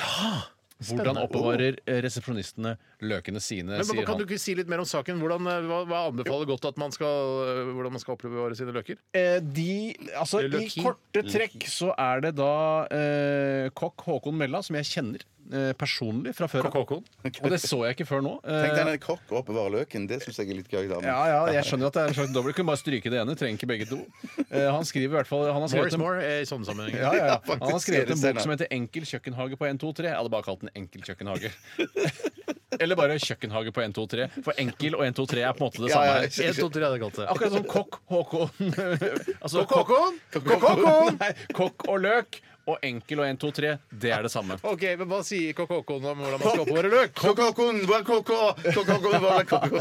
[SPEAKER 5] Hvordan oppbevarer eh, resepsjonistene løkene sine,
[SPEAKER 4] Men, men,
[SPEAKER 5] sier
[SPEAKER 4] kan du
[SPEAKER 5] han.
[SPEAKER 4] ikke si litt mer om saken? Hvordan, eh, hva, hva anbefaler godt at man skal, eh, hvordan man skal opplevere sine løker?
[SPEAKER 5] Eh, De, altså, I
[SPEAKER 4] Løki.
[SPEAKER 5] korte trekk så er det da eh, kokk Håkon Mella, som jeg kjenner eh, personlig fra før av.
[SPEAKER 4] Håkon?
[SPEAKER 5] Og det så jeg ikke før nå.
[SPEAKER 6] Tenk deg
[SPEAKER 5] Eh,
[SPEAKER 6] en kokk og oppbevarer løken. Det syns jeg er litt gøy. Da.
[SPEAKER 5] ja, ja, jeg skjønner at det er en slags dobbel. Kunne bare stryke det ene. Trenger ikke begge to. Eh, han skriver i hvert fall han
[SPEAKER 4] More
[SPEAKER 5] har skrevet
[SPEAKER 4] is
[SPEAKER 5] en,
[SPEAKER 4] more eh, i sånne sammenhenger.
[SPEAKER 5] ja, ja, ja.
[SPEAKER 6] faktisk,
[SPEAKER 5] Han har skrevet en
[SPEAKER 6] ser
[SPEAKER 5] bok
[SPEAKER 6] det.
[SPEAKER 5] som heter 'Enkel kjøkkenhage på 123'. Jeg hadde bare kalt den 'Enkel kjøkkenhage'. Eller bare 'Kjøkkenhage på 123'. For enkel og 123 er på en måte det
[SPEAKER 6] Ja,
[SPEAKER 5] samme
[SPEAKER 6] ja,
[SPEAKER 5] her.
[SPEAKER 6] jeg skjønner.
[SPEAKER 4] 1, 2, 3 hadde jeg kalt det.
[SPEAKER 5] Akkurat som kokk Håkon altså,
[SPEAKER 4] Kokk Håkon?
[SPEAKER 5] Kokk Håkon! Nei, kokk og løk. og enkel og 1, 2, 3, det er det samme.
[SPEAKER 4] OK, men hva sier KKK om hvordan man skal oppbevare løk?
[SPEAKER 6] Kokokon, hva er koko? Kokokon, hva er koko?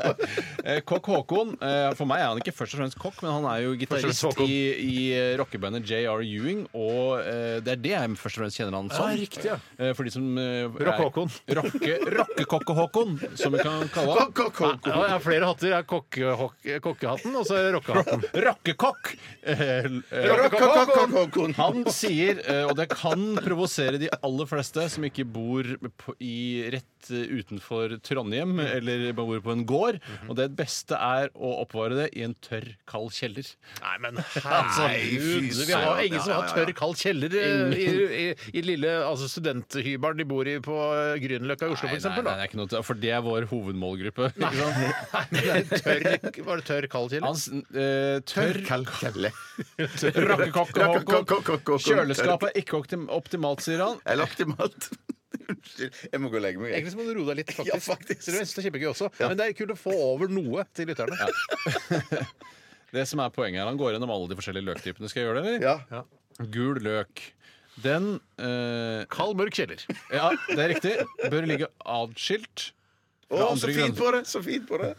[SPEAKER 5] Eh, Kokk Håkon eh, For meg er han ikke først og fremst kokk, men han er jo
[SPEAKER 4] fremst
[SPEAKER 5] gitarist
[SPEAKER 4] Håkon.
[SPEAKER 5] i, i eh, rockebandet J.R. Ewing, og eh, det er det jeg først og fremst kjenner han som.
[SPEAKER 4] Ja, riktig, ja.
[SPEAKER 5] Eh, For de som eh, er-
[SPEAKER 4] Rock Håkon.
[SPEAKER 5] Rocke- Rockekokke-Håkon, som vi kan kalle han.
[SPEAKER 6] Kokokon.
[SPEAKER 4] Ja, jeg har flere hatter. Jeg har kokke, hok- kokkehatten, og så er det rockehatten.
[SPEAKER 5] Rockekokk! Eh, eh,
[SPEAKER 6] Kokokon.
[SPEAKER 5] Han sier, eh, og det kan provosere de aller fleste som ikke bor på, i rett eh, utenfor Trondheim, eller bor på en gård,
[SPEAKER 4] Mhm.
[SPEAKER 5] og det beste er å oppvare det i en tørr, kald kjeller.
[SPEAKER 4] Nei, men herregud! Vi har ingen som har tørr, kald kjeller eh, i, i, i lille altså studenthybelen de bor i på eh, Grünerløkka i Oslo, for
[SPEAKER 5] Nei, nei, nei,
[SPEAKER 4] eksempel.
[SPEAKER 5] det
[SPEAKER 4] Da.
[SPEAKER 5] er ikke noe til, for det er vår hovedmålgruppe. Ikke sant?
[SPEAKER 4] Nei, men det er tørr, var det tørr, kald kjeller?
[SPEAKER 5] Hans eh, tørr
[SPEAKER 6] Kelle.
[SPEAKER 5] rakkekokke-Håkon.
[SPEAKER 6] Rakkekokke-Håkon.
[SPEAKER 5] Kjøleskapet er ikke optim- optimalt, sier han.
[SPEAKER 6] Eller optimalt. Unnskyld. Jeg må gå og legge meg. jeg.
[SPEAKER 4] Egentlig så må du roe deg litt, faktisk.
[SPEAKER 6] Ja, faktisk.
[SPEAKER 4] Så det er kjempegøy også. Men det er kult å få over noe til lytterne.
[SPEAKER 5] Det som er poenget her, Han går gjennom alle de forskjellige løktypene. Skal jeg gjøre det, eller?
[SPEAKER 6] Ja.
[SPEAKER 5] Gul løk. Den eh,
[SPEAKER 4] Kald, mørk kjeller.
[SPEAKER 5] Ja, det er riktig. Bør ligge adskilt.
[SPEAKER 6] Å,
[SPEAKER 5] Fra
[SPEAKER 6] så
[SPEAKER 5] andre
[SPEAKER 6] fint
[SPEAKER 5] grønnsaker.
[SPEAKER 6] på det! Så fint på det.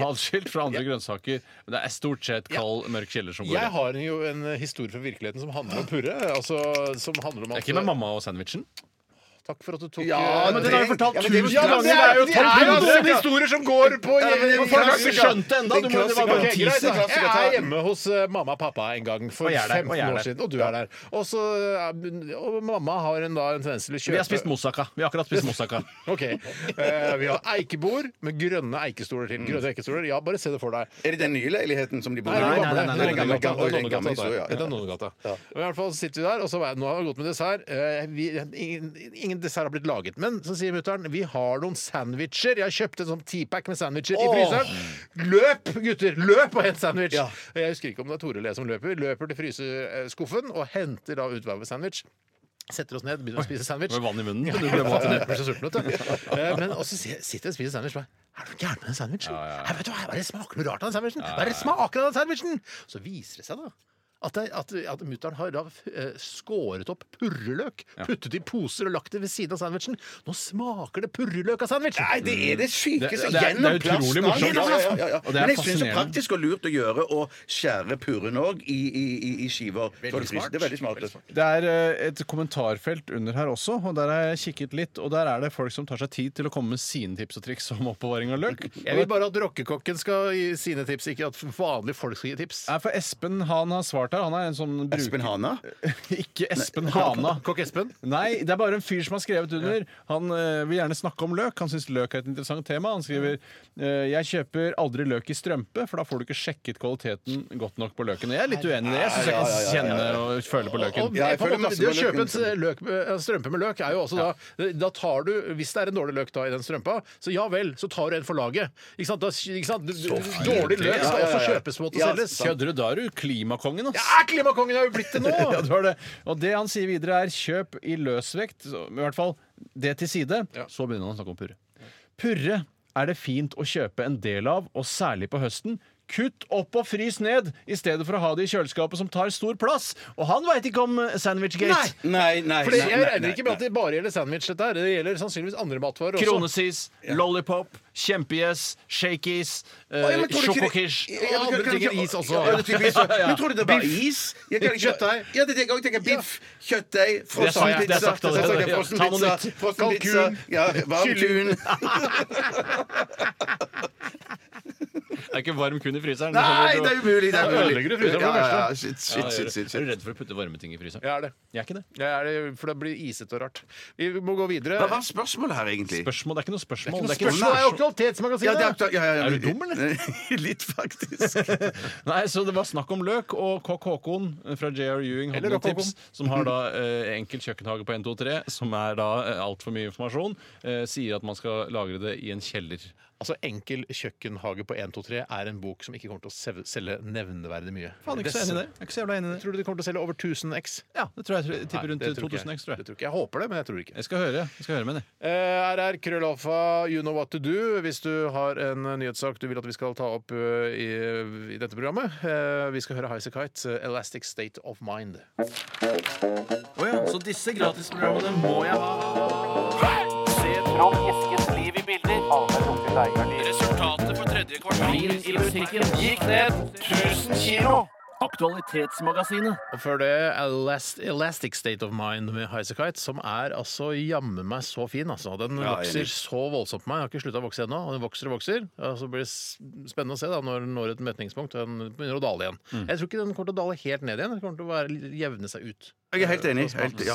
[SPEAKER 5] Adskilt fra andre grønnsaker. Men det er stort sett kald, mørk kjeller som går
[SPEAKER 4] Jeg
[SPEAKER 5] igjen.
[SPEAKER 4] har jo en historie fra virkeligheten som handler om purre. Altså, som handler om
[SPEAKER 5] Det er
[SPEAKER 4] at eh,
[SPEAKER 5] ikke med mamma og sandwichen.
[SPEAKER 4] Takk for at du tok eh,
[SPEAKER 6] Ja,
[SPEAKER 5] men
[SPEAKER 6] det-
[SPEAKER 5] den har jeg fortalt
[SPEAKER 6] ja, men det-
[SPEAKER 5] tusen
[SPEAKER 6] ja, men
[SPEAKER 5] ganger!
[SPEAKER 6] det er jo
[SPEAKER 5] Det er jo
[SPEAKER 4] altså
[SPEAKER 5] sånn historie.
[SPEAKER 4] historier som går på
[SPEAKER 6] Ja, men det er
[SPEAKER 4] på
[SPEAKER 6] en
[SPEAKER 5] Folk har
[SPEAKER 4] folk-
[SPEAKER 5] ikke skjønt det ennå!
[SPEAKER 6] Det
[SPEAKER 5] Du
[SPEAKER 6] er en
[SPEAKER 5] må- Det var bare en
[SPEAKER 4] Ok, greit,
[SPEAKER 5] teaser.
[SPEAKER 6] klassiker.
[SPEAKER 4] Jeg er hjemme hos eh, mamma og pappa en gang for
[SPEAKER 5] Og jeg er der,
[SPEAKER 4] 15
[SPEAKER 5] og jeg er
[SPEAKER 4] år
[SPEAKER 5] der.
[SPEAKER 4] siden, og du er der. Og, så, eh, og mamma har en, da, en tendens til å kjøpe
[SPEAKER 5] Vi har spist moussaka. Vi har akkurat spist moussaka.
[SPEAKER 4] Ok. Eh, vi har eikebord med grønne eikestoler til.
[SPEAKER 5] Mm.
[SPEAKER 4] Grønne eikestoler, Ja, bare se det for deg.
[SPEAKER 6] Er det den nye leiligheten som de bor i?
[SPEAKER 5] Nei, nei, nei, nei, nei,
[SPEAKER 6] Den gamle- gamle- gamle- gamle historie,
[SPEAKER 4] Det
[SPEAKER 6] ja.
[SPEAKER 4] er Nonnegata. Og I hvert fall sitter vi der, og så var jeg, nå har vi gått med dessert. Eh, vi, ingen, ingen dessert har blitt laget. Men så sier mutter'n vi har noen sandwicher. Jeg har kjøpt en sånn teapack med sandwicher i fryseren. Løp, gutter! Løp og hent sandwich! Og Jeg husker ikke om det er Tore Le som løper. Løper til fryseskuffen og henter da ut hver vår sandwich. Setter oss ned, begynner å spise sandwich.
[SPEAKER 5] Med vann i munnen.
[SPEAKER 4] Du ble vant til det, ble så sulten, vet du. Eh, Men også si- sitter jeg og spiser sandwich og bare Er det noe gærent med den sandwichen? Her, vet du, hva, hva er det smaker noe rart av den sandwichen? Hva er det smaker av den sandwichen? Så viser det seg da at, det- at, at mutter'n har da eh, skåret opp purreløk, puttet i poser og lagt det ved siden av sandwichen. Nå smaker det purreløk av sandwichen!
[SPEAKER 6] Nei, det er
[SPEAKER 5] Det-
[SPEAKER 6] det sykeste
[SPEAKER 5] det er- det er
[SPEAKER 6] gjennom
[SPEAKER 5] utrolig
[SPEAKER 6] plasten.
[SPEAKER 5] morsomt.
[SPEAKER 6] Ja, ja, ja, ja.
[SPEAKER 5] Og det er
[SPEAKER 6] Men jeg syns det er
[SPEAKER 5] fascinerende.
[SPEAKER 6] praktisk og lurt å gjøre å skjære purren òg i, i, i, i skiver. Så det er
[SPEAKER 4] smart.
[SPEAKER 6] Det er veldig smart.
[SPEAKER 5] Det er eh, et kommentarfelt under her også, og der har jeg kikket litt. Og der er det folk som tar seg tid til å komme med sine tips og triks om oppbevaring av løk.
[SPEAKER 4] Jeg vil bare at rockekokken skal gi sine tips, ikke at vanlige folk skal gi tips.
[SPEAKER 5] Nei, for Espen han har svart her. Han er en sånn bruker...
[SPEAKER 6] Espen Hana?
[SPEAKER 5] Ikke Espen Hana.
[SPEAKER 4] Kokk Espen?
[SPEAKER 5] Nei, det er bare en fyr som har skrevet under. Han eh, vil gjerne snakke om løk. Han syns løk er et interessant tema. Han skriver eh, jeg kjøper aldri løk i strømpe, for da får du ikke sjekket kvaliteten godt nok på løken. Og jeg er litt uenig i det. Jeg syns jeg kan kjenne og føle på løken.
[SPEAKER 4] Og
[SPEAKER 6] Ja,
[SPEAKER 4] på
[SPEAKER 6] jeg
[SPEAKER 4] en
[SPEAKER 6] føler
[SPEAKER 4] måte,
[SPEAKER 6] masse
[SPEAKER 4] det å
[SPEAKER 6] med
[SPEAKER 4] kjøpe
[SPEAKER 6] løken.
[SPEAKER 4] en s- løk, med- en strømpe med løk er jo også da Da tar du, hvis det er en dårlig løk da i den strømpa, så ja vel, så tar du en for laget. Ikke sant? Da, ikke sant? Du- Dårlig løk
[SPEAKER 5] feil.
[SPEAKER 4] skal
[SPEAKER 6] Ja, ja,
[SPEAKER 4] også
[SPEAKER 6] ja.
[SPEAKER 4] kjøpes på og
[SPEAKER 6] Ja,
[SPEAKER 4] selges.
[SPEAKER 5] Kødder du? Da er du klimakongen, ass.
[SPEAKER 4] Ja, klimakongen har jo blitt det nå!
[SPEAKER 5] Ja, du har det. Og det han sier videre er kjøp i løsvekt, så- i hvert fall det til side. Så begynner han å snakke om purre. Purre er det fint å kjøpe en del av, og særlig på høsten. Kutt opp og frys ned, i stedet for å ha det i kjøleskapet som tar stor plass. Og han veit ikke om eh, Sandwichgate.
[SPEAKER 6] Nei, nei.
[SPEAKER 4] For det-
[SPEAKER 6] nei,
[SPEAKER 4] jeg
[SPEAKER 6] nei,
[SPEAKER 4] regner
[SPEAKER 6] nei,
[SPEAKER 4] ikke med at det bare gjelder sandwich, dette her. Det gjelder sannsynligvis andre matvarer også.
[SPEAKER 5] Kronesis, Lollipop, Kjempegjess, Shakeys,
[SPEAKER 6] Å, ja,
[SPEAKER 5] eh,
[SPEAKER 6] men tror du ikke det-
[SPEAKER 5] Sjokokish.
[SPEAKER 6] Ja, men
[SPEAKER 4] andre
[SPEAKER 6] kan du
[SPEAKER 4] ting
[SPEAKER 6] ikke-
[SPEAKER 4] enn is også.
[SPEAKER 6] Ja, ja, typ is, ja. Men tror du det er bare is? Jeg kan ikke kjøttdeig. Ja, det er det jeg også tenker. Biff, kjøttdeig,
[SPEAKER 5] sagt, det er
[SPEAKER 6] frossenpizza.
[SPEAKER 5] sagt allerede. Ja, ta noe
[SPEAKER 6] Frossenpizza,
[SPEAKER 5] nytt.
[SPEAKER 6] frossenpizza, ja, varm tun.
[SPEAKER 5] Det er ikke varm kun i fryseren.
[SPEAKER 6] Nei, det er umulig! Det er
[SPEAKER 4] Da
[SPEAKER 6] umulig.
[SPEAKER 4] ødelegger du fryseren for
[SPEAKER 6] Ja,
[SPEAKER 4] det
[SPEAKER 6] ja,
[SPEAKER 4] første.
[SPEAKER 6] shit,
[SPEAKER 5] Ja,
[SPEAKER 6] shit,
[SPEAKER 5] jeg
[SPEAKER 6] shit,
[SPEAKER 5] er
[SPEAKER 6] shit,
[SPEAKER 5] er du
[SPEAKER 6] shit.
[SPEAKER 5] redd for å putte varme ting i fryseren?
[SPEAKER 4] Jeg er det.
[SPEAKER 5] Jeg er ikke det.
[SPEAKER 4] Jeg er det, for det blir isete og rart. Vi må gå videre.
[SPEAKER 6] Hva var spørsmålet her, egentlig?
[SPEAKER 5] Spørsmål, det er ikke noe spørsmål.
[SPEAKER 4] Spørsmål
[SPEAKER 5] Det er ikke noe
[SPEAKER 4] er jo
[SPEAKER 6] Ja, det er,
[SPEAKER 4] Aktualitetsmagasinet!
[SPEAKER 6] aktuelt. ja, ja, ja.
[SPEAKER 5] Er du dum, eller?
[SPEAKER 6] Litt, faktisk.
[SPEAKER 5] Nei, så Det var snakk om løk, og kokk Håkon fra JR Ewing hadde
[SPEAKER 4] Eller
[SPEAKER 5] noen
[SPEAKER 4] Kokk Håkon.
[SPEAKER 5] tips. Som har da eh, enkel kjøkkenhage på 123, som er da eh, altfor mye informasjon. Eh, sier at man skal lagre det i en kjeller.
[SPEAKER 4] Altså Enkel kjøkkenhage på 123 er en bok som ikke kommer til å sev- selge nevneverdig mye.
[SPEAKER 5] Faen, ikke så enig i det. Jeg er ikke så jævla enig i det.
[SPEAKER 4] Tror du det kommer til å selge over 1000 X?
[SPEAKER 5] Ja, det tror jeg- jeg
[SPEAKER 4] Nei,
[SPEAKER 5] tipper rundt
[SPEAKER 4] det tror ikke
[SPEAKER 5] 2000
[SPEAKER 4] jeg.
[SPEAKER 5] X, tror jeg.
[SPEAKER 4] Det tror ikke. Jeg håper det, men jeg tror ikke.
[SPEAKER 5] Jeg skal høre, jeg skal høre med det.
[SPEAKER 4] Eh, RR, krøllalfa, you know what to do. Hvis du har en nyhetssak du vil at vi skal ta opp eh, i, i dette programmet. Eh, vi skal høre Highasakite, eh, 'Elastic State of Mind'. Og før det Elast Elastic State of Mind med Highasakite, som er altså jammen meg så fin, altså. Den vokser så voldsomt på meg. Jeg har ikke slutta å vokse ennå, og den vokser og vokser. Ja, så blir det s- spennende å se da når den når et metningspunkt og den begynner å dale igjen. Jeg tror ikke den kommer til å dale helt ned igjen. Den kommer til å være, jevne seg ut.
[SPEAKER 6] Jeg er helt enig. Helt, ja.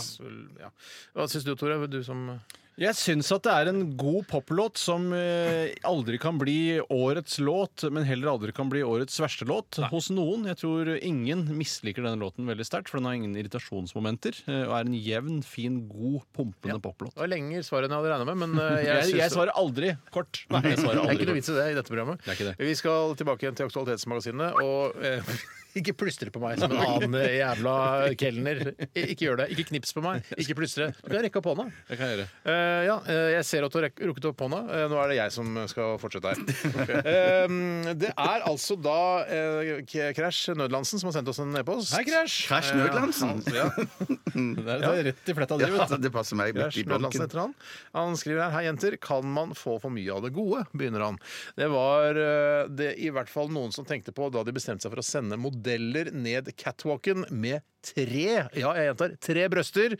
[SPEAKER 4] Ja. Hva syns du, Tore? Du som
[SPEAKER 5] Jeg syns at det er en god poplåt som eh, aldri kan bli årets låt, men heller aldri kan bli årets verste låt hos noen. Jeg tror ingen misliker denne låten veldig sterkt, for den har ingen irritasjonsmomenter, eh, og er en jevn, fin, god, pumpende poplåt.
[SPEAKER 4] Det var lenger svar enn jeg hadde regna med, men eh, jeg,
[SPEAKER 5] Jeg, jeg
[SPEAKER 4] synes-
[SPEAKER 5] svarer aldri kort. Nei, jeg
[SPEAKER 4] Det
[SPEAKER 5] svarer
[SPEAKER 4] er ikke
[SPEAKER 5] aldri
[SPEAKER 4] noe
[SPEAKER 5] kort.
[SPEAKER 4] vits i det i dette programmet.
[SPEAKER 5] Det er ikke det.
[SPEAKER 4] Vi skal tilbake igjen til Aktualitetsmagasinet. Og eh, ikke plystre på meg som en annen eh, jævla kelner. I- Ikke gjør det. Ikke knips på meg. Ikke plystre. Du kan rekke opp hånda.
[SPEAKER 5] Det kan jeg gjøre.
[SPEAKER 4] Eh, ja, eh, jeg ser at du har rek- rukket opp hånda. Eh, nå er det jeg som skal fortsette her. Eh, det er altså da eh, K- Crash Nødlandsen som har sendt oss en e-post. Altså,
[SPEAKER 5] Hei, Crash!
[SPEAKER 6] Crash Nødlandsen.
[SPEAKER 4] Ja,
[SPEAKER 5] Det er, det er rett i fletta di,
[SPEAKER 6] Ja,
[SPEAKER 5] vet du.
[SPEAKER 6] det passer meg. midt
[SPEAKER 4] Lars
[SPEAKER 6] i
[SPEAKER 4] Nødlandsen
[SPEAKER 6] blanken.
[SPEAKER 4] heter han. Han skriver her Hei, jenter. Kan man få for mye av det gode? begynner han. Det var eh, det i hvert fall noen som tenkte på da de bestemte seg for å sende modeller ned catwalken med tre ja, jeg gjentar, tre brøster.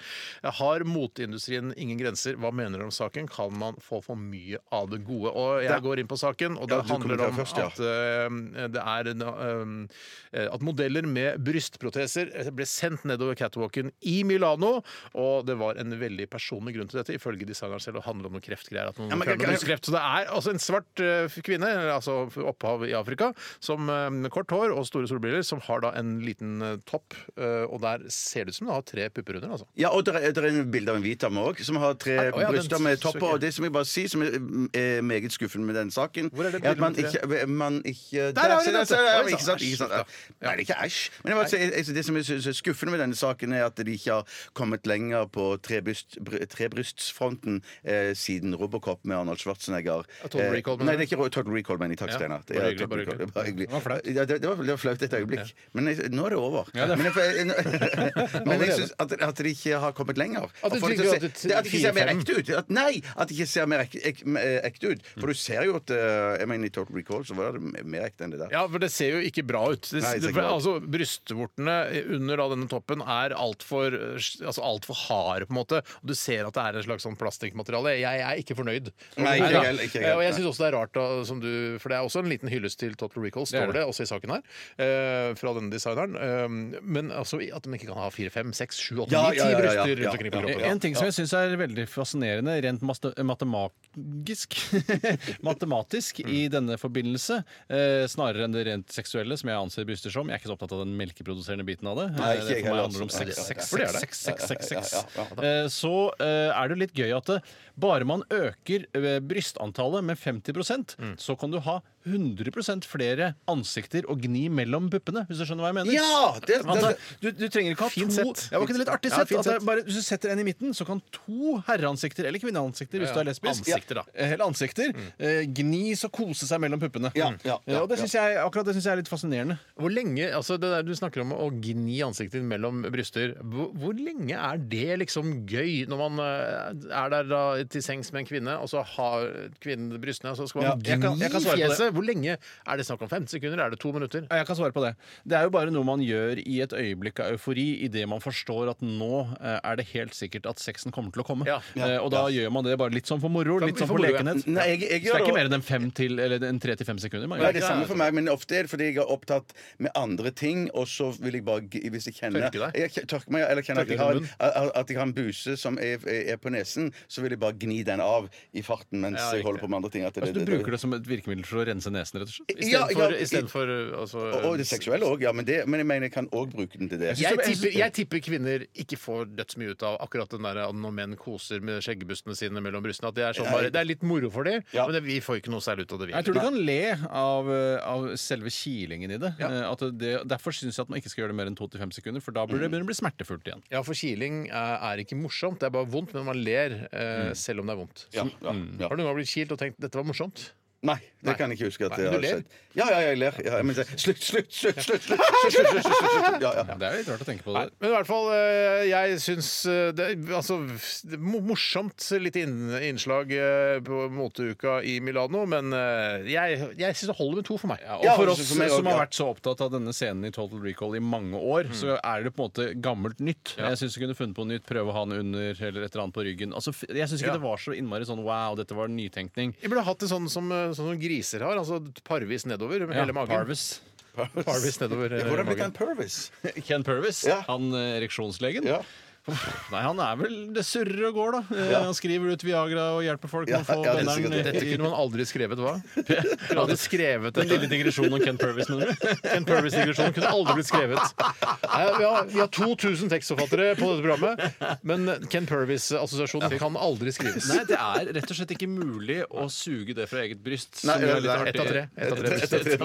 [SPEAKER 4] Har moteindustrien ingen grenser? Hva mener dere om saken? Kan man få for mye av det gode? Og jeg går inn på saken, og det
[SPEAKER 6] Ja, du
[SPEAKER 4] handler
[SPEAKER 6] kommenterer
[SPEAKER 4] om
[SPEAKER 6] først, ja.
[SPEAKER 4] at eh, det er en, eh, at modeller med brystproteser eh, ble sendt nedover catwalken i Milano, og det var en veldig personlig grunn til dette, ifølge designeren selv, og handler om noen kreftgreier. At noen
[SPEAKER 6] Ja, men
[SPEAKER 4] får
[SPEAKER 6] kan-
[SPEAKER 4] brystkreft. Så det er altså en svart eh, kvinne, altså opphav i Afrika, som eh, med kort hår og store solbriller, som har da en liten eh, topp, eh, og der ser det ut som det har tre pupper under, altså.
[SPEAKER 6] Ja, og det er, der er en bilde av en hvit dame òg, som har tre
[SPEAKER 4] Å, ja, den
[SPEAKER 6] bryster med topper.
[SPEAKER 4] søker.
[SPEAKER 6] Og det som jeg bare sier, som er, er meget skuffende med den saken
[SPEAKER 4] Hvor er det
[SPEAKER 6] at man
[SPEAKER 4] bildet med
[SPEAKER 6] ikke, man ikke
[SPEAKER 4] Der har vi
[SPEAKER 6] se,
[SPEAKER 4] det,
[SPEAKER 6] se,
[SPEAKER 4] vet du.
[SPEAKER 6] ja,
[SPEAKER 4] Oi, sånn.
[SPEAKER 6] Ikke sant?
[SPEAKER 4] æsj,
[SPEAKER 6] Ikke sant?
[SPEAKER 4] da.
[SPEAKER 6] Nei, det er ikke æsj. Men jeg bare, sier, altså, det som jeg synes er skuffende med denne saken, er at de ikke har kommet lenger på trebryst, br- trebrystsfronten eh, siden Robocop med Arnold Schwarzenegger.
[SPEAKER 4] Total
[SPEAKER 6] Eh,
[SPEAKER 4] Recall, mener
[SPEAKER 6] Nei,
[SPEAKER 4] du?
[SPEAKER 6] det er ikke Ro- Total Recall, men i takk,
[SPEAKER 4] Ja,
[SPEAKER 6] Steinar. Det
[SPEAKER 4] bare
[SPEAKER 6] er
[SPEAKER 4] hyggelig,
[SPEAKER 6] Total
[SPEAKER 4] bare
[SPEAKER 6] Recall.
[SPEAKER 4] hyggelig.
[SPEAKER 5] Det
[SPEAKER 6] Det var hyggelig.
[SPEAKER 5] var flaut.
[SPEAKER 6] Ja, det, det var, det var flaut et øyeblikk. Men jeg, nå er det over.
[SPEAKER 5] Ja, det-
[SPEAKER 6] Men, jeg, men jeg syns at, at de ikke har kommet lenger.
[SPEAKER 4] At du
[SPEAKER 6] Og folk
[SPEAKER 4] tenker
[SPEAKER 6] ser-
[SPEAKER 4] at et
[SPEAKER 6] det- at de ikke ser mer
[SPEAKER 4] fire-fem-
[SPEAKER 6] ekte ut. At, nei, at de ikke ser mer ek, ek, eh, ekte ut. For du ser jo at eh, jeg mener, I Total Recall så var det mer ekte enn det der.
[SPEAKER 4] Ja, for det ser jo ikke bra ut. Det,
[SPEAKER 6] Nei, det ser
[SPEAKER 4] det,
[SPEAKER 6] ikke bra ut.
[SPEAKER 4] altså, Brystvortene eh, under da, denne toppen er altfor altså, alt for harde, på en måte. Og du ser at det er en slags sånn plastikkmateriale. Jeg er ikke fornøyd.
[SPEAKER 6] Nei, ikke
[SPEAKER 4] da. Eh,
[SPEAKER 6] jeg heller, ikke jeg heller.
[SPEAKER 4] Og jeg syns også det er rart, da, som du, for det er også en liten hyllest til Total Recall,
[SPEAKER 5] er
[SPEAKER 4] står
[SPEAKER 5] det.
[SPEAKER 4] det også i saken her, eh, fra denne designeren. Eh, men altså, at de ikke kan ha fire, fem, seks, sju, åtte,
[SPEAKER 6] Ja,
[SPEAKER 4] ni,
[SPEAKER 6] ja,
[SPEAKER 4] ti
[SPEAKER 6] ja, ja, ja,
[SPEAKER 4] bryster
[SPEAKER 6] ja.
[SPEAKER 4] rundt omkring på kroppen.
[SPEAKER 5] Eh, En ting som jeg syns er veldig fascinerende, rent maste- matematisk Matematisk
[SPEAKER 6] Mm.
[SPEAKER 5] i denne forbindelse, eh, snarere enn det rent seksuelle, som jeg anser bryster som. Jeg er ikke så opptatt av den melkeproduserende biten av det.
[SPEAKER 6] Nei,
[SPEAKER 5] Eh,
[SPEAKER 6] ikke
[SPEAKER 5] det for meg
[SPEAKER 6] jeg heller,
[SPEAKER 5] handler om
[SPEAKER 6] altså.
[SPEAKER 5] sex,
[SPEAKER 6] Nei,
[SPEAKER 5] sex,
[SPEAKER 4] for det er
[SPEAKER 5] sex,
[SPEAKER 4] det.
[SPEAKER 5] sex, sex, sex,
[SPEAKER 6] Ja,
[SPEAKER 5] sex.
[SPEAKER 6] ja, ja,
[SPEAKER 5] Eh, Så eh, er det litt gøy at det, bare man øker eh, brystantallet med 50
[SPEAKER 6] Mm.
[SPEAKER 5] så kan du ha 100 flere ansikter å gni mellom puppene, hvis du skjønner hva jeg mener?
[SPEAKER 6] Ja, det- det-
[SPEAKER 5] Altså, du, du trenger ikke ha
[SPEAKER 4] Fint
[SPEAKER 5] to
[SPEAKER 4] sett.
[SPEAKER 5] Ja, var ikke det litt artig
[SPEAKER 4] Ja,
[SPEAKER 5] sett?
[SPEAKER 4] fint
[SPEAKER 5] at det
[SPEAKER 4] sett.
[SPEAKER 5] er bare, hvis du setter en i midten, så kan to herreansikter eller kvinneansikter hvis
[SPEAKER 4] Ja,
[SPEAKER 5] du er lesbisk
[SPEAKER 4] ansikter, da. Mm.
[SPEAKER 5] Eh, Eller ansikter eh, gnis og kose seg mellom puppene.
[SPEAKER 6] Ja, ja,
[SPEAKER 5] Eh, og det synes jeg, akkurat det syns jeg er litt fascinerende.
[SPEAKER 4] Hvor lenge, altså det der Du snakker om å gni ansiktet ditt mellom bryster. Hvor, hvor lenge er det liksom gøy når man eh, er der da til sengs med en kvinne, og så har kvinnen brystene, og så skal man
[SPEAKER 5] Ja, jeg kan-
[SPEAKER 4] gni
[SPEAKER 5] jeg kan svare på det.
[SPEAKER 4] fjeset? Hvor lenge er det snakk om? 15 sekunder? Er det to minutter?
[SPEAKER 5] Ja, Jeg kan svare på det. Det er jo bare noe man gjør i et øyeblikk av eufori, idet man forstår at nå eh, er det helt sikkert at sexen kommer til å komme.
[SPEAKER 4] Ja.
[SPEAKER 5] Eh, og da gjør man det bare litt sånn for moro, litt
[SPEAKER 4] for
[SPEAKER 5] sånn for
[SPEAKER 4] moro, ja.
[SPEAKER 5] lekenhet.
[SPEAKER 6] Nei, jeg-
[SPEAKER 5] så det
[SPEAKER 6] jeg gjør
[SPEAKER 5] er
[SPEAKER 6] det
[SPEAKER 5] ikke mer enn en fem til, eller en tre til fem sekunder. man
[SPEAKER 6] Nei,
[SPEAKER 5] gjør.
[SPEAKER 6] det er samme for meg, men ofte er det fordi jeg er opptatt med andre ting, og så vil jeg bare g- Hvis jeg kjenner
[SPEAKER 4] Tørke deg?
[SPEAKER 6] Jeg k- tørke meg, eller kjenner at
[SPEAKER 4] Tørke
[SPEAKER 6] jeg, har,
[SPEAKER 4] munnen?
[SPEAKER 6] en- at jeg har en buse som er, er på nesen, så vil jeg bare gni den av i farten mens
[SPEAKER 4] Ja,
[SPEAKER 6] jeg holder
[SPEAKER 4] riktig.
[SPEAKER 6] på med andre ting. At det,
[SPEAKER 5] Altså, du bruker det som et virkemiddel for å rense rense nesen, rett og slett.
[SPEAKER 6] Ja, ja,
[SPEAKER 4] Istedenfor
[SPEAKER 6] i-
[SPEAKER 4] istedenfor, uh, altså
[SPEAKER 6] Og, og det seksuelle òg, ja. Men, det, men jeg mener jeg kan òg bruke den til det.
[SPEAKER 4] jeg tipper, jeg tipper kvinner ikke får dødsmye ut av akkurat den der at når menn koser med skjeggebustene sine mellom brystene. At det, er sånn bare, det er litt moro for dem,
[SPEAKER 6] Ja.
[SPEAKER 4] men det, vi får ikke noe særlig ut av det. Vi.
[SPEAKER 5] Jeg tror du kan le av, eh, av selve kilingen i det. Eh, At det derfor syns jeg at man ikke skal gjøre det mer enn 2-5 sekunder, for da blir
[SPEAKER 6] Mm.
[SPEAKER 5] det begynner det å bli smertefullt igjen.
[SPEAKER 4] Ja, for kiling er, er ikke morsomt. Det er bare vondt, men man ler eh,
[SPEAKER 5] Mm.
[SPEAKER 4] selv om det er vondt.
[SPEAKER 6] Ja, ja, ja.
[SPEAKER 4] Har du nå blitt kilt og tenkt 'dette var morsomt'?
[SPEAKER 6] Nei, det kan jeg ikke huske
[SPEAKER 4] Nei,
[SPEAKER 6] at jeg
[SPEAKER 4] du
[SPEAKER 6] har
[SPEAKER 4] ler.
[SPEAKER 6] sett. Ja, ja, jeg ler. Ja, men det, slutt, slutt, slutt! slutt, slutt, slutt, slutt, slutt, slutt, slutt. Ja, ja.
[SPEAKER 5] Det er jo litt rart å tenke på det.
[SPEAKER 4] Men i hvert fall, eh, jeg syns eh, det er altså det er mo- morsomt lite inn- innslag eh, på moteuka i Milano, men eh, jeg, jeg syns det holder med to for meg.
[SPEAKER 5] Ja, og
[SPEAKER 6] Ja,
[SPEAKER 5] for
[SPEAKER 6] og
[SPEAKER 5] oss
[SPEAKER 6] så- for meg
[SPEAKER 5] som
[SPEAKER 6] også,
[SPEAKER 5] har
[SPEAKER 6] ja. Mm.
[SPEAKER 5] vært så opptatt av denne scenen i Total Recall i mange år, så er det på en måte gammelt nytt. Jeg syns du kunne funnet på noe nytt. Prøve å ha den under eller et eller annet på ryggen. Altså, f- jeg syns ikke
[SPEAKER 4] Ja.
[SPEAKER 5] det var så innmari sånn wow, dette var nytenkning.
[SPEAKER 4] Jeg burde hatt det sånn som, eh, sånn som griser har, altså parvis nedover med
[SPEAKER 5] Ja,
[SPEAKER 4] hele magen.
[SPEAKER 5] Parvis.
[SPEAKER 4] Parvis nedover eh,
[SPEAKER 6] Hvordan ble
[SPEAKER 4] magen.
[SPEAKER 6] han Purvis?
[SPEAKER 5] Ken Purvis,
[SPEAKER 6] Ja.
[SPEAKER 5] han eh, ereksjonslegen.
[SPEAKER 6] Ja.
[SPEAKER 5] Nei, han er vel Det surrer og går, da. Eh,
[SPEAKER 6] Ja.
[SPEAKER 5] Han skriver ut Viagra og hjelper folk
[SPEAKER 6] Ja,
[SPEAKER 5] med å få
[SPEAKER 6] ja, det er sikkert
[SPEAKER 5] benderen
[SPEAKER 6] det.
[SPEAKER 4] Dette
[SPEAKER 5] i-
[SPEAKER 4] kunne man aldri skrevet, hva? Du hadde skrevet
[SPEAKER 5] Den
[SPEAKER 4] det.
[SPEAKER 5] lille digresjonen om Ken Purvis, mener du?
[SPEAKER 4] En Purvis-digresjon kunne aldri blitt skrevet. Nei, vi, har, vi har 2000 tekstforfattere på dette programmet, men Ken Purvis-assosiasjonen kan aldri skrives.
[SPEAKER 5] Nei, det er rett og slett ikke mulig å suge det fra eget bryst.
[SPEAKER 6] Nei,
[SPEAKER 5] som jo er litt
[SPEAKER 6] nei,
[SPEAKER 5] artig.
[SPEAKER 4] ett av tre. Ett av tre.
[SPEAKER 5] Ett av tre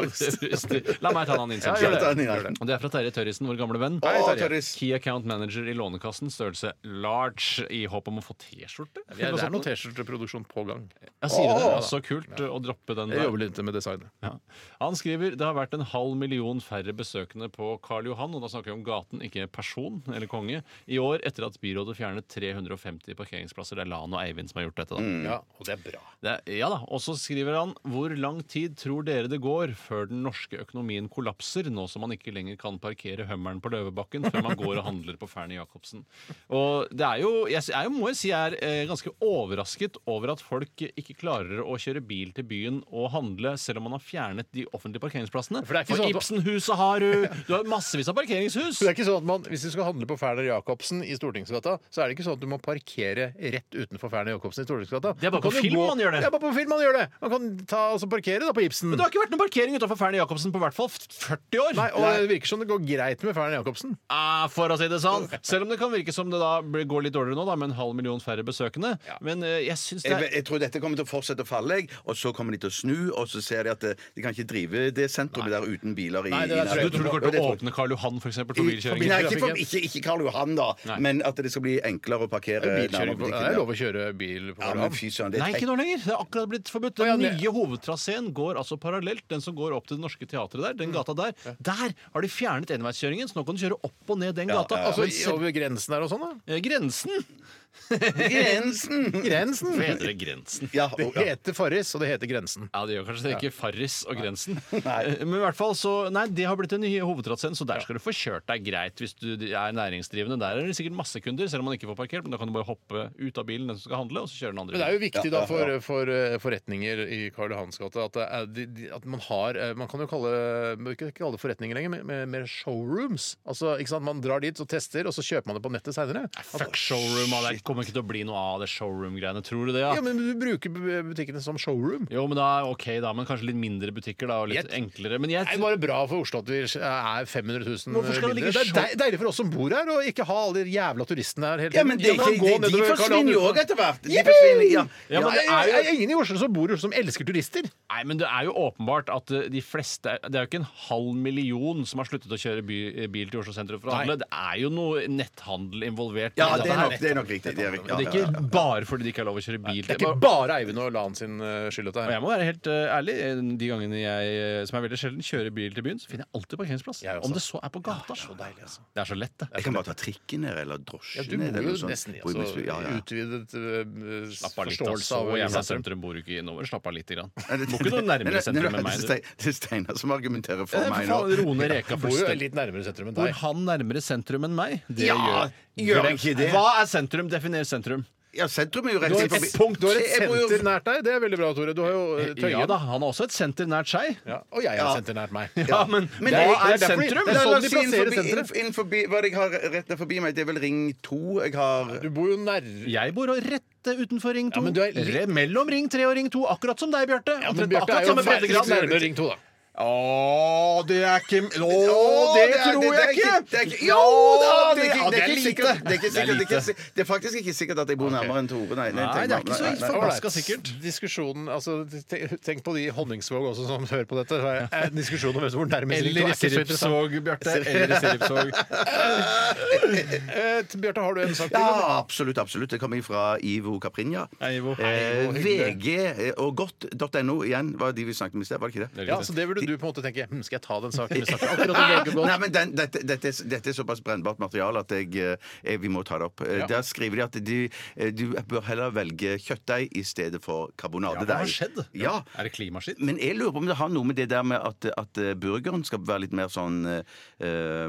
[SPEAKER 5] bryst. La meg ta den innsatsen.
[SPEAKER 6] Ja, ta den inn.
[SPEAKER 5] Og det er fra Terje Tørrisen, vår gamle venn.
[SPEAKER 6] Å, Tørris.
[SPEAKER 5] Key Account Manager i Lånekassen, størrelse large, i håp om å få T-skjorte?
[SPEAKER 4] Det er, det er noe T-skjorteproduksjon på gang.
[SPEAKER 5] Ja, sier du det? Ja, så kult å droppe den
[SPEAKER 4] Jeg
[SPEAKER 5] der.
[SPEAKER 4] jobber litt med designet.
[SPEAKER 5] Ja. Han skriver det har vært en halv million færre besøkende på Karl Johan, og da snakker vi om gaten, ikke person eller konge, i år etter at byrådet fjernet 350 parkeringsplasser. Det er Lan og Eivind som har gjort dette, da.
[SPEAKER 4] Ja, og det er bra.
[SPEAKER 5] Det, er- ja da, Og så skriver han hvor lang tid tror dere det går før den norske økonomien kollapser, nå som man ikke lenger kan parkere hummeren på Løvebakken før man går og handler på Fernie Jacobsen. Og det er jo, jeg, s- jeg må jo si jeg er eh, ganske overrasket over at folk ikke klarer å kjøre bil til byen og handle, selv om man har fjernet de offentlige parkeringsplassene.
[SPEAKER 4] For det er ikke sånn at-
[SPEAKER 5] Ibsenhuset har du! Du har massevis av parkeringshus!
[SPEAKER 4] Så det er ikke sånn at man, Hvis du skal handle på Ferner Jacobsen i Stortingsgata, så er det ikke sånn at du må parkere rett utenfor Ferner Jacobsen i Stortingsgata.
[SPEAKER 5] Det er bare
[SPEAKER 4] Du kan
[SPEAKER 5] på
[SPEAKER 4] jo
[SPEAKER 5] film man gjør det.
[SPEAKER 4] Ja, bare på film man gjør det. Man kan ta, altså, parkere da på Ibsen.
[SPEAKER 5] Det har ikke vært noen parkering utenfor Fernie Jacobsen på i hvert fall 40 år!
[SPEAKER 4] Nei, og Det virker som det går greit med Ferner Jacobsen.
[SPEAKER 5] Ah, for å si det sånn. Selv om det kan virke som det da blir- går litt dårligere nå, da, med en halv million færre besøkende. Men eh, jeg syns det
[SPEAKER 6] Jeg,
[SPEAKER 5] er
[SPEAKER 6] jeg tror dette kommer til å fortsette å falle, jeg, og så kommer de til å snu, og så ser de at eh, de kan ikke drive det sentrumet der uten biler i,
[SPEAKER 4] Nei, det er-
[SPEAKER 6] i
[SPEAKER 5] Så du tror det
[SPEAKER 6] Ja,
[SPEAKER 5] kommer til
[SPEAKER 6] det
[SPEAKER 5] å
[SPEAKER 6] tror jeg.
[SPEAKER 5] åpne Karl Johan for eksempel, for
[SPEAKER 6] I- Nei,
[SPEAKER 5] bilkjøring?
[SPEAKER 6] ikke, for, ikke, ikke Karl Johan, da, men at det skal bli enklere å parkere nærmere
[SPEAKER 4] Bilkjøring på, det
[SPEAKER 6] butikken.
[SPEAKER 4] er
[SPEAKER 6] ja.
[SPEAKER 4] lov å kjøre bil på
[SPEAKER 6] Ja,
[SPEAKER 4] Karl
[SPEAKER 6] men
[SPEAKER 4] Johan.
[SPEAKER 6] fy søren, det
[SPEAKER 5] Nei,
[SPEAKER 6] er
[SPEAKER 5] ikke nå lenger. Det er akkurat blitt forbudt.
[SPEAKER 4] Å, ja,
[SPEAKER 5] Den
[SPEAKER 4] det-
[SPEAKER 5] nye hovedtraseen går altså parallelt. Den som går opp til Det Norske Teatret der, den gata der. Der har de fjernet enveiskjøringen, så nå kan du kjøre opp og ned den gata.
[SPEAKER 6] ja, ja.
[SPEAKER 4] Altså,
[SPEAKER 5] Men
[SPEAKER 4] i-
[SPEAKER 5] selv-
[SPEAKER 4] over grensen der og sånn, da?
[SPEAKER 5] eh, Grensen!
[SPEAKER 6] Grensen!
[SPEAKER 4] Grensen!
[SPEAKER 5] Hva heter det? Grensen?
[SPEAKER 6] Ja,
[SPEAKER 4] Det
[SPEAKER 6] og, ja.
[SPEAKER 4] heter Farris, og det heter Grensen.
[SPEAKER 5] Ja, det gjør kanskje det. Ikke Farris og Grensen. Eh, Men i hvert fall så, nei, det har blitt den nye hovedtraseen, så der skal du få kjørt deg greit hvis du er næringsdrivende. Der er det sikkert masse kunder, selv om man ikke får parkert, men da kan du bare hoppe ut av bilen, den som skal handle, og så kjøre den andre.
[SPEAKER 4] Men det er jo viktig
[SPEAKER 6] Ja,
[SPEAKER 4] da
[SPEAKER 6] ja,
[SPEAKER 4] for,
[SPEAKER 6] ja.
[SPEAKER 4] for eh, forretninger i Karl Johans gate at, det er de- de- at man har eh, Man kan jo kalle, man kan ikke kalle det forretninger lenger, men- men mer showrooms. Altså, ikke sant? Man drar dit og tester, og så kjøper man det på nettet seinere.
[SPEAKER 5] Fuck showroom, ah, det kommer ikke til å bli noe av det showroom-greiene. Tror du det, ja?
[SPEAKER 4] Ja, men du bruker bu- butikkene som showroom.
[SPEAKER 5] Jo, men da OK, da. Men kanskje litt mindre butikker, da, og litt
[SPEAKER 4] Jeg-
[SPEAKER 5] enklere. Men jeg
[SPEAKER 4] Det er bare bra for Oslo at vi er 500 000
[SPEAKER 5] Hvorfor skal
[SPEAKER 4] mindre.
[SPEAKER 5] det ligge
[SPEAKER 4] Det er
[SPEAKER 5] show-
[SPEAKER 4] deil- deilig for oss som bor her, å ikke ha alle de jævla turistene her hele
[SPEAKER 6] ja, men det,
[SPEAKER 4] Ja,
[SPEAKER 6] er
[SPEAKER 4] men
[SPEAKER 6] ikke-
[SPEAKER 4] gå
[SPEAKER 6] de, de
[SPEAKER 4] nedover Karl Johan
[SPEAKER 6] forsvinner jo
[SPEAKER 4] uten-
[SPEAKER 6] òg etter hvert. De forsvinner, ja.
[SPEAKER 5] Ja, men
[SPEAKER 4] Nei,
[SPEAKER 5] det
[SPEAKER 4] jeg,
[SPEAKER 5] er jo
[SPEAKER 4] jeg er ingen i Oslo som bor i Oslo som elsker turister.
[SPEAKER 5] Nei, men det er jo åpenbart at eh, de fleste Det er jo ikke en halv million som har sluttet å kjøre by, eh, bil til Oslo sentrum for å handle. Det er jo noe netthandel involvert. i
[SPEAKER 6] ja
[SPEAKER 5] dette
[SPEAKER 6] det, er
[SPEAKER 5] her.
[SPEAKER 6] nok, det er nok riktig. Det er,
[SPEAKER 5] Men
[SPEAKER 6] ja,
[SPEAKER 5] det er
[SPEAKER 6] ja, ja.
[SPEAKER 5] ikke bare fordi de ikke har lov å kjøre bil.
[SPEAKER 4] Det er ikke bare Eivind og Lan sin eh, skyld, dette
[SPEAKER 5] og
[SPEAKER 4] her.
[SPEAKER 5] jeg må være helt eh, ærlig, eh, de gangene jeg, eh, som er veldig sjelden, kjører bil til byen, så finner jeg alltid parkeringsplass.
[SPEAKER 4] Jeg også.
[SPEAKER 5] Om det så er på gata. det, er så lett, det.
[SPEAKER 6] Jeg kan bare ta trikken ned, eller
[SPEAKER 4] Ja,
[SPEAKER 6] drosjen
[SPEAKER 4] du
[SPEAKER 6] ned.
[SPEAKER 4] bor
[SPEAKER 6] eller
[SPEAKER 4] jo
[SPEAKER 6] noe sånt.
[SPEAKER 4] nesten i
[SPEAKER 6] Bor i
[SPEAKER 4] altså,
[SPEAKER 6] Misby, ja, ja.
[SPEAKER 4] utvidet eh,
[SPEAKER 5] Slapp av litt, altså. ass.
[SPEAKER 4] forståelse
[SPEAKER 5] Så
[SPEAKER 4] av
[SPEAKER 5] jævla
[SPEAKER 4] sentrum.
[SPEAKER 5] sentrum bor ikke innover. Slapp av lite grann.
[SPEAKER 6] Nei,
[SPEAKER 5] Må
[SPEAKER 6] det-
[SPEAKER 5] ikke noe
[SPEAKER 6] Nei, nei,
[SPEAKER 5] nærmere sentrum
[SPEAKER 6] nei,
[SPEAKER 5] enn meg.
[SPEAKER 6] Det
[SPEAKER 5] du.
[SPEAKER 6] er Stein- det er Steinar som argumenterer
[SPEAKER 5] Det
[SPEAKER 6] for
[SPEAKER 5] er for
[SPEAKER 6] meg
[SPEAKER 5] faen
[SPEAKER 6] nå.
[SPEAKER 5] Rone Reka
[SPEAKER 4] Bor jo
[SPEAKER 5] fullstendig.
[SPEAKER 4] litt nærmere sentrum enn
[SPEAKER 5] Bor
[SPEAKER 4] deg.
[SPEAKER 5] han nærmere sentrum enn meg? Det
[SPEAKER 6] Ja, gjør han
[SPEAKER 5] Glem-
[SPEAKER 6] ikke det?
[SPEAKER 5] Hva er sentrum? Definer sentrum.
[SPEAKER 6] Ja, sentrum er jo rett
[SPEAKER 4] Du har
[SPEAKER 6] inn
[SPEAKER 4] et,
[SPEAKER 6] forbi-
[SPEAKER 4] punkt, du har et
[SPEAKER 6] Jeg bor jo-
[SPEAKER 4] senter nært deg. Det er veldig bra, Tore. Du har jo eh, Tøyen.
[SPEAKER 5] Ja da, han har også et senter nært seg.
[SPEAKER 4] Ja, Og jeg har et senter nært meg.
[SPEAKER 5] Ja, men, hva
[SPEAKER 6] Men det-
[SPEAKER 5] er,
[SPEAKER 4] det er derfor-
[SPEAKER 5] sentrum?
[SPEAKER 4] det er
[SPEAKER 6] La
[SPEAKER 4] sånn
[SPEAKER 6] oss
[SPEAKER 4] de
[SPEAKER 6] si
[SPEAKER 4] plasserer
[SPEAKER 6] innenforbi-
[SPEAKER 4] senteret.
[SPEAKER 6] innenforbi- Hva er det jeg har rett der forbi meg? Det er vel Ring 2 jeg har
[SPEAKER 4] Du bor jo nærme
[SPEAKER 5] Jeg bor og rett utenfor Ring 2.
[SPEAKER 4] men du er litt-
[SPEAKER 5] Re- Mellom Ring 3 og Ring 2, akkurat som deg, Bjarte.
[SPEAKER 4] ja, men
[SPEAKER 5] Omtrent
[SPEAKER 4] Bjarte
[SPEAKER 5] på akkurat
[SPEAKER 4] er jo
[SPEAKER 5] samme breddegrad.
[SPEAKER 4] nærmere nærmere Ring 2, da.
[SPEAKER 5] Å, det er ikke Å,
[SPEAKER 6] Å,
[SPEAKER 5] det,
[SPEAKER 6] er-
[SPEAKER 5] tror
[SPEAKER 6] det er
[SPEAKER 5] jeg ikke!
[SPEAKER 6] Det er ikke
[SPEAKER 5] Ja,
[SPEAKER 6] jo da!
[SPEAKER 5] det, ja, det er lite.
[SPEAKER 6] sikkert- Det er, ikke
[SPEAKER 5] Det er
[SPEAKER 6] sikkert, det, er
[SPEAKER 5] lite.
[SPEAKER 6] ikke si- det er faktisk ikke sikkert at jeg bor nærmere enn Tore. Nei,
[SPEAKER 5] Nei, det er ikke så
[SPEAKER 6] nei, nei, nei.
[SPEAKER 5] forbaska
[SPEAKER 4] Ålreit.
[SPEAKER 5] sikkert.
[SPEAKER 4] Diskusjonen, altså, te- Tenk på de i Honningsvåg også som hører på dette. Det er en diskusjon om hvem som bor nærmest Ring 2.
[SPEAKER 5] Eller
[SPEAKER 4] er
[SPEAKER 5] i
[SPEAKER 4] ikke så interessant.
[SPEAKER 5] Siripsog, Bjarte. Eller i Siripsog.
[SPEAKER 4] Eh, Bjarte, har du en sak til? eller?
[SPEAKER 6] Ja, absolutt. absolutt. Det kommer fra Ivo Caprinja.
[SPEAKER 5] Hei, Ivo.
[SPEAKER 6] Eh,
[SPEAKER 4] Ivo, hyggelig.
[SPEAKER 6] VG og godt.no igjen var de vi snakket om i sted, var det ikke det?
[SPEAKER 4] Ja, så det burde du på en måte tenke hm, Skal jeg ta den saken? Vi snakker akkurat om VG
[SPEAKER 6] Ah! Nei,
[SPEAKER 4] Blå.
[SPEAKER 6] men den, dette, dette, er, dette er såpass brennbart materiale at jeg, eh, eh, vi må ta det opp. Eh,
[SPEAKER 4] Ja.
[SPEAKER 6] Der skriver de at de, eh, du bør heller velge kjøttdeig i stedet for
[SPEAKER 5] Ja,
[SPEAKER 6] karbonadedeig.
[SPEAKER 5] hva har skjedd?
[SPEAKER 6] Ja.
[SPEAKER 5] Er det klimaskitt?
[SPEAKER 6] Men jeg lurer på om det har noe med det der med at, at eh, burgeren skal være litt mer sånn eh, Jeg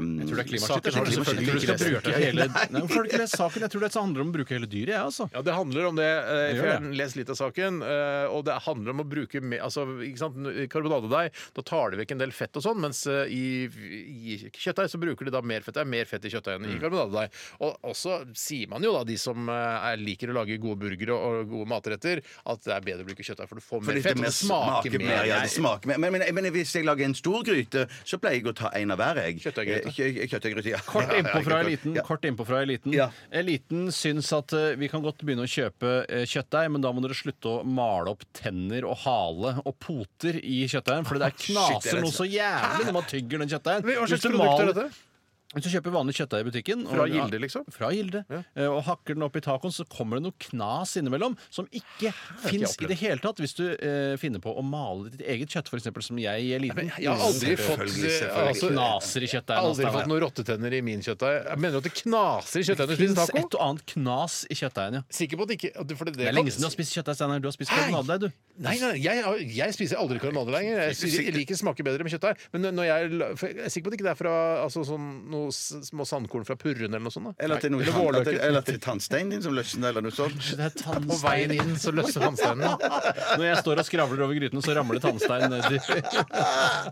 [SPEAKER 5] Tror du det er klimaskitt?
[SPEAKER 4] Saker har du selvfølgelig ikke lest, Bjarte.
[SPEAKER 5] hele Nei, hvorfor har du ikke lest saken? Jeg tror det handler om å bruke hele dyret, jeg, altså.
[SPEAKER 4] Ja, det handler om det. eh,
[SPEAKER 5] Det gjør
[SPEAKER 4] For jeg har
[SPEAKER 5] det.
[SPEAKER 4] lest litt av saken. eh, Og det handler om å bruke me- altså, ikke sant, karbonadedeig. Da tar de vekk en del fett og sånn, mens eh, i, i kjøttdeig så bruker de da mer fett. Det er mer fett i kjøttdeig enn i karbonadedeig. Og også sier man jo da, de som eh, er- liker å lage gode burgere og gode matretter, at det er bedre å bruke kjøttdeig, for du får mer
[SPEAKER 6] Fordi
[SPEAKER 4] fett. og Det smaker mer.
[SPEAKER 6] ja, det smaker mer. Men, men, men hvis jeg lager en stor gryte, så pleier jeg å ta en av hver. jeg.
[SPEAKER 4] Kjøttdeiggryte.
[SPEAKER 6] Eh, kjø- Kjøttdeiggryte, ja.
[SPEAKER 5] Kort
[SPEAKER 6] Ja, ja,
[SPEAKER 5] innpå fra
[SPEAKER 6] kjøttdeig-
[SPEAKER 5] eliten.
[SPEAKER 6] Ja.
[SPEAKER 5] Kort innpå fra eliten.
[SPEAKER 6] Ja.
[SPEAKER 5] eliten syns at eh, vi kan godt begynne å kjøpe eh, kjøttdeig, men da må dere slutte å male opp tenner og hale og poter i kjøttdeigen,
[SPEAKER 4] Ah,
[SPEAKER 5] for det der
[SPEAKER 6] Shit, det
[SPEAKER 5] knaser
[SPEAKER 6] er
[SPEAKER 5] noe så jævlig når man tygger den kjøttdeigen.
[SPEAKER 4] Hva
[SPEAKER 5] Hvis
[SPEAKER 4] slags
[SPEAKER 5] du
[SPEAKER 4] produkt er
[SPEAKER 5] maler-
[SPEAKER 4] dette?
[SPEAKER 5] Hvis du kjøper vanlig kjøttdeig i butikken
[SPEAKER 4] Fra Gilde, liksom?
[SPEAKER 5] Fra Gilde. eh, Og hakker den opp i tacoen, så kommer det noe knas innimellom som ikke fins i
[SPEAKER 4] opplevd.
[SPEAKER 5] det hele tatt hvis du eh, finner på å male ditt eget kjøtt, f.eks. som jeg i eliten.
[SPEAKER 4] Jeg har aldri fått
[SPEAKER 6] Selvfølgelig,
[SPEAKER 4] eh,
[SPEAKER 6] selvfølgelig.
[SPEAKER 4] altså,
[SPEAKER 5] knaser i kjøttdeigen.
[SPEAKER 4] Aldri
[SPEAKER 5] altså,
[SPEAKER 4] fått noen rottetenner i min kjøttdeig. Jeg Mener du at det knaser i kjøttdeigen når du
[SPEAKER 5] Fins
[SPEAKER 4] spiser
[SPEAKER 5] et
[SPEAKER 4] taco?
[SPEAKER 5] og annet knas i kjøttdeigen, ja.
[SPEAKER 4] Sikker på at ikke at det- for det,
[SPEAKER 5] Det er lenge siden du har spist kjøttdeig, Steinar. Du har spist
[SPEAKER 4] Hei!
[SPEAKER 5] karbonadedeig, du.
[SPEAKER 4] Nei, nei, nei, jeg, har- jeg spiser aldri karbonade lenger. Jeg, synes- jeg liker smaker bedre med kjøttdeig. Men når jeg, la- for jeg er sikker på at det ikke er fra altså, sånn, noe s- små sandkorn fra purren eller noe sånt. Da.
[SPEAKER 6] Eller til, noe,
[SPEAKER 4] Eller
[SPEAKER 6] tann-
[SPEAKER 4] vårløker.
[SPEAKER 6] eller, eller til tannsteinen din som løsner, eller noe sånt.
[SPEAKER 5] Det er
[SPEAKER 4] På veien
[SPEAKER 5] tannstein.
[SPEAKER 4] inn så løsner tannsteinene.
[SPEAKER 5] Når jeg står og skravler over gryten, så ramler det tannstein ned i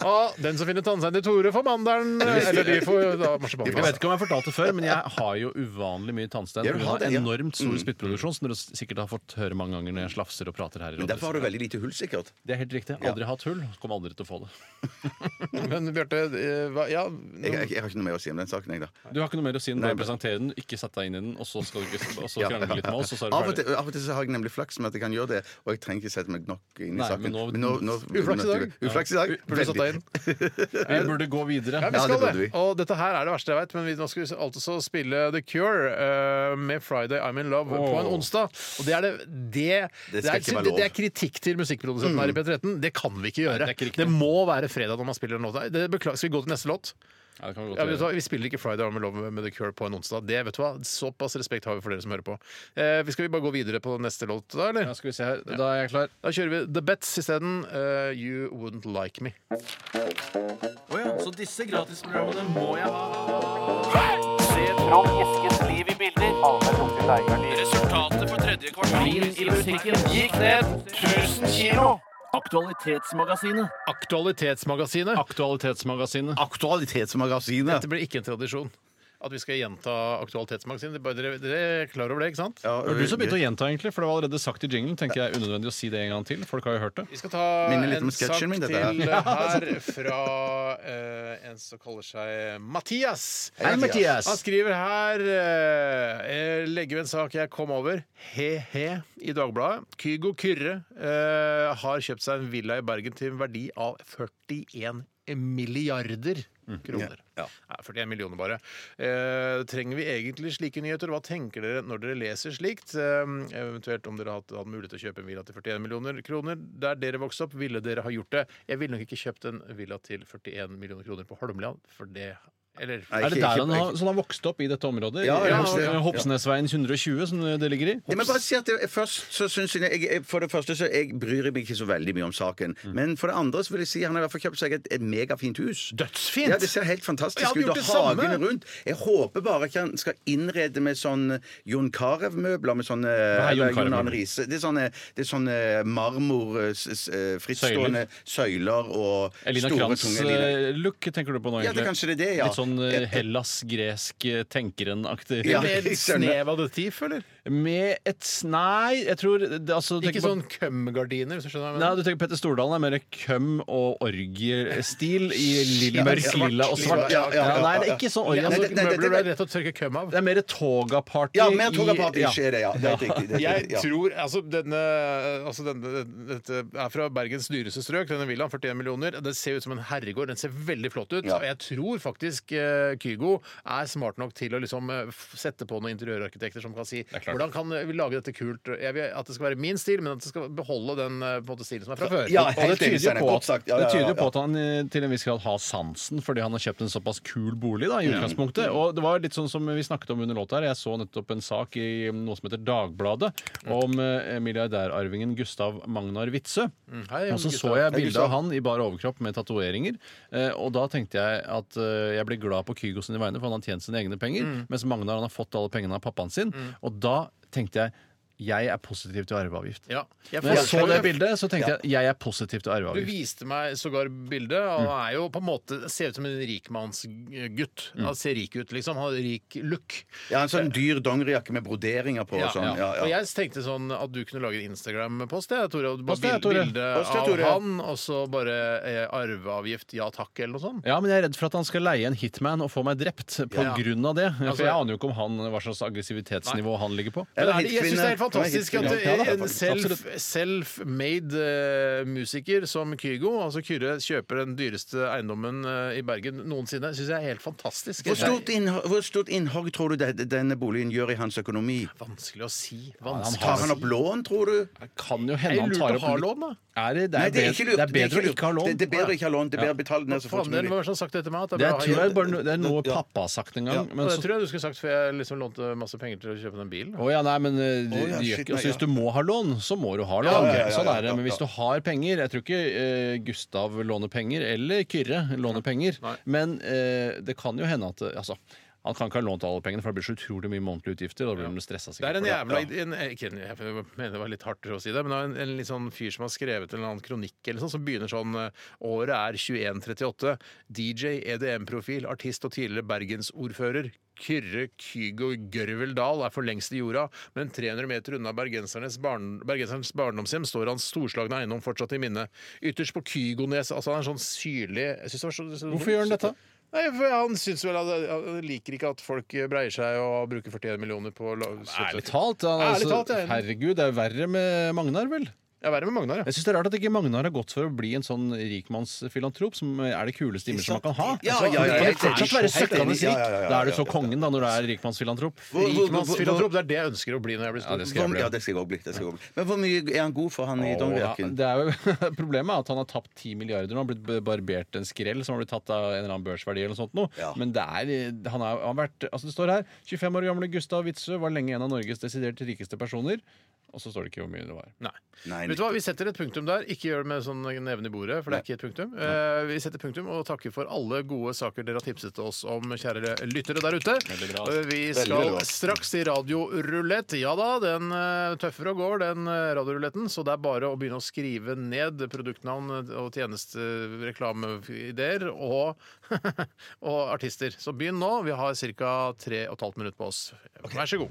[SPEAKER 4] Og den som finner tannstein til Tore, får mandelen. Eller de får da marsipan.
[SPEAKER 5] Jeg vet ikke om jeg fortalte det før, men jeg har jo uvanlig mye tannstein.
[SPEAKER 6] Ja, du
[SPEAKER 5] Jeg
[SPEAKER 6] har
[SPEAKER 5] har
[SPEAKER 6] det, ja. Mm.
[SPEAKER 5] enormt stor spyttproduksjon, som dere sikkert har fått høre mange ganger når jeg slafser og prater her. i
[SPEAKER 6] Men derfor
[SPEAKER 5] radioen.
[SPEAKER 6] har du veldig lite hull, sikkert.
[SPEAKER 5] Det er helt riktig. Aldri hatt hull. Kommer aldri til å få det.
[SPEAKER 4] Men Bjarte, eh, hva- ja
[SPEAKER 6] Jeg, jeg, jeg har ikke noe mer å si om den saken, jeg, da.
[SPEAKER 5] Du har ikke noe mer å si enn
[SPEAKER 6] Nei,
[SPEAKER 5] bare
[SPEAKER 6] men-
[SPEAKER 5] presentere den, ikke sette deg inn i den, og så skal du ikke og så
[SPEAKER 6] Ja.
[SPEAKER 5] krangle litt med oss, og så er
[SPEAKER 6] Av
[SPEAKER 5] det
[SPEAKER 6] og,
[SPEAKER 5] ferdig.
[SPEAKER 6] til, av og til så har jeg nemlig flaks med at jeg kan gjøre det, og jeg trenger ikke sette meg nok inn i
[SPEAKER 5] Nei,
[SPEAKER 6] saken.
[SPEAKER 5] men nå-
[SPEAKER 4] Uflaks i dag.
[SPEAKER 6] Uflaks i dag.
[SPEAKER 4] Burde du satt deg inn?
[SPEAKER 5] Vi burde gå videre.
[SPEAKER 4] Ja, vi
[SPEAKER 6] Ja, det
[SPEAKER 4] skal det.
[SPEAKER 6] burde vi.
[SPEAKER 4] Og dette her er det verste jeg veit, men vi nå skal vi altså spille The Cure eh, med 'Friday I'm In Love' på en onsdag. Og det er det Det,
[SPEAKER 6] Det skal
[SPEAKER 4] er,
[SPEAKER 6] ikke være lov. Mm.
[SPEAKER 4] det er kritikk til musikkprodusenten her i P13. Det kan vi ikke gjøre.
[SPEAKER 5] det er ikke
[SPEAKER 4] det,
[SPEAKER 5] riktig.
[SPEAKER 4] må være fredag når man spiller en låt. Nei, Det beklager. Skal vi gå til neste låt?
[SPEAKER 5] Ja, det kan vi
[SPEAKER 4] Ja, vet
[SPEAKER 5] godt
[SPEAKER 4] du hva?
[SPEAKER 5] gjøre.
[SPEAKER 4] Vi spiller ikke 'Friday I'm In Love' med The Cure på en onsdag. Det vet du hva, Såpass respekt har vi for dere som hører på. Eh, vi skal vi bare gå videre på neste låt, da, eller?
[SPEAKER 5] Ja, skal vi se her. Da er jeg klar.
[SPEAKER 4] Da kjører vi The Bets isteden. eh, 'You Wouldn't Like Me'.
[SPEAKER 5] Så disse gratisprogrammene må jeg ha.
[SPEAKER 4] Aktualitetsmagasinet.
[SPEAKER 5] Aktualitetsmagasinet.
[SPEAKER 6] Aktualitetsmagasinet.
[SPEAKER 4] Dette blir ikke en tradisjon. At vi skal gjenta Aktualitetsmagasinet. Det er bare- Dere, dere er klar over det, ikke sant?
[SPEAKER 6] Ja,
[SPEAKER 5] Det var du som begynte å gjenta, egentlig, for det var allerede sagt i jinglen. Tenker jeg er unødvendig å si det en gang til. Folk har jo hørt det.
[SPEAKER 4] Vi skal ta
[SPEAKER 6] Minner litt om
[SPEAKER 4] en sak
[SPEAKER 6] sketsjen min, dette her. altså.
[SPEAKER 4] til eh, her fra eh, en som kaller seg Mathias.
[SPEAKER 6] Hei, Mathias.
[SPEAKER 4] Han skriver her eh, jeg Legger ved en sak jeg kom over. He-he i Dagbladet. Kygo Kyrre eh, har kjøpt seg en villa i Bergen til en verdi av 41 milliarder kroner.
[SPEAKER 6] Mm. Ja.
[SPEAKER 4] Ja, 41 millioner bare. Eh, trenger vi egentlig slike nyheter? Hva tenker dere når dere leser slikt? Eh, eventuelt om dere hadde hatt mulighet til å kjøpe en villa til 41 millioner kroner. Der dere vokste opp, ville dere ha gjort det. Jeg ville nok ikke kjøpt en villa til 41 millioner kroner på Holmlia, for det Eller
[SPEAKER 6] Nei,
[SPEAKER 5] Er det
[SPEAKER 6] ikke-
[SPEAKER 5] der
[SPEAKER 6] ikke-
[SPEAKER 5] han har, så han har vokst opp i dette området?
[SPEAKER 6] Ja, ja,
[SPEAKER 5] Hops-
[SPEAKER 6] ja.
[SPEAKER 5] Hopsnesveien 120, som det ligger i?
[SPEAKER 6] Ja, men bare si at jeg, først så synes jeg, jeg For det første så jeg bryr jeg meg ikke så veldig mye om saken. Men for det andre så vil jeg si han har i hvert fall kjøpt seg et, et megafint hus.
[SPEAKER 4] Dødsfint!
[SPEAKER 6] Ja, Det ser helt
[SPEAKER 4] Jeg
[SPEAKER 6] fantastisk
[SPEAKER 4] hadde
[SPEAKER 6] ut.
[SPEAKER 4] gjort
[SPEAKER 6] Og
[SPEAKER 4] det samme.
[SPEAKER 6] hagen rundt. Jeg håper bare ikke han skal innrede med sånn Jon Carew-møbler. Med sånn
[SPEAKER 5] er Jon
[SPEAKER 6] Jon
[SPEAKER 5] Carew-møbler?
[SPEAKER 6] Arne Riise. Det er sånne, det er sånne marmor eh, s- s- eh, frittstående søyler og
[SPEAKER 5] Elina
[SPEAKER 6] store,
[SPEAKER 4] eh,
[SPEAKER 6] tunge liner.
[SPEAKER 5] Krantz-look tenker du på nå?
[SPEAKER 6] Ja, det er
[SPEAKER 5] egentlig?
[SPEAKER 6] kanskje det er det, ja.
[SPEAKER 5] Litt sånn eh, Hellas-gresk eh, tenkeren-aktig.
[SPEAKER 6] Ja.
[SPEAKER 4] Med
[SPEAKER 6] jeg
[SPEAKER 4] et
[SPEAKER 6] skjønner.
[SPEAKER 4] snev av detektiv, eller?
[SPEAKER 5] Med et s- Nei, jeg tror det, altså, tenker
[SPEAKER 4] Ikke
[SPEAKER 5] på-
[SPEAKER 4] sånn kømgardiner, hvis du skjønner hva jeg
[SPEAKER 5] Nei,
[SPEAKER 4] mener.
[SPEAKER 5] du tenker Petter Stordalen er mer køm- og orgiestil i lilla,
[SPEAKER 6] Ja,
[SPEAKER 5] mørk,
[SPEAKER 6] svart,
[SPEAKER 5] lilla og svart.
[SPEAKER 6] ja, ja, ja,
[SPEAKER 5] nei, det
[SPEAKER 6] ja.
[SPEAKER 5] er ikke sånn
[SPEAKER 4] Ja,
[SPEAKER 5] orgie.
[SPEAKER 6] Nei,
[SPEAKER 5] Altså,
[SPEAKER 6] det- nei,
[SPEAKER 4] møbler
[SPEAKER 6] det-
[SPEAKER 4] er lett å tørke køm av.
[SPEAKER 5] det er mer toga-party.
[SPEAKER 6] Ja, mer
[SPEAKER 5] i-
[SPEAKER 6] togaparty
[SPEAKER 5] ja.
[SPEAKER 6] skjer det, ja. Det er helt riktig. Det er
[SPEAKER 4] Jeg
[SPEAKER 6] helt riktig, ja.
[SPEAKER 4] tror Altså, denne, altså denne, dette er fra Bergens dyreste strøk, denne villaen. 41 millioner. Den ser ut som en herregård. Den ser veldig flott ut.
[SPEAKER 6] Ja.
[SPEAKER 4] Og jeg tror faktisk eh, Kygo er smart nok til å liksom eh, f- sette på noen interiørarkitekter som kan si
[SPEAKER 5] klart.
[SPEAKER 4] hvordan kan vi lage dette kult. Jeg vil at det skal være min stil, men at det skal beholde den eh, på en måte stilen som er fra før.
[SPEAKER 6] Ja,
[SPEAKER 5] Og det
[SPEAKER 6] helt
[SPEAKER 5] tyder jo
[SPEAKER 6] enig, Steinar.
[SPEAKER 5] på,
[SPEAKER 6] Godt sagt. Ja, ja,
[SPEAKER 5] det tyder jo
[SPEAKER 6] ja,
[SPEAKER 5] på
[SPEAKER 6] ja.
[SPEAKER 5] at han eh, til en viss grad har sansen, fordi han har kjøpt en såpass kul bolig da, i utgangspunktet.
[SPEAKER 6] Mm.
[SPEAKER 5] Og det var litt sånn som vi snakket om under låta her. Jeg så nettopp en sak i noe som heter Dagbladet,
[SPEAKER 6] Mm.
[SPEAKER 5] om eh, milliardærarvingen Gustav Magnar Witzøe.
[SPEAKER 4] Hei,
[SPEAKER 5] Og så
[SPEAKER 4] Gustav.
[SPEAKER 5] så jeg
[SPEAKER 6] Mm. Hei,
[SPEAKER 5] bilde
[SPEAKER 6] Gustav.
[SPEAKER 5] av han i bar overkropp med tatoveringer. eh, Og da tenkte jeg at eh, jeg ble glad på Kygo sine vegne, for han har tjent sine egne penger.
[SPEAKER 6] Mm.
[SPEAKER 5] Mens Magnar han har fått alle pengene av pappaen sin. Og da tenkte jeg jeg er positiv til arveavgift.
[SPEAKER 4] Ja. Jeg
[SPEAKER 5] Når jeg så
[SPEAKER 4] foreslår-
[SPEAKER 5] det bildet, så tenkte jeg jeg er positiv til
[SPEAKER 4] Du
[SPEAKER 5] arveavgift.
[SPEAKER 4] viste meg sågar bildet. og
[SPEAKER 6] Mm.
[SPEAKER 4] Han er jo på en måte, ser ut som en rikmannsgutt. Han ser rik ut, liksom. Han har rik look.
[SPEAKER 6] Ja, En sånn dyr dongerijakke med broderinger på og sånn. Ja,
[SPEAKER 4] Og
[SPEAKER 6] ja.
[SPEAKER 4] jeg tenkte sånn at du kunne lage en Instagram-post. jeg, Tore, og bare
[SPEAKER 5] Post det,
[SPEAKER 4] bil-
[SPEAKER 5] Tore.
[SPEAKER 4] Bilde
[SPEAKER 6] Post det,
[SPEAKER 4] av
[SPEAKER 6] Tore.
[SPEAKER 4] han, og så bare eh, arveavgift, ja takk, eller noe sånt.
[SPEAKER 5] Ja, men jeg er redd for at han skal leie en hitman og få meg drept på
[SPEAKER 4] Ja.
[SPEAKER 5] grunn av det. For
[SPEAKER 4] Altså-
[SPEAKER 5] jeg aner jo ikke om han, hva slags aggressivitetsnivå han ligger på.
[SPEAKER 4] Men
[SPEAKER 6] Eller
[SPEAKER 4] er det, jeg syns det er helt
[SPEAKER 6] hitkvinne.
[SPEAKER 4] fantastisk at
[SPEAKER 6] Eller
[SPEAKER 4] det
[SPEAKER 6] hitkvinne.
[SPEAKER 4] er
[SPEAKER 6] Ja,
[SPEAKER 4] en
[SPEAKER 6] da,
[SPEAKER 4] self-
[SPEAKER 6] absolutt.
[SPEAKER 4] self-made eh, musiker som Kygo, altså Kyrre, kjøper den dyreste eiendommen eh, i Bergen noensinne. Syns jeg er helt fantastisk.
[SPEAKER 6] Hvor stort, innhog, hvor stort innhogg tror du det, denne boligen gjør i hans økonomi?
[SPEAKER 4] Vanskelig å si.
[SPEAKER 5] han
[SPEAKER 4] Vanskelig
[SPEAKER 5] har-
[SPEAKER 6] Tar han opp lån, tror du?
[SPEAKER 5] Det kan jo
[SPEAKER 4] Er
[SPEAKER 5] hende
[SPEAKER 4] det
[SPEAKER 5] han
[SPEAKER 4] lurt
[SPEAKER 5] tar
[SPEAKER 4] å
[SPEAKER 5] opp
[SPEAKER 4] ha
[SPEAKER 5] litt-
[SPEAKER 4] lån, da?
[SPEAKER 5] Er det, det,
[SPEAKER 6] Nei,
[SPEAKER 5] er bedre, det er bedre å
[SPEAKER 6] lurt.
[SPEAKER 5] ikke ha lån.
[SPEAKER 6] Det, det er bedre å ikke ha lån. Det er bedre å betale den ned så fort som
[SPEAKER 4] Faen,
[SPEAKER 6] mulig.
[SPEAKER 4] hvem var det som sagt det til meg? At det
[SPEAKER 5] Det
[SPEAKER 4] er
[SPEAKER 5] er,
[SPEAKER 4] bra å
[SPEAKER 5] tror
[SPEAKER 4] ha
[SPEAKER 5] jeg
[SPEAKER 4] jobb?
[SPEAKER 5] bare, no- det er noe
[SPEAKER 6] Ja.
[SPEAKER 5] pappa har sagt en gang.
[SPEAKER 4] Og
[SPEAKER 5] Men
[SPEAKER 4] det
[SPEAKER 5] så,
[SPEAKER 4] tror jeg du skulle sagt, for jeg liksom lånte masse penger til å kjøpe den bilen.
[SPEAKER 5] å ja, nei, men eh, du,
[SPEAKER 6] Å ja,
[SPEAKER 5] du gjør
[SPEAKER 6] shit,
[SPEAKER 5] ikke, altså,
[SPEAKER 6] nei,
[SPEAKER 5] Hvis du må ha lån, så må du ha lån.
[SPEAKER 6] ja, ja, ja,
[SPEAKER 5] sånn er
[SPEAKER 6] ja,
[SPEAKER 5] det.
[SPEAKER 6] ja,
[SPEAKER 5] Men hvis du
[SPEAKER 6] ja.
[SPEAKER 5] har penger Jeg tror ikke eh, Gustav låner penger, eller Kyrre låner penger. Men eh, det kan jo hende at eh, altså, Han kan ikke ha lånt alle pengene, for det blir så utrolig mye månedlige utgifter. og Da blir han stressa
[SPEAKER 4] Det er
[SPEAKER 5] sikkert.
[SPEAKER 4] en
[SPEAKER 5] for det.
[SPEAKER 4] jævla en, ikke en, Jeg mener det var litt hardt å si det, men det er en, en litt sånn fyr som har skrevet en eller annen kronikk eller sånn, som begynner sånn eh, Året er 2138. DJ, EDM-profil, E artist og tidligere bergensordfører. Kyrre Kygo Gørvel Dahl er for lengst i jorda, men 300 meter unna bergensernes, barn, bergensernes barndomshjem står hans storslagne eiendom fortsatt i minne. Ytterst på Kygones Altså, han er sånn syrlig jeg synes det var så, så,
[SPEAKER 5] Hvorfor gjør han dette?
[SPEAKER 4] Nei, for Han syns vel at han liker ikke at folk breier seg og bruker 41 millioner på la-
[SPEAKER 5] Ærlig talt. Han,
[SPEAKER 4] Ærlig
[SPEAKER 5] altså,
[SPEAKER 4] talt, jeg er enig.
[SPEAKER 5] herregud, det er verre med Magnar, vel?
[SPEAKER 4] Jeg er verre med Magnar, ja.
[SPEAKER 5] Jeg syns det er rart at ikke Magnar har gått for å bli en sånn rikmannsfilantrop, som eh, er det kuleste imaget man kan ha.
[SPEAKER 6] Ja,
[SPEAKER 5] Altså,
[SPEAKER 6] ja, ja,
[SPEAKER 5] du kan jo
[SPEAKER 6] helt
[SPEAKER 5] fortsatt
[SPEAKER 6] enig.
[SPEAKER 5] være
[SPEAKER 6] Helt
[SPEAKER 5] søkkende
[SPEAKER 6] enig. Ja, ja, ja,
[SPEAKER 5] rik.
[SPEAKER 6] ja,
[SPEAKER 5] Da er du
[SPEAKER 6] ja,
[SPEAKER 5] så
[SPEAKER 6] ja, ja.
[SPEAKER 5] kongen, da, når du er rikmannsfilantrop.
[SPEAKER 6] Hvor- hvor-
[SPEAKER 4] Rikmannsfilantrop, det er det jeg ønsker å bli når jeg blir stor.
[SPEAKER 5] det skal
[SPEAKER 6] hvor-
[SPEAKER 5] jeg bli.
[SPEAKER 6] Ja, det skal jeg også bli. Det skal jeg også bli. Men hvor mye er han god for, han i
[SPEAKER 5] Ja,
[SPEAKER 6] dongerijakken?
[SPEAKER 5] det er jo Problemet er at han har tapt 10 milliarder og har blitt barbert en skrell som har blitt tatt av en eller annen børsverdi eller noe sånt. Noe.
[SPEAKER 6] Ja.
[SPEAKER 5] Men det er, han har, han har vært Altså Det står her 25 år gamle Gustav Witzøe var lenge en av Norges desidert rikeste personer. Og så står det ikke hvor mye det var.
[SPEAKER 4] Nei.
[SPEAKER 6] Nei,
[SPEAKER 4] Vet du hva, Vi setter et punktum der. Ikke gjør det med sånn neven i bordet, for det er ikke et punktum. Eh, vi setter punktum og takker for alle gode saker dere har tipset oss om, kjære lyttere der ute. Eh, Vi skal straks til radiorulett. Ja da, den eh, tøffer og går, den eh, radioruletten. Så det er bare å begynne å skrive ned produktnavn eh, og tjenestereklameideer og, og artister. Så begynn nå. Vi har ca. 3,5 minutter på oss. Vær så god.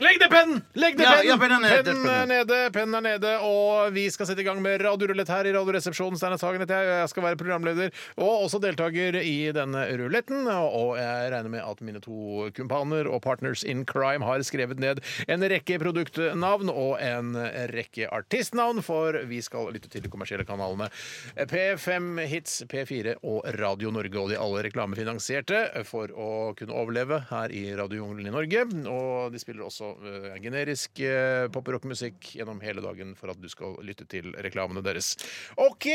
[SPEAKER 4] Legg ned pennen! Legg ned
[SPEAKER 6] Ja,
[SPEAKER 4] pennen!
[SPEAKER 6] ja, pennen er nede,
[SPEAKER 4] pennen er
[SPEAKER 6] pennen.
[SPEAKER 4] nede, pennen er nede, og vi skal sette i gang med radiorulett her i Radioresepsjonen. Steinar Sagen heter jeg, og jeg skal være programleder og også deltaker i denne ruletten. Og jeg regner med at mine to kumpaner og partners in crime har skrevet ned en rekke produktnavn og en rekke artistnavn, for vi skal lytte til de kommersielle kanalene P5 Hits, P4 og Radio Norge, og de alle reklamefinansierte for å kunne overleve her i radiojungelen i Norge. Og de spiller også altså eh, generisk eh, pop- og rockmusikk gjennom hele dagen for at du skal lytte til reklamene deres. OK,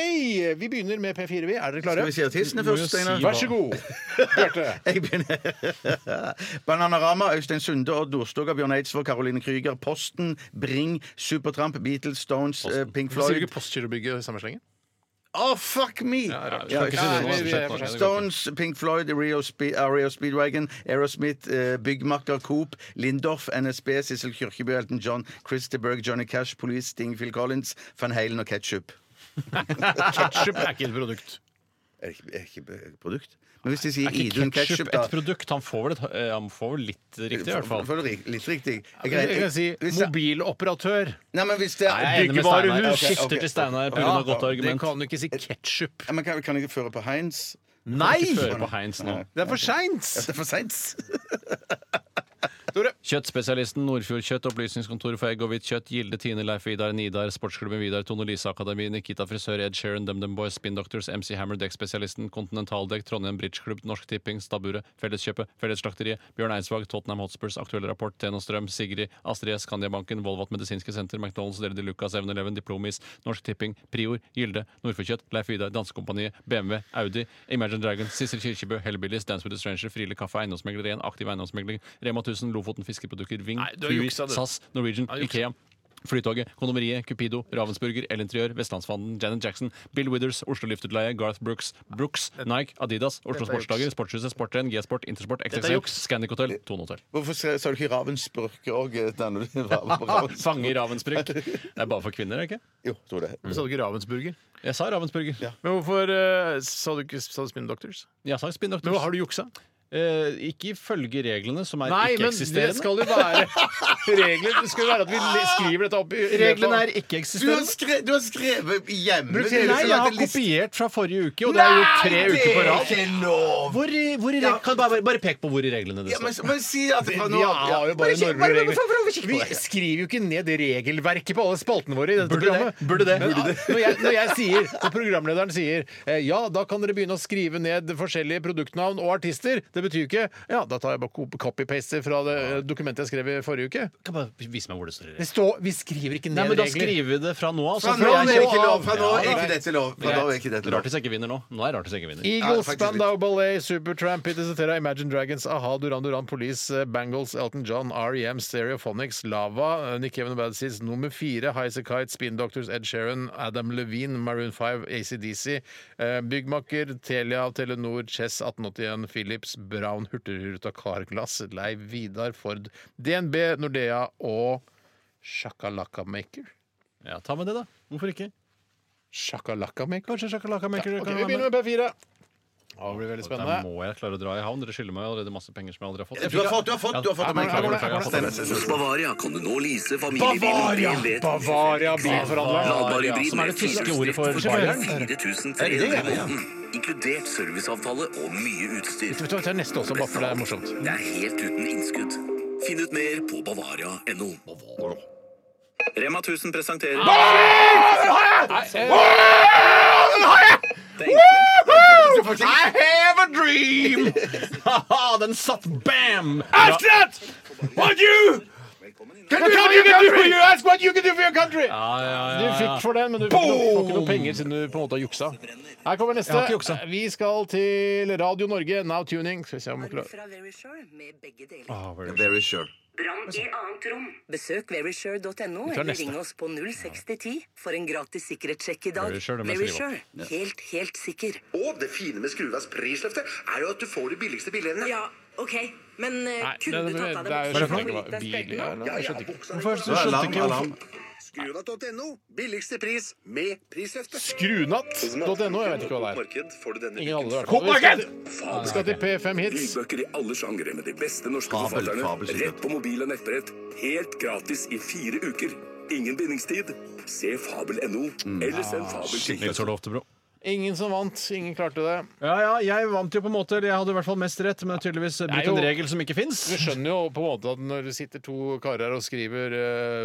[SPEAKER 4] vi begynner med P4, vi. Er dere klare?
[SPEAKER 6] Skal vi si artistene først, Steinar?
[SPEAKER 4] Vær så god. Bjarte.
[SPEAKER 6] Jeg begynner. Bananarama, Øystein Sunde, Odd Nordstoga, Bjørn Eidsvåg, Caroline Krüger, Posten, Bring, Supertramp, Beatles, Stones, eh, Pink
[SPEAKER 4] Sier du
[SPEAKER 6] Floyd
[SPEAKER 4] ikke Postgirobygget i samme slengen?
[SPEAKER 6] Oh, fuck me!
[SPEAKER 5] rart.
[SPEAKER 6] Ja,
[SPEAKER 5] Kan ikke si det nå,
[SPEAKER 6] ja,
[SPEAKER 5] altså.
[SPEAKER 6] vi- vi- Stones, Pink Floyd, Rio Spe Ario Speedwagon, Aerosmith, eh, Byggmakker Coop, Lindorf, NSB, Sissel Kyrkjebø, Elton John, Christer Berg, Johnny Cash, Police, Sting, Phil Collins, Van Halen og Ketchup.
[SPEAKER 4] Ketchup er ikke et produkt.
[SPEAKER 6] Er ikke, er ikke et produkt? Men hvis de sier
[SPEAKER 5] Er ikke
[SPEAKER 6] Idun
[SPEAKER 5] ketsjup
[SPEAKER 6] Ketchup, da
[SPEAKER 5] et produkt? Han får vel, et, eh, han får vel litt riktig, i hvert fall.
[SPEAKER 6] For, for, litt riktig. Jeg,
[SPEAKER 4] Jeg kan si
[SPEAKER 6] hvis det-
[SPEAKER 4] mobiloperatør.
[SPEAKER 6] Nei, men hvis det
[SPEAKER 5] Nei, jeg er enig
[SPEAKER 4] Byggevarehus.
[SPEAKER 5] med Steinar. Jeg
[SPEAKER 6] Ok, ok.
[SPEAKER 5] skifter til Steinar pga.
[SPEAKER 6] Ja,
[SPEAKER 5] av godt
[SPEAKER 4] Det
[SPEAKER 5] argument.
[SPEAKER 4] kan du ikke si ketchup.
[SPEAKER 6] Ja, men kan, kan jeg føre på Heinz?
[SPEAKER 5] Ikke
[SPEAKER 4] Nei!
[SPEAKER 5] føre på Heinz nå.
[SPEAKER 4] Det er for seint!
[SPEAKER 6] Det er for seint!
[SPEAKER 5] Kjøttspesialisten Nordfjord Kjøtt, Opplysningskontoret for egg og hvitt kjøtt, Gilde Tine, Leif Vidar, Nidar, Sportsklubben Vidar, Tone Lise Akademi, Nikita Frisør, Ed Sheeran, DumDum Boys, Spin Doctors, MC Hammer, Dekkspesialisten, Kontinentaldekk, Trondheim Bridgeklubb, Norsk Tipping, Stabburet, Felleskjøpet, Fellesslakteriet, Bjørn Eidsvåg, Tottenham Hotspurs, Aktuell Rapport, Teno Strøm, Sigrid, Astrid S, Skandiabanken, Volvat Medisinske Senter, McDonald's, Deli de Lucas, 7-Eleven, Diplomis, Norsk Tipping, Prior, Gilde, Nordfjord Kjøtt, Leif Vidar, Dansekompaniet, BMW, Audi, Imagine Dragons, Sissel Kirkebø, Hellbillies, Dance with a Stranger, Friele Kaffe, Eiendomsmegler 1, Aktiv Eiendomsmegling, Rema 1000, Lofoten Fiskeprodukter, Ving,
[SPEAKER 4] Nei, du har
[SPEAKER 5] Kiwi,
[SPEAKER 4] juksa, du.
[SPEAKER 5] SAS, Norwegian, Ikea. Flytoget, Kondomeriet, Cupido, Ravensburger, El Interiør, Vestlandsfanden, Janet Jackson, Bill Withers, Oslo Luftutleie, Garth Brooks, Brooks, Nike, Adidas, Oslo Sportsdager, Sportshuset, Sportrenn, G-Sport, Intersport, XXL, Scandic Hotel, Tone Hotel.
[SPEAKER 6] Hvorfor sa sa du ikke Ravensburg eh, òg?
[SPEAKER 5] Fange i Ravensbrück. Det er bare for kvinner, er det ikke?
[SPEAKER 6] Jo, tror det.
[SPEAKER 4] Sa du ikke Ravensburger?
[SPEAKER 5] Jeg sa Ravensburger.
[SPEAKER 4] Men hvorfor eh, sa du ikke sa du Spin Doctors?
[SPEAKER 5] Jeg sa Spin
[SPEAKER 4] Men
[SPEAKER 5] Doctors.
[SPEAKER 4] hva, Har du juksa?
[SPEAKER 5] Eh, ikke ifølge reglene, som er
[SPEAKER 4] Nei, men det
[SPEAKER 5] ikke-eksisterende.
[SPEAKER 4] skal jo være regler. Det skal jo være at vi li- skriver dette opp i
[SPEAKER 5] Reglene er
[SPEAKER 6] Du har,
[SPEAKER 5] ikke-eksisterende.
[SPEAKER 6] skre, du har skrevet hjemme
[SPEAKER 4] Brukt hele-
[SPEAKER 5] Nei, jeg har kopiert fra forrige uke, og det er jo tre uker på rad.
[SPEAKER 6] Ikke lov!
[SPEAKER 5] Hvor i, hvor i reg- kan bare, bare pek på hvor i reglene det
[SPEAKER 6] Ja,
[SPEAKER 5] står.
[SPEAKER 6] men, men si at fra nå
[SPEAKER 4] Vi
[SPEAKER 6] av-
[SPEAKER 4] har jo bare
[SPEAKER 6] Ja. Bare kikk-
[SPEAKER 4] normer og
[SPEAKER 6] bare- bare- bare- bare
[SPEAKER 4] regler.
[SPEAKER 6] kikk
[SPEAKER 4] Vi
[SPEAKER 6] på det.
[SPEAKER 4] skriver jo ikke ned regelverket på alle spaltene våre. i dette
[SPEAKER 5] Burde det?
[SPEAKER 4] programmet.
[SPEAKER 5] Burde det?
[SPEAKER 4] Men,
[SPEAKER 5] Burde
[SPEAKER 4] ah, Når, jeg, når jeg sier, når programlederen sier eh, ja, da kan dere begynne å skrive ned forskjellige produktnavn og artister, det betyr jo ikke ja, da tar jeg bare kop- copy-paste fra det eh, dokumentet jeg skrev i forrige uke.
[SPEAKER 5] Kan bare vise meg hvor det står. i
[SPEAKER 4] Det
[SPEAKER 5] reglene.
[SPEAKER 4] står, vi skriver ikke ned
[SPEAKER 5] Nei, men da
[SPEAKER 4] regler.
[SPEAKER 5] skriver vi det fra nå av.
[SPEAKER 6] Fra
[SPEAKER 5] så får
[SPEAKER 6] nå av
[SPEAKER 5] jeg
[SPEAKER 6] er
[SPEAKER 5] ikke-
[SPEAKER 6] ikke lov! Fra nå
[SPEAKER 4] Ja,
[SPEAKER 6] er
[SPEAKER 4] nei.
[SPEAKER 6] ikke dette lov! Fra nå er ikke dette lov.
[SPEAKER 5] Rart hvis jeg ikke vinner nå. Nå er det rart hvis jeg ikke vinner.
[SPEAKER 4] Eagles,
[SPEAKER 6] faktisk
[SPEAKER 4] Spandau Ballet, Supertramp, Pitti Cetera, Imagine Dragons, A-ha, Duran Duran, Police, eh, Bangles, Elton John, R.E.M., Stereophonics, Lava, eh, Nick Even Bad Seeds, nummer fire, Highasakite, Spin Doctors, Ed Sheeran, Adam Levine, Maroon 5, ACDC, eh, Byggmakker, Telia, Telenor, Chess, 1881, Philips, Brown, Hurtigruta, Carglass, Leiv, Vidar, Ford, DNB, Nordea og Shakalaka Maker.
[SPEAKER 5] Ja, ta med det, da. Hvorfor ikke?
[SPEAKER 4] Shakalaka Maker?
[SPEAKER 5] Kanskje sjakalaka maker
[SPEAKER 4] Ok, vi begynner med P4. Ja, Det blir veldig spennende.
[SPEAKER 5] Da må jeg klare å dra i havn. Dere skylder meg allerede masse penger som jeg aldri har fått.
[SPEAKER 6] Du har fått, du har fått! Du har fått
[SPEAKER 4] Her kommer det, her kommer det.
[SPEAKER 6] Steinar, Steinar, Steinar.
[SPEAKER 9] Bavaria kan du nå lease
[SPEAKER 4] Bavaria!
[SPEAKER 9] familiebilen din ved
[SPEAKER 4] Bavaria bilforhandler.
[SPEAKER 9] ladbar
[SPEAKER 5] Ja,
[SPEAKER 9] hybrid
[SPEAKER 5] som altså. er det
[SPEAKER 9] med
[SPEAKER 5] tyske ordet for
[SPEAKER 9] tilleggsdrift for bare 4300 i måneden. Inkludert serviceavtale og mye utstyr.
[SPEAKER 4] Vet du hva, Vi tar neste også, bare for det er morsomt.
[SPEAKER 9] Det er helt uten innskudd. Finn ut mer på bavaria.no. Rema 1000 presenterer
[SPEAKER 4] Ah! I have a dream!
[SPEAKER 5] Haha, den satt bam!
[SPEAKER 4] Ask that! What you can do, you can do for you ask what you can do for your country!
[SPEAKER 5] Ja, ja, ja,
[SPEAKER 4] Du
[SPEAKER 5] ja.
[SPEAKER 4] fikk for den, men du fikk noe, får ikke noe penger siden du på en måte har juksa. Her kommer
[SPEAKER 5] Jeg har ikke
[SPEAKER 4] neste.
[SPEAKER 5] juksa.
[SPEAKER 4] Vi skal til Radio Norge, Now Tuning. Skal vi se om vi klarer
[SPEAKER 10] Fra Verisure med begge deler.
[SPEAKER 4] Ah,
[SPEAKER 6] Very sure.
[SPEAKER 10] Brann i annet rom. Besøk verisure.no eller
[SPEAKER 4] neste.
[SPEAKER 10] ring oss på 06010 for en gratis sikkerhetssjekk i dag.
[SPEAKER 5] Verisure, det må jeg skrive
[SPEAKER 10] Verisure. Helt, helt sikker.
[SPEAKER 9] Og det fine med Skruvas prisløfte er jo at du får de billigste bilene.
[SPEAKER 10] Ja, OK. Men eh,
[SPEAKER 4] Nei, det, det, det, det er jo skjønner jeg ikke hva bil er.
[SPEAKER 9] ja, ja,
[SPEAKER 5] Hvorfor
[SPEAKER 9] buksa.
[SPEAKER 5] så skjønte
[SPEAKER 6] Alarm,
[SPEAKER 5] ikke hvorfor
[SPEAKER 6] alarm.
[SPEAKER 9] Skruva.no. Billigste pris med prisløfte.
[SPEAKER 4] Skrunatt.no, jeg vet ikke hva det er.
[SPEAKER 9] Marked får du denne
[SPEAKER 4] Ingen
[SPEAKER 9] uken.
[SPEAKER 4] andre, i hvert fall. Vi skal til- Vi skal til P5 Hits.
[SPEAKER 9] Lydbøker i alle sjangere med de beste norske
[SPEAKER 6] Fabel,
[SPEAKER 9] forfatterne.
[SPEAKER 6] fabel, sikkert.
[SPEAKER 9] rett på mobil og nettbrett. Helt gratis i fire uker. Ingen bindingstid. Se fabel.no,
[SPEAKER 4] Mm.
[SPEAKER 9] eller send fabel til
[SPEAKER 5] Nils Olav Oftebro.
[SPEAKER 4] Ingen som vant. Ingen klarte det.
[SPEAKER 5] Ja, ja, jeg vant jo på en måte. eller Jeg hadde i hvert fall mest rett, men det er tydeligvis
[SPEAKER 4] Det
[SPEAKER 5] brutt
[SPEAKER 4] er jo-
[SPEAKER 5] en regel som ikke fins.
[SPEAKER 4] Du skjønner jo på en måte at når det sitter to karer her og skriver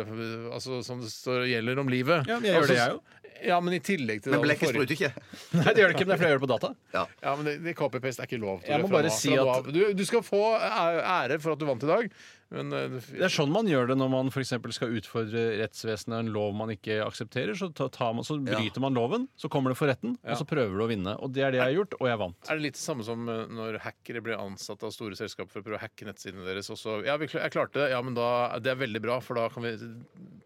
[SPEAKER 4] eh, altså, som det står, gjelder om livet Altså,
[SPEAKER 5] Ja, men jeg gjør det, jeg jo.
[SPEAKER 4] Ja, men i tillegg til
[SPEAKER 6] Men
[SPEAKER 4] alle
[SPEAKER 6] blekket
[SPEAKER 4] forrige-
[SPEAKER 6] spruter ikke.
[SPEAKER 5] Nei, det gjør det ikke, men det er fordi jeg gjør det på data.
[SPEAKER 4] Ja, men det, det Copy-paste er ikke lov. Tore,
[SPEAKER 5] Jeg må
[SPEAKER 4] fra
[SPEAKER 5] bare
[SPEAKER 4] nå-
[SPEAKER 5] si
[SPEAKER 4] fra nå
[SPEAKER 5] at-
[SPEAKER 4] av. du, du skal få æ- ære for at du vant i dag. Men eh,
[SPEAKER 5] Det er sånn man gjør det når man for eksempel skal utfordre rettsvesenet en lov man ikke aksepterer. Så, ta- tar man, så bryter man loven, så kommer det for retten, og så prøver du å vinne. Og det er det jeg har gjort, og jeg vant.
[SPEAKER 4] Er det litt det samme som eh, når hackere blir ansatt av store selskaper for å prøve å hacke nettsidene deres? Og så, ja, vi, kl- jeg klarte det. Ja, men da, det er veldig bra, for da kan vi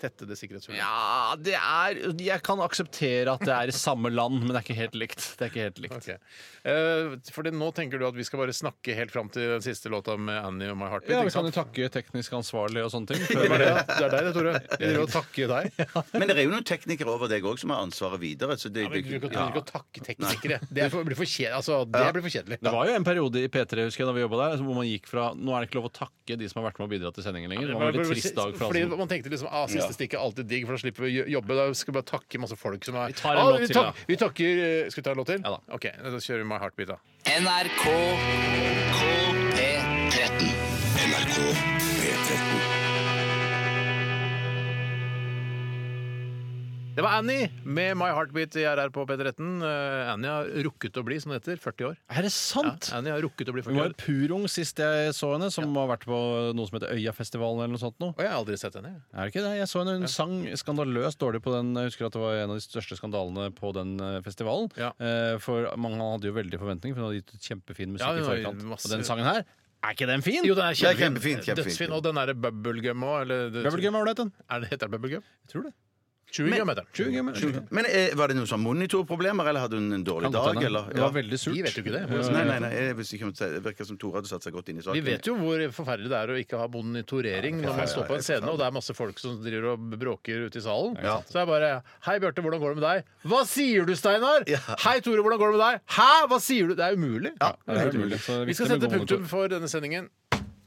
[SPEAKER 4] tette det sikkerhetshullet.
[SPEAKER 5] Ja, det er Jeg kan akseptere at det er i samme land, men det er ikke helt likt. Det er ikke helt likt.
[SPEAKER 4] Ok. Eh, fordi nå tenker du at vi skal bare snakke helt fram til den siste låta med Annie og My Heartbeat?
[SPEAKER 5] Ja,
[SPEAKER 4] ikke
[SPEAKER 5] Vi kan jo
[SPEAKER 4] sant?
[SPEAKER 5] takke teknisk ansvarlig og sånne ting.
[SPEAKER 4] Det var det, ja. Det er deg det, Tore. Vi vil jo takke deg.
[SPEAKER 6] Men det er jo noen teknikere over deg òg som har ansvaret videre. Så det,
[SPEAKER 4] Ja, men du trenger ikke- du
[SPEAKER 6] ja.
[SPEAKER 4] trenger ikke å takke teknikere. Det er for- blir for kjedelig. Altså, det blir for kjedelig.
[SPEAKER 5] Det var jo en periode i P3 husker jeg, da vi jobbet der, altså, hvor man gikk fra Nå er det ikke lov å takke de som har vært med og bidratt til sendingen lenger. Det var en veldig trist dag for alle
[SPEAKER 4] Fordi
[SPEAKER 5] som-
[SPEAKER 4] Man tenkte liksom ah, siste stikk er alltid digg, for da slipper vi å jo- jobbe. Da skal vi bare takke masse folk som er Ah,
[SPEAKER 5] Vi tar en låt
[SPEAKER 4] vi,
[SPEAKER 5] til,
[SPEAKER 4] tak-
[SPEAKER 5] da.
[SPEAKER 4] vi takker eh, Skal vi ta en låt til?
[SPEAKER 5] Ja da.
[SPEAKER 4] OK, da kjører vi My Heartbeat, da.
[SPEAKER 2] NRK P13.
[SPEAKER 1] NRK P13.
[SPEAKER 4] Det var Annie med My Heartbeat i RR på P13. Eh, Annie har rukket å bli, som det heter, 40 år.
[SPEAKER 5] Er det sant?
[SPEAKER 4] Annie har rukket å bli
[SPEAKER 5] Hun
[SPEAKER 4] 40
[SPEAKER 5] var jo
[SPEAKER 4] år.
[SPEAKER 5] purung sist jeg så henne, som har vært på noe som heter Øyafestivalen eller noe sånt nå.
[SPEAKER 4] Og jeg har aldri sett henne. jeg.
[SPEAKER 5] Er det ikke det? Jeg så henne, hun sang skandaløst dårlig på den. Jeg husker at det var en av de største skandalene på den eh, festivalen.
[SPEAKER 4] Ja.
[SPEAKER 5] Eh, For mange hadde jo veldig forventninger, for hun hadde gitt ut kjempefin musikk
[SPEAKER 4] Ja, hun
[SPEAKER 5] i
[SPEAKER 4] har
[SPEAKER 5] forkant.
[SPEAKER 4] masse-
[SPEAKER 5] Og den sangen her, er ikke den fin?
[SPEAKER 4] Jo, den er
[SPEAKER 6] Det er
[SPEAKER 4] kjempefin.
[SPEAKER 6] kjempefin, kjempefin.
[SPEAKER 4] Dødsfin. Og den derre bubblegum òg, eller det-
[SPEAKER 5] Bubblegum er ålreit, den.
[SPEAKER 4] Er det, heter det bubblegum?
[SPEAKER 5] Jeg tror det.
[SPEAKER 4] Chewing-gum heter den.
[SPEAKER 5] Chewing gum, eller?
[SPEAKER 6] Men eh, var det noen sånn monitorproblemer, eller hadde hun en
[SPEAKER 5] Kan
[SPEAKER 6] dårlig
[SPEAKER 5] godt
[SPEAKER 6] dag?
[SPEAKER 5] hende.
[SPEAKER 6] Eller?
[SPEAKER 5] Det var veldig surt.
[SPEAKER 4] Vi vet jo ikke det.
[SPEAKER 6] Nei, nei, nei, jeg visste ikke om det det virker som Tore hadde satt seg godt inn i saken.
[SPEAKER 4] Eh, Vi vet jo hvor forferdelig det er å ikke ha monitorering når man står på en scene og det er masse folk som driver og bråker ute i salen. Så det er bare Hei, Bjarte, hvordan går det med deg? Hva sier du, Steinar? Hei, Tore, hvordan går det med deg? Hæ, hva sier du? Det er umulig.
[SPEAKER 5] det er helt umulig. Så det er
[SPEAKER 4] Vi skal
[SPEAKER 5] viktig med
[SPEAKER 4] sette punktum
[SPEAKER 5] monitor.
[SPEAKER 4] for denne sendingen.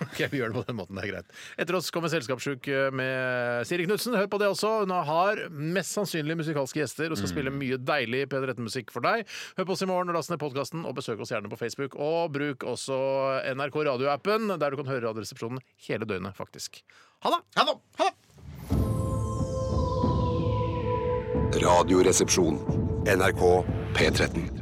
[SPEAKER 4] Ok, vi gjør det på den måten, det er greit. Etter oss kommer Selskapssjuk eh, med Siri Knutsen. Hør på det også. Hun har mest sannsynlig musikalske gjester og
[SPEAKER 5] Mm.
[SPEAKER 4] skal spille mye deilig P13-musikk for deg. Hør på oss i morgen, last ned podkasten og besøk oss gjerne på Facebook. Og bruk også NRK radioappen, der du kan høre Radioresepsjonen hele døgnet, faktisk. Ha det! Ha det! Ha det!
[SPEAKER 1] Radioresepsjon. NRK P13.